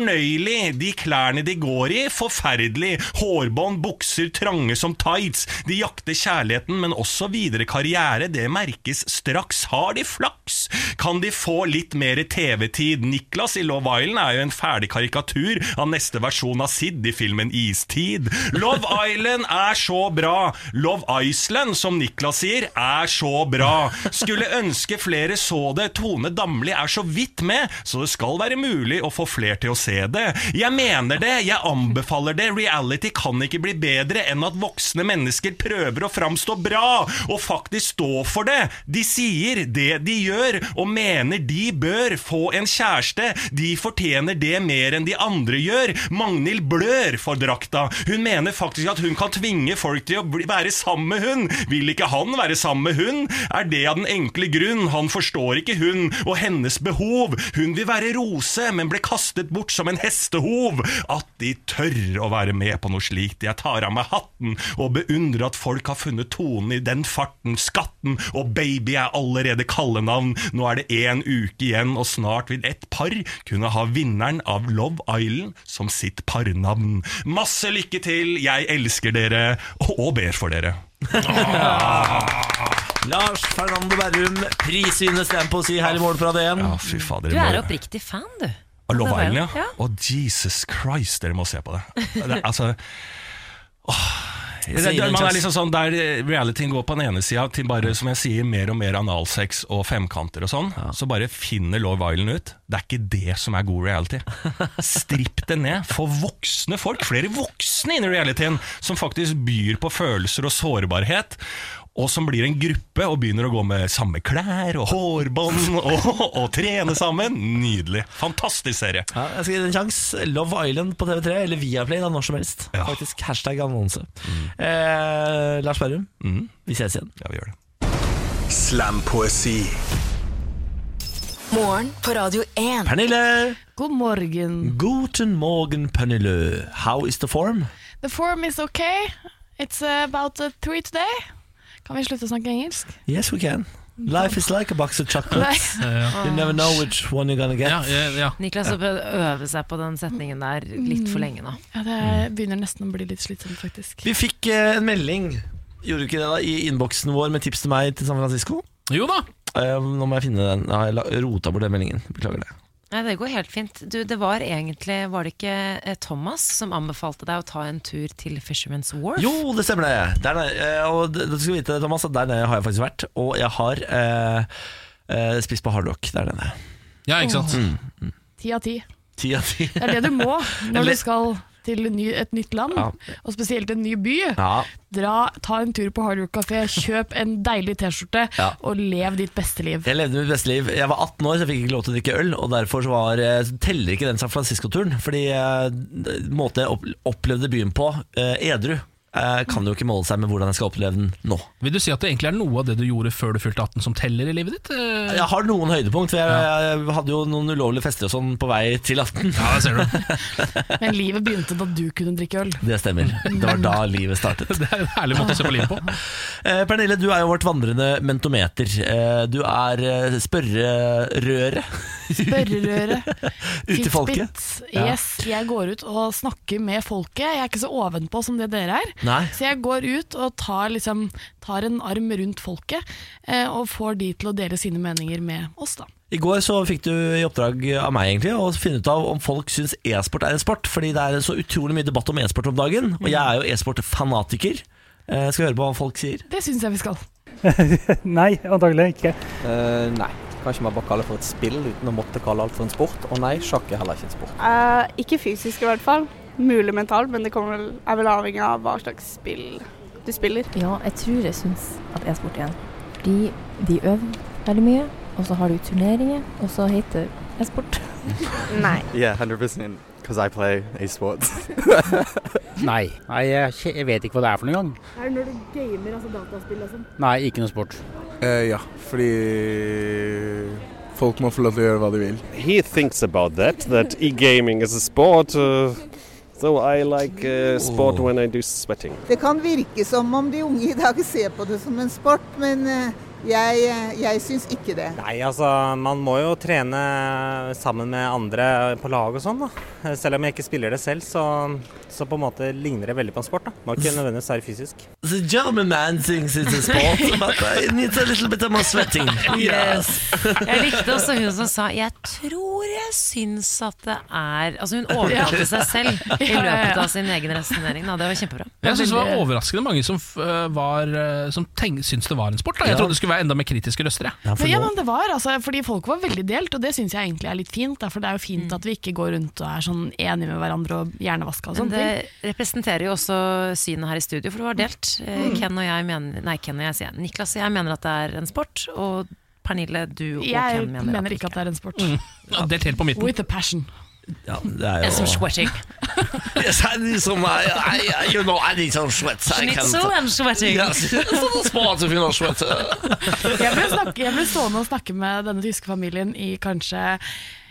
S8: Fornøyelig, de klærne de går i, forferdelig. Hårbånd, bukser, trange som tights. De jakter kjærligheten, men også videre karriere, det merkes straks. Har de flaks? Kan de få litt mer TV-tid? Niklas i Love Island er jo en ferdig karikatur av neste versjon av Sid i filmen Istid. Love Island er så bra! Love Iceland, som Niklas sier, er så bra! Skulle ønske flere så det. Tone Damli er så vidt med, så det skal være mulig å få flere til å se det. Jeg mener det, jeg anbefaler det. Reality kan ikke bli bedre enn at voksne mennesker prøver å framstå bra, og faktisk stå for det. De sier det de gjør, og mener de bør få en kjæreste. De fortjener det mer enn de andre gjør. Magnhild blør for drakta. Hun mener faktisk at hun kan tvinge folk til å bli, være sammen med hun. Vil ikke han være sammen med hun? Er det av den enkle grunn? Han forstår ikke hun og hennes behov. Hun vil være rose, men ble kastet bort som en hestehov. At de tør å være med på noe slikt. Jeg tar av meg hatten og beundrer at folk har funnet tonen i den farten, skatten og baby er allerede kallenavn. Nå er det én uke igjen, og snart vil et par kunne ha vinneren av Love Island som sitt parnavn. Masse lykke til, jeg elsker dere og- og ber for dere.
S1: Lars Fernando Berrum, prisvinner slampoesi her i morgen fra DN.
S8: Ja, fy fader.
S2: Du
S8: det må-
S2: er oppriktig fan, du.
S8: Av Love
S2: Det var jo-
S8: Island, ja. Og Jesus Christ, dere må se på det. det er, altså... åh. Det, det, man er liksom sånn Der realityen går på den ene sida til bare som jeg sier, mer og mer analsex og femkanter og sånn, så bare finner Love Island ut. Det er ikke det som er god reality. Stripp det ned. Få voksne folk, flere voksne inn i realityen, som faktisk byr på følelser og sårbarhet. Og som blir en gruppe og begynner å gå med samme klær og hårbånd og, og trene sammen. Nydelig. Fantastisk serie.
S1: Ja, jeg skal gi det en sjanse. Love Island på TV3 eller Viaplay da, når som helst.
S8: Ja. Mm.
S1: Faktisk hashtag annonse. Eh, Lars Berrum, vi ses igjen.
S8: Ja, vi gjør det.
S6: Slampoesi.
S4: Morgen på Radio 1.
S1: Pernille!
S10: God morgen.
S1: Guten morgen, Pernille. How is the form?
S10: The form is okay. It's about uh, three today. Kan vi slutte å snakke engelsk?
S1: Yes, we can. Life is like a box of chocolates.
S3: Ja, ja.
S1: You never know which one you're gonna get.
S3: Eh, Ja, ja, ja.
S2: Niklas har prøvd å øve seg på den setningen der litt for lenge nå.
S10: Ja, Det begynner nesten å bli litt slitsomt, faktisk.
S1: Vi fikk eh, en melding Gjorde du ikke det da, i innboksen vår med tips til meg til San Francisco?
S3: Jo da!
S1: Eh, nå må jeg finne den. Nå har jeg la- rota bort den meldingen. Beklager det.
S2: Nei, Det går helt fint. Du, det var egentlig Var det ikke eh, Thomas som anbefalte deg å ta en tur til Fisherman's Wharf?
S1: Jo, det stemmer det. Der nede, eh, og d- du skal vite, Thomas, at der nede har jeg faktisk vært. Og jeg har eh, eh, spist på hardrock der nede.
S3: Ja, ikke sant?
S10: Ti av ti.
S1: Ti av ti.
S10: Det er det du må når
S1: Eller-
S10: du skal til en ny, et nytt land,
S1: Ja.
S10: og spesielt en ny by.
S1: Ja.
S10: Dra, Ta en tur på Hard Rock Café, kjøp en deilig T-skjorte,
S1: Ja.
S10: og lev ditt beste liv.
S1: Jeg levde mitt beste liv. Jeg var 18 år, så jeg fikk ikke lov til å drikke øl. Og derfor så var, eh, så teller ikke den San Francisco-turen. Fordi eh, måten jeg opp, opplevde byen på, eh, edru, eh, kan jo ikke måle seg med hvordan jeg skal oppleve den nå.
S3: Vil du si at det egentlig er noe av det du gjorde før du fylte 18 som teller i livet ditt? Eh,
S1: Jeg har noen høydepunkt, for jeg, jeg hadde jo noen ulovlige fester og sånn på vei til 18.
S3: Ja, det ser du.
S10: Men livet begynte da du kunne drikke øl.
S1: Det stemmer. Det var da livet startet.
S3: Det er en herlig måte å se på livet på.
S1: Eh, Pernille, du er jo vårt vandrende mentometer. Eh, du er eh, spørrerøret
S10: Børrerøre.
S1: ut til folket.
S10: Fitbit.
S1: Ja.
S10: Yes, jeg går ut og snakker med folket. Jeg er ikke så ovenpå som det dere er.
S1: Nei.
S10: Så jeg går ut og tar, liksom, tar en arm rundt folket, eh, og får de til å dele sine meninger med oss, da.
S1: I går så fikk du i oppdrag av meg egentlig å finne ut av om folk syns e-sport er en sport. Fordi det er så utrolig mye debatt om e-sport om dagen, og jeg er jo e-sport-fanatiker. Eh, skal høre på hva folk sier.
S10: Det syns jeg vi skal.
S11: Nei, antagelig ikke.
S12: Eh, nei. Kanskje man bare kaller det for et spill uten å måtte kalle alt for en sport. Og nei, sjakk er heller ikke en sport.
S13: Eh, ikke fysisk i hvert fall. Mulig mentalt, men det kommer vel, er vel avhengig av hva slags spill du spiller.
S14: Ja, jeg tror jeg syns at e-sport er en. Fordi de øver veldig mye, og så har du turneringer, og så heter det e-sport.
S13: Nei.
S15: Yeah, 100% because I play esports.
S16: Nei, nei jeg, kje- jeg vet ikke hva det er for noen gang.
S17: Er det når du gamer, altså dataspill og sånn?
S16: Nei, ikke noe sport.
S18: ja, fordi folk må få lov til å gjøre hva de vil.
S19: he thinks about that that e-gaming is a sport uh, so i like uh, sport when i do sweating
S20: Det kan virke som om de unge i dag ser på det som en sport, men eh, jeg, eh, jeg syns ikke det.
S21: Nei, altså man må jo trene sammen med andre på lag og sånn, da. Selv om jeg ikke spiller det selv, så, så på en måte ligner det veldig på en sport, da. Må ikke nødvendigvis være fysisk.
S1: The German man thinks it's a sport, but uh, it needs a little bit of more sweating. Yes.
S2: Jeg likte også hun som sa 'jeg tror jeg syns at det er' Altså hun
S3: Ja.
S2: overtalte seg selv i
S3: Ja, ja,
S2: løpet
S3: ja.
S2: av sin egen resonnering. da. Det var kjempebra.
S3: Jeg syns det var overraskende mange som, f- eh, var, eh, som tenk, syns det var en sport. Da. Jeg
S1: Ja.
S3: trodde det skulle være enda mer kritiske røster. Jeg.
S10: Men, ja, men det var, altså, fordi Folk var veldig delt, og det syns jeg egentlig er litt fint. da, For det er jo fint at vi ikke går rundt og er sånn enige med hverandre og hjernevaska og
S2: Men
S5: Sånn
S10: sånne
S2: det
S10: ting.
S2: representerer jo også synet her i studio, for det var delt. Eh, Ken og jeg mener Nei, Ken og jeg sier jeg. Niklas og jeg mener at det er en sport, og Pernille, du og
S10: Jeg
S2: Ken mener,
S10: mener ikke at det er Mm. en sport.
S3: Ja, Delt helt på midten.
S10: With a passion.
S1: Ja, det er
S2: Som
S1: jo
S2: sweating.
S1: Yes, I need some, uh, I, I, you know, I need some sweat. I can't-
S2: Schnitzel and sweating.
S1: Yes, it's not a sport if you know sweat.
S10: Jeg ble, snakke, jeg ble stående og snakke med denne tyske familien i kanskje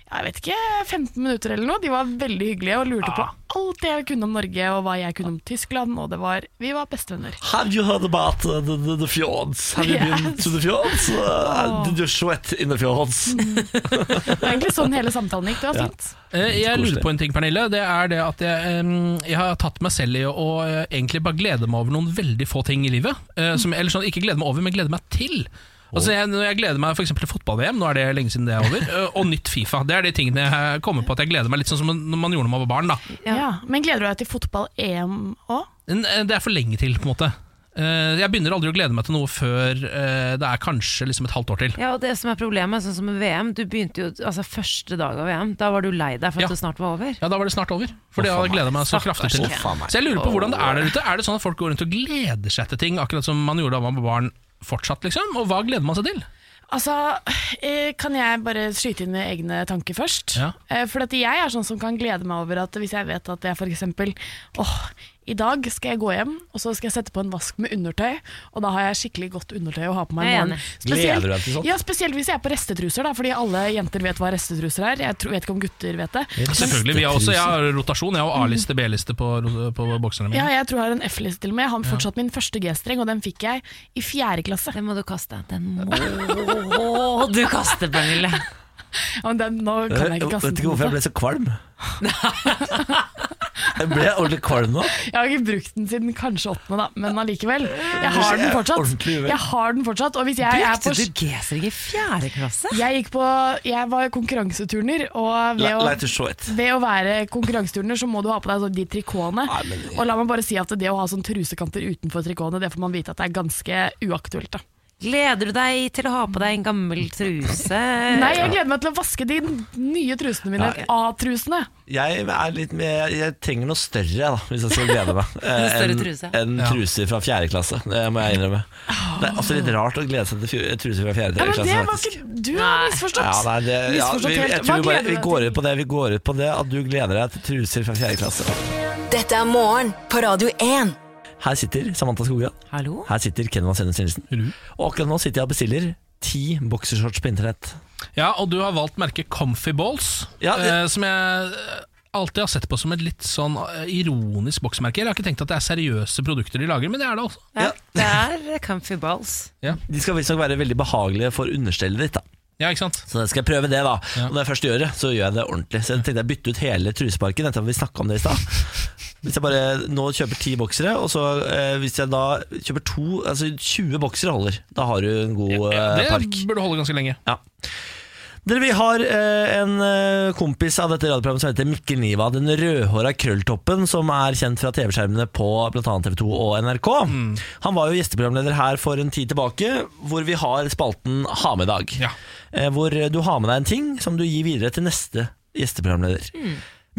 S10: jeg vet ikke, 15 minutter eller noe. De var veldig hyggelige og lurte
S1: Ah.
S10: på alt jeg kunne om Norge og hva jeg kunne om Tyskland. Og det var, vi var bestevenner.
S1: Have you heard about uh, the, the, the fjords? Have you been to the fjords? Uh, did you sweat in the fjords?
S10: Mm, Det var egentlig sånn hele samtalen gikk. Det var
S1: Ja.
S10: fint.
S3: Eh, Jeg
S1: Koselig.
S3: lurer på en ting, Pernille. Det er det at jeg, em, jeg har tatt meg selv i å eh, egentlig bare glede meg over noen veldig få ting i livet. eh, Som, eller sånn, ikke glede meg over, men glede meg til. Altså jeg, når jeg gleder meg for eksempel til fotball-VM, nå er det lenge siden det er over, eh, og nytt Fifa. Det er de tingene jeg kommer på at jeg gleder meg litt sånn som når man gjorde når man var barn. da
S10: Ja. Men gleder du deg til fotball-EM òg?
S3: Men, eh, Det er for lenge til, på en måte. Eh, Jeg begynner aldri å glede meg til noe før eh, det er kanskje liksom et halvt år til.
S2: Ja, og det som er problemet, sånn som med VM, du begynte jo altså første dag av VM, da var du lei deg for at det snart var over.
S3: Ja, da var det snart over. For det
S2: Å,
S3: har jeg
S2: faen
S3: gleda
S2: meg.
S3: meg så
S2: Stakkars
S3: kraftig til.
S2: Ken. Å, faen meg.
S3: Så jeg lurer på hvordan det er der ute. Er det sånn at folk går rundt og gleder seg til ting, akkurat som man gjorde da man var barn fortsatt, liksom? Og hva gleder man seg til?
S10: Altså, eh, Kan jeg bare skyte inn med egne tanker først?
S3: Ja.
S10: Eh, For at jeg er sånn som kan glede meg over at hvis jeg vet at jeg f.eks. Åh, i dag skal jeg gå hjem, og så skal jeg sette på en vask med undertøy, og da har jeg skikkelig godt undertøy å ha på meg i
S2: Jeg er
S10: morgen.
S2: enig.
S10: Spesielt-
S2: Gleder du deg til sånt?
S10: Ja, spesielt hvis jeg er på restetruser, da, fordi alle jenter vet hva restetruser er. Jeg tror, vet ikke om gutter vet det.
S3: Selvfølgelig, vi har også, Jeg har rotasjon. Jeg har A-liste, B-liste på, på
S10: Mm.
S3: bokserne
S10: Ja,
S3: mine.
S10: jeg tror jeg har en F-liste til og med. Jeg har
S3: Ja.
S10: fortsatt min første G-streng, og den fikk jeg i fjerde klasse. Den må du kaste. Den
S2: Å, du kaster, Pernille.
S10: men den, nå
S1: Jeg
S10: kan jeg ikke
S1: Eh, vet
S10: kaste den.
S1: ikke hvorfor jeg ble så kvalm. Jeg ble ordentlig kvalm nå.
S10: Jeg har ikke brukt den siden kanskje åttende, da, men allikevel. Jeg har den fortsatt.
S2: Ordentlig uvel.
S10: Jeg har den fortsatt, og hvis jeg er på
S2: Brukte du G-streng i fjerde klasse?
S10: jeg, gikk på, jeg var konkurranseturner, og ved
S1: La-
S10: å,
S1: Light to short.
S10: ved å være konkurranseturner så må du ha på deg sånn de trikotene. Og la meg bare si at det å ha sånn trusekanter utenfor trikotene, det får man vite at det er ganske uaktuelt. da.
S2: Gleder du deg til å ha på deg en gammel truse?
S10: Nei, jeg gleder meg til å vaske de nye trusene mine.
S1: Nei.
S10: A-trusene.
S1: Jeg, er litt mer, jeg trenger noe større, da, hvis jeg skal glede meg.
S10: Noe større
S1: Enn
S10: truse.
S1: enn truser fra fjerde klasse, det må jeg innrømme. Det er også litt rart å glede seg til fj- truser fra fjerde
S10: Ah. Ja, men
S1: klasse.
S10: det var
S1: faktisk.
S10: ikke Du har misforstått.
S1: Ja, nei, det, ja,
S10: misforstått
S1: vi,
S10: helt.
S1: jeg
S10: Hva
S1: tror vi, bare,
S10: gleder
S1: vi
S10: du deg
S1: går ut på det, vi går ut på det at du gleder deg til truser fra fjerde klasse.
S4: Dette er morgen på Radio 1.
S1: Her sitter Samantha Skogran.
S2: Hallo?
S1: Her sitter Kenvan Sennes Nilsen. Og akkurat nå sitter jeg og bestiller ti boksershorts på internett.
S3: Ja, og du har valgt merket Comfy Balls, eh, som jeg eh, alltid har sett på som et litt sånn eh, ironisk boksmerke. Jeg har ikke tenkt at det er seriøse produkter de lager, men det er det altså.
S2: Det er comfy balls.
S1: De skal visstnok være veldig behagelige for understellet ditt. da
S3: Ja, ikke sant?
S1: Så jeg skal prøve det, da. Og når jeg først gjør det, så gjør jeg det ordentlig. Så jeg tenkte jeg bytte ut hele truseparken etter at vi snakka om det i stad. Hvis jeg bare nå kjøper ti boksere, og så eh, hvis jeg da kjøper to Altså 20 boksere holder. Da har du en god eh,
S3: Det
S1: park.
S3: burde holde ganske lenge.
S1: Ja. Dere, Vi har eh, en eh, kompis av dette radioprogrammet som heter Mikkel Niva. Den rødhåra krølltoppen som er kjent fra TV-skjermene på bl.a. TV 2 og NRK. Han var jo gjesteprogramleder her for en tid tilbake, hvor vi har spalten Ha med dag. Eh, hvor eh, du har med deg en ting som du gir videre til neste gjesteprogramleder.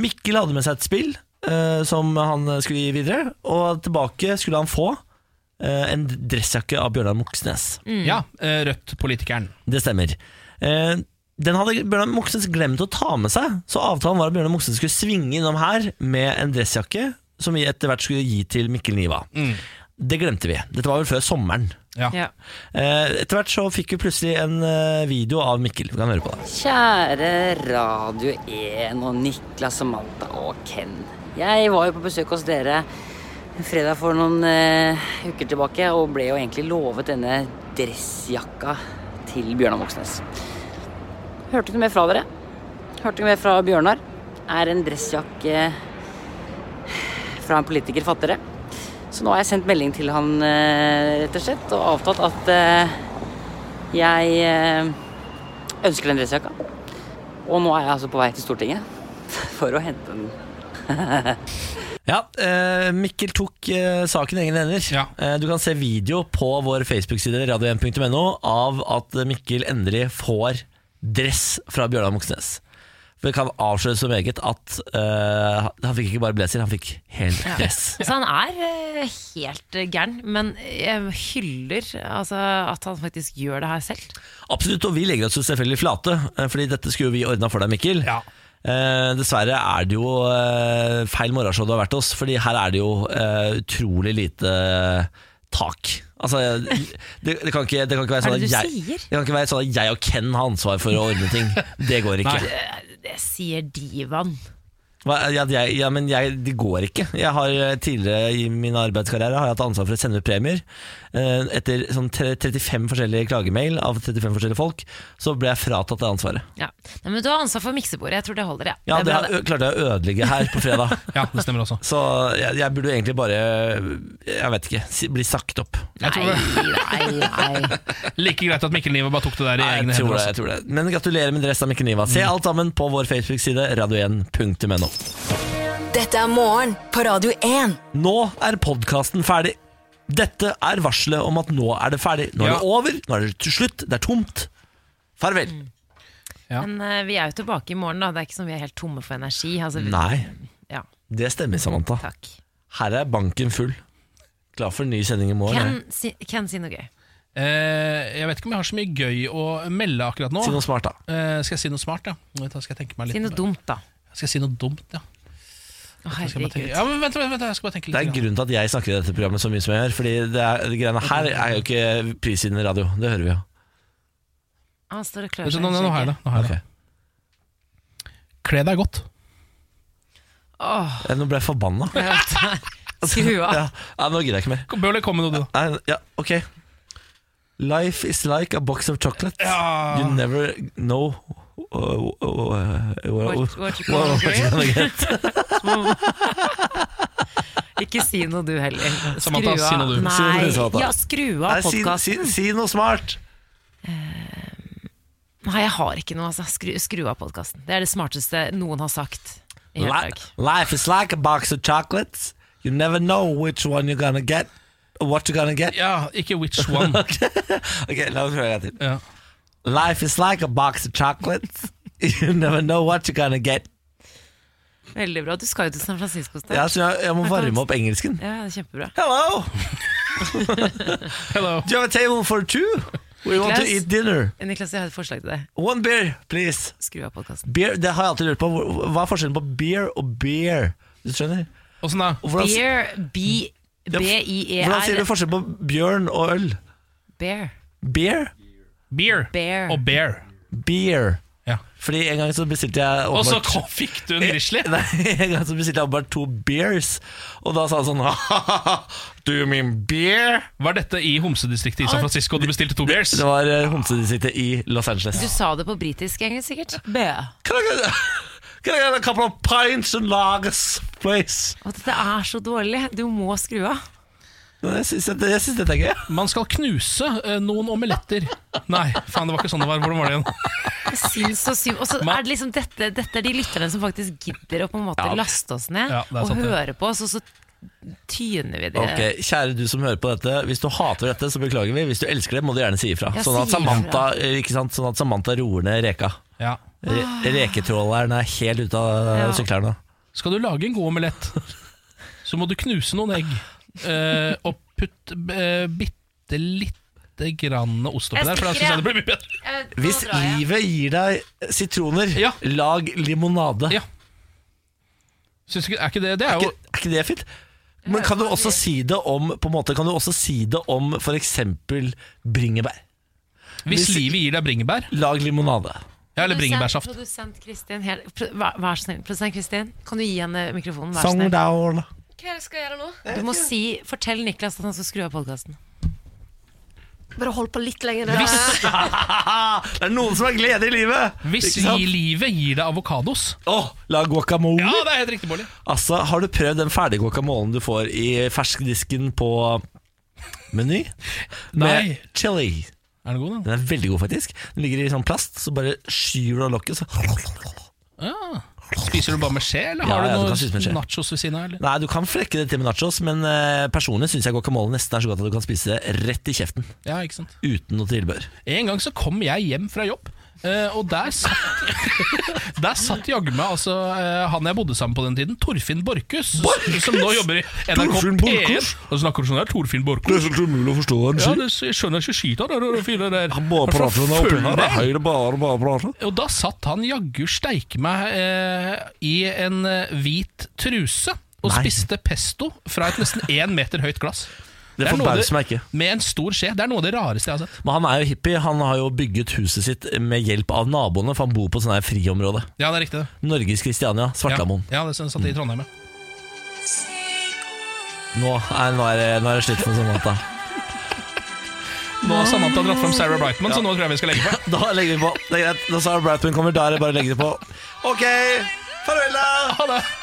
S1: Mikkel hadde med seg et spill eh, som han skulle gi videre, og tilbake skulle han få eh, en dressjakke av Bjørnar Moxnes.
S3: Mm. Ja, eh, Rødt-politikeren.
S1: Det stemmer. Eh, den hadde Bjørnar Moxnes glemt å ta med seg, så avtalen var at Bjørnar Moxnes skulle svinge innom her med en dressjakke som vi etter hvert skulle gi til Mikkel Niva. Det glemte vi. Dette var vel før sommeren.
S3: Ja.
S1: Eh, etter hvert så fikk vi plutselig en eh, video av Mikkel. Vi kan høre på det.
S5: Kjære Radio 1 og Niklas og Malta og Ken. Jeg var jo på besøk hos dere fredag for noen eh, uker tilbake og ble jo egentlig lovet denne dressjakka til Bjørnar Moxnes. Hørte ikke noe mer fra dere. Hørte ikke mer fra Bjørnar. Er en dressjakke fra en politiker fattigere. Så nå har jeg sendt melding til han, eh, rett og slett, og avtalt at eh, jeg eh, ønsker den dressjakka. Og nå er jeg altså på vei til Stortinget for å hente den.
S1: Ja, eh, Mikkel tok eh, saken i egne hender. Eh, du kan se video på vår Facebook-side radio1.no av at Mikkel endelig får dress fra Bjørnar Moxnes. For Det kan avsløre så meget at eh, han fikk ikke bare blazer, han fikk hel
S2: Ja.
S1: dress.
S2: Så han er eh, helt eh, gæren, men jeg hyller altså, at han faktisk gjør det her selv.
S1: Absolutt, og vi legger oss jo selvfølgelig flate, eh, fordi dette skulle jo vi ordna for deg, Mikkel. Eh, dessverre er det jo eh, feil morgenshow du har vært hos, fordi her er det jo eh, utrolig lite tak. Altså, det, det, kan ikke, det kan ikke være
S2: Hva
S1: sånn
S2: er det
S1: at
S2: du
S1: jeg,
S2: sier?
S1: det kan ikke være sånn at jeg og Ken har ansvar for å ordne ting. Det går ikke.
S2: Det, det sier divaen.
S1: Hva, ja, jeg, ja, men jeg, det går ikke. Jeg har eh, Tidligere i min arbeidskarriere har jeg hatt ansvar for å sende ut premier. Eh, Etter sånn tre- 35 forskjellige klagemail av 35 forskjellige folk, så ble jeg fratatt det ansvaret.
S2: Ja. Nei, men du har ansvar for miksebordet, jeg tror det holder, jeg.
S1: Ja,
S2: Det
S1: det,
S2: er bra,
S1: har- ø- klarte jeg å ødelegge her på fredag.
S3: ja, det stemmer også
S1: Så jeg, jeg burde jo egentlig bare Jeg vet ikke, si- bli sagt opp.
S3: like greit at Mikkel Niva bare tok det der i egne
S1: Jeg tror
S3: hender.
S1: det, jeg tror det. Men gratulerer med dress av Mikkel Niva.
S2: Mm.
S1: Se alt sammen på vår Facebook-side radio1.no.
S4: Dette er morgen på Radio 1.
S1: Nå er podkasten ferdig. Dette er varselet om at nå er det ferdig. Nå er det over, nå er det til slutt, det er tomt. Farvel.
S2: Mm. Men eh, vi er jo tilbake i morgen, da. Det er ikke som vi er helt tomme for energi. Altså, vi,
S1: Nei,
S2: Ja.
S1: det stemmer, Samantha. Her er banken full. Klar for en ny sending i morgen.
S2: Ken, si, Ken, si noe gøy.
S3: Eh, jeg vet ikke om jeg har så mye gøy å melde akkurat nå.
S1: Si noe smart, da.
S3: Eh, skal jeg si noe smart, ja? Nå vet jeg, Skal jeg tenke meg litt
S2: Si noe dumt, da.
S3: Skal jeg si noe dumt, ja. Jeg skal bare tenke- Ja, men vent, vent, vent, jeg skal bare tenke litt.
S1: Det er en grunn til at jeg snakker i dette programmet så mye som jeg gjør. Fordi det, er, det greiene her er jo ikke prisgivende radio. Det hører vi jo.
S2: Han står og klør
S3: Nå,
S2: seg.
S3: nå, nå har jeg det. Nå har jeg det. Kle deg godt.
S2: Åh,
S1: Ja, Nå ble jeg forbanna.
S2: jeg vet det. Skru av.
S1: Ja, ja, nå gidder jeg ikke mer.
S3: Bøhler, kom med
S1: du.
S3: noe,
S1: Nei, ja, ok. Life is like a box of chocolates. You never know uh, uh, uh,
S2: What- what you gonna
S1: what you gonna
S2: get?
S1: get.
S2: Ikke si noe du heller. Skru
S1: Samantha,
S2: av.
S1: si noe du. Si noe du, Samantha.
S2: Nei, ja, skru av
S1: Nei, si-
S2: podkasten.
S1: si- si noe smart.
S2: Nei, jeg har ikke noe, altså. Skru, skru av podkasten. Det er det smarteste noen har sagt. i hele dag.
S1: Li- Life is like a box of chocolates. You never know which one you're gonna get. or What you're gonna get.
S3: Ja, ikke which one.
S1: ok, Ok, la oss prøve en gang til. Life is like a box of chocolates. You never know what you're gonna get.
S2: Veldig bra. Du skal jo til San Francisco snart.
S1: Ja, så jeg, jeg må
S2: Her kan
S1: varme
S2: du-
S1: opp engelsken.
S2: Ja, det er kjempebra.
S1: Hello! Do you have a table for two? We want to
S2: Niklas?
S1: eat dinner.
S2: Niklas, jeg har et forslag til deg.
S1: One beer, please.
S2: Skru av podkasten.
S1: Beer, det har jeg alltid lurt på. Hvor- Hva er forskjellen på beer og beer? Du skjønner?
S3: Åssen sånn da?
S2: Beer, B- B-I-E-R.
S1: Hvordan sier du forskjell på bjørn og øl?
S2: Bear.
S1: Beer?
S3: Beer.
S2: Bear.
S3: Og bear.
S1: Beer. Fordi en gang så bestilte jeg
S3: Og så
S1: åpenbart-
S3: kom- fikk du en grizzly!
S1: Nei, en gang så bestilte jeg åpenbart to beers, og da sa han sånn «Hahaha, Do you mean beer?
S3: Var dette i homsedistriktet i San Francisco du bestilte to beers?
S1: Det var eh, homsedistriktet i Los Angeles.
S2: Du sa det på britisk engelsk, sikkert. Bear.
S1: Can I get, can I get a couple of pints and lagers, please?
S2: Å, dette er så dårlig. Du må skru av.
S1: Nei, Jeg syns dette, jeg syns dette er gøy.
S3: Man skal knuse eh, noen omeletter. Nei, faen, det var ikke sånn det var. Hvordan var det igjen?
S2: Jeg Syns og syns. Og så er det liksom dette, dette er de lytterne som faktisk gidder å på en måte
S1: Ja.
S2: laste oss ned
S1: Ja, det er
S2: og
S1: sant det.
S2: høre på oss, og så tyner vi det.
S1: Ok, Kjære du som hører på dette. Hvis du hater dette, så beklager vi. Hvis du elsker det, må du gjerne si ifra.
S2: Ja,
S1: Sånn at
S2: si ifra.
S1: Samantha, eh, ikke sant? Sånn at Samantha roer ned reka.
S3: Ja.
S1: Re reketråleren er helt ute av
S3: Ja.
S1: syklerne.
S3: Skal du lage en god omelett, så må du knuse noen egg eh, og putte eh, bitte lite grann ost oppi
S1: Jeg
S3: der. For da
S1: stikker,
S3: synes
S1: ja.
S3: jeg det blir mye bedre.
S1: Hvis livet gir deg sitroner, lag limonade.
S3: Syns du ikke, er ikke det Det er jo
S1: Er ikke det fint? Men kan du også si det om På en måte kan du også si det om f.eks. bringebær?
S3: Hvis livet gir deg bringebær
S1: Lag limonade.
S3: Ja, eller bringebærsaft.
S2: Produsent Kristin, helt- pr- vær vær så snill. Produsent Kristin, kan du gi henne mikrofonen? Vær så
S1: Song
S2: snill.
S1: down.
S17: Hva skal jeg gjøre nå?
S2: Du må si, fortell Niklas at han skal skru av podkasten.
S17: Bare hold på litt lenger.
S3: Hvis-
S1: det er noen som har glede i livet!
S3: Hvis
S1: Ikke sant?
S3: gi livet gir deg avokados
S1: Åh, La guacamole.
S3: Ja, det er helt riktig, Bolli.
S1: Altså, Har du prøvd den ferdige guacamolen du får i ferskdisken på Meny? Med
S3: Nei.
S1: chili.
S3: Er den god, da?
S1: Den er veldig god, faktisk. Den ligger i sånn plast, så bare skyver du av lokket, så
S3: Ja. Spiser du bare med skje,
S1: Ja,
S3: eller har
S1: ja, du
S3: du
S1: kan spise med skje.
S3: noe nachos ved siden av? eller?
S1: Nei, du kan flekke det til med nachos, men eh, personlig syns jeg guacamole nesten er så godt at du kan spise det rett i kjeften.
S3: Ja, ikke sant
S1: Uten noe tilbør.
S3: En gang så kom jeg hjem fra jobb, eh, og der satt, der satt jaggu meg altså, eh, han jeg bodde sammen på den tiden, Torfinn Borchhus, som nå jobber i NRK
S7: Torfinn
S3: P1.
S7: Borchhus?
S3: Og snakker sånn der, Torfinn Borchhus.
S7: helt umulig å forstå hva
S3: Ja, det, jeg skjønner ikke skit av det, det fyret der. Han
S7: Bare prate med oppi her. Det er høyre bare, bare prate.
S3: Og da satt han jaggu steike meg eh, i en eh, hvit truse og spiste pesto fra et nesten én meter høyt glass.
S1: Det
S3: er noe av
S1: forbauser meg ikke.
S3: Med en stor skje. Det er noe av det rareste jeg har sett.
S1: Men han er jo hippie. Han har jo bygget huset sitt med hjelp av naboene, for han bor på sånn her friområde.
S3: Ja, det er riktig. det.
S1: Norges Kristiania, Svartlamoen.
S3: Ja, det sånn satt i Trondheim, ja.
S1: Nå, er- nå, er det- nå er det slutt for sånn Samantha.
S3: Nå har Samantha dratt fram Sarah Brightman, så nå tror jeg vi skal legge på.
S1: Da legger vi på. Det er greit. Når Sarah Brightman kommer, da er det bare å legge det på. Ok, farvel, da!
S3: Ha det!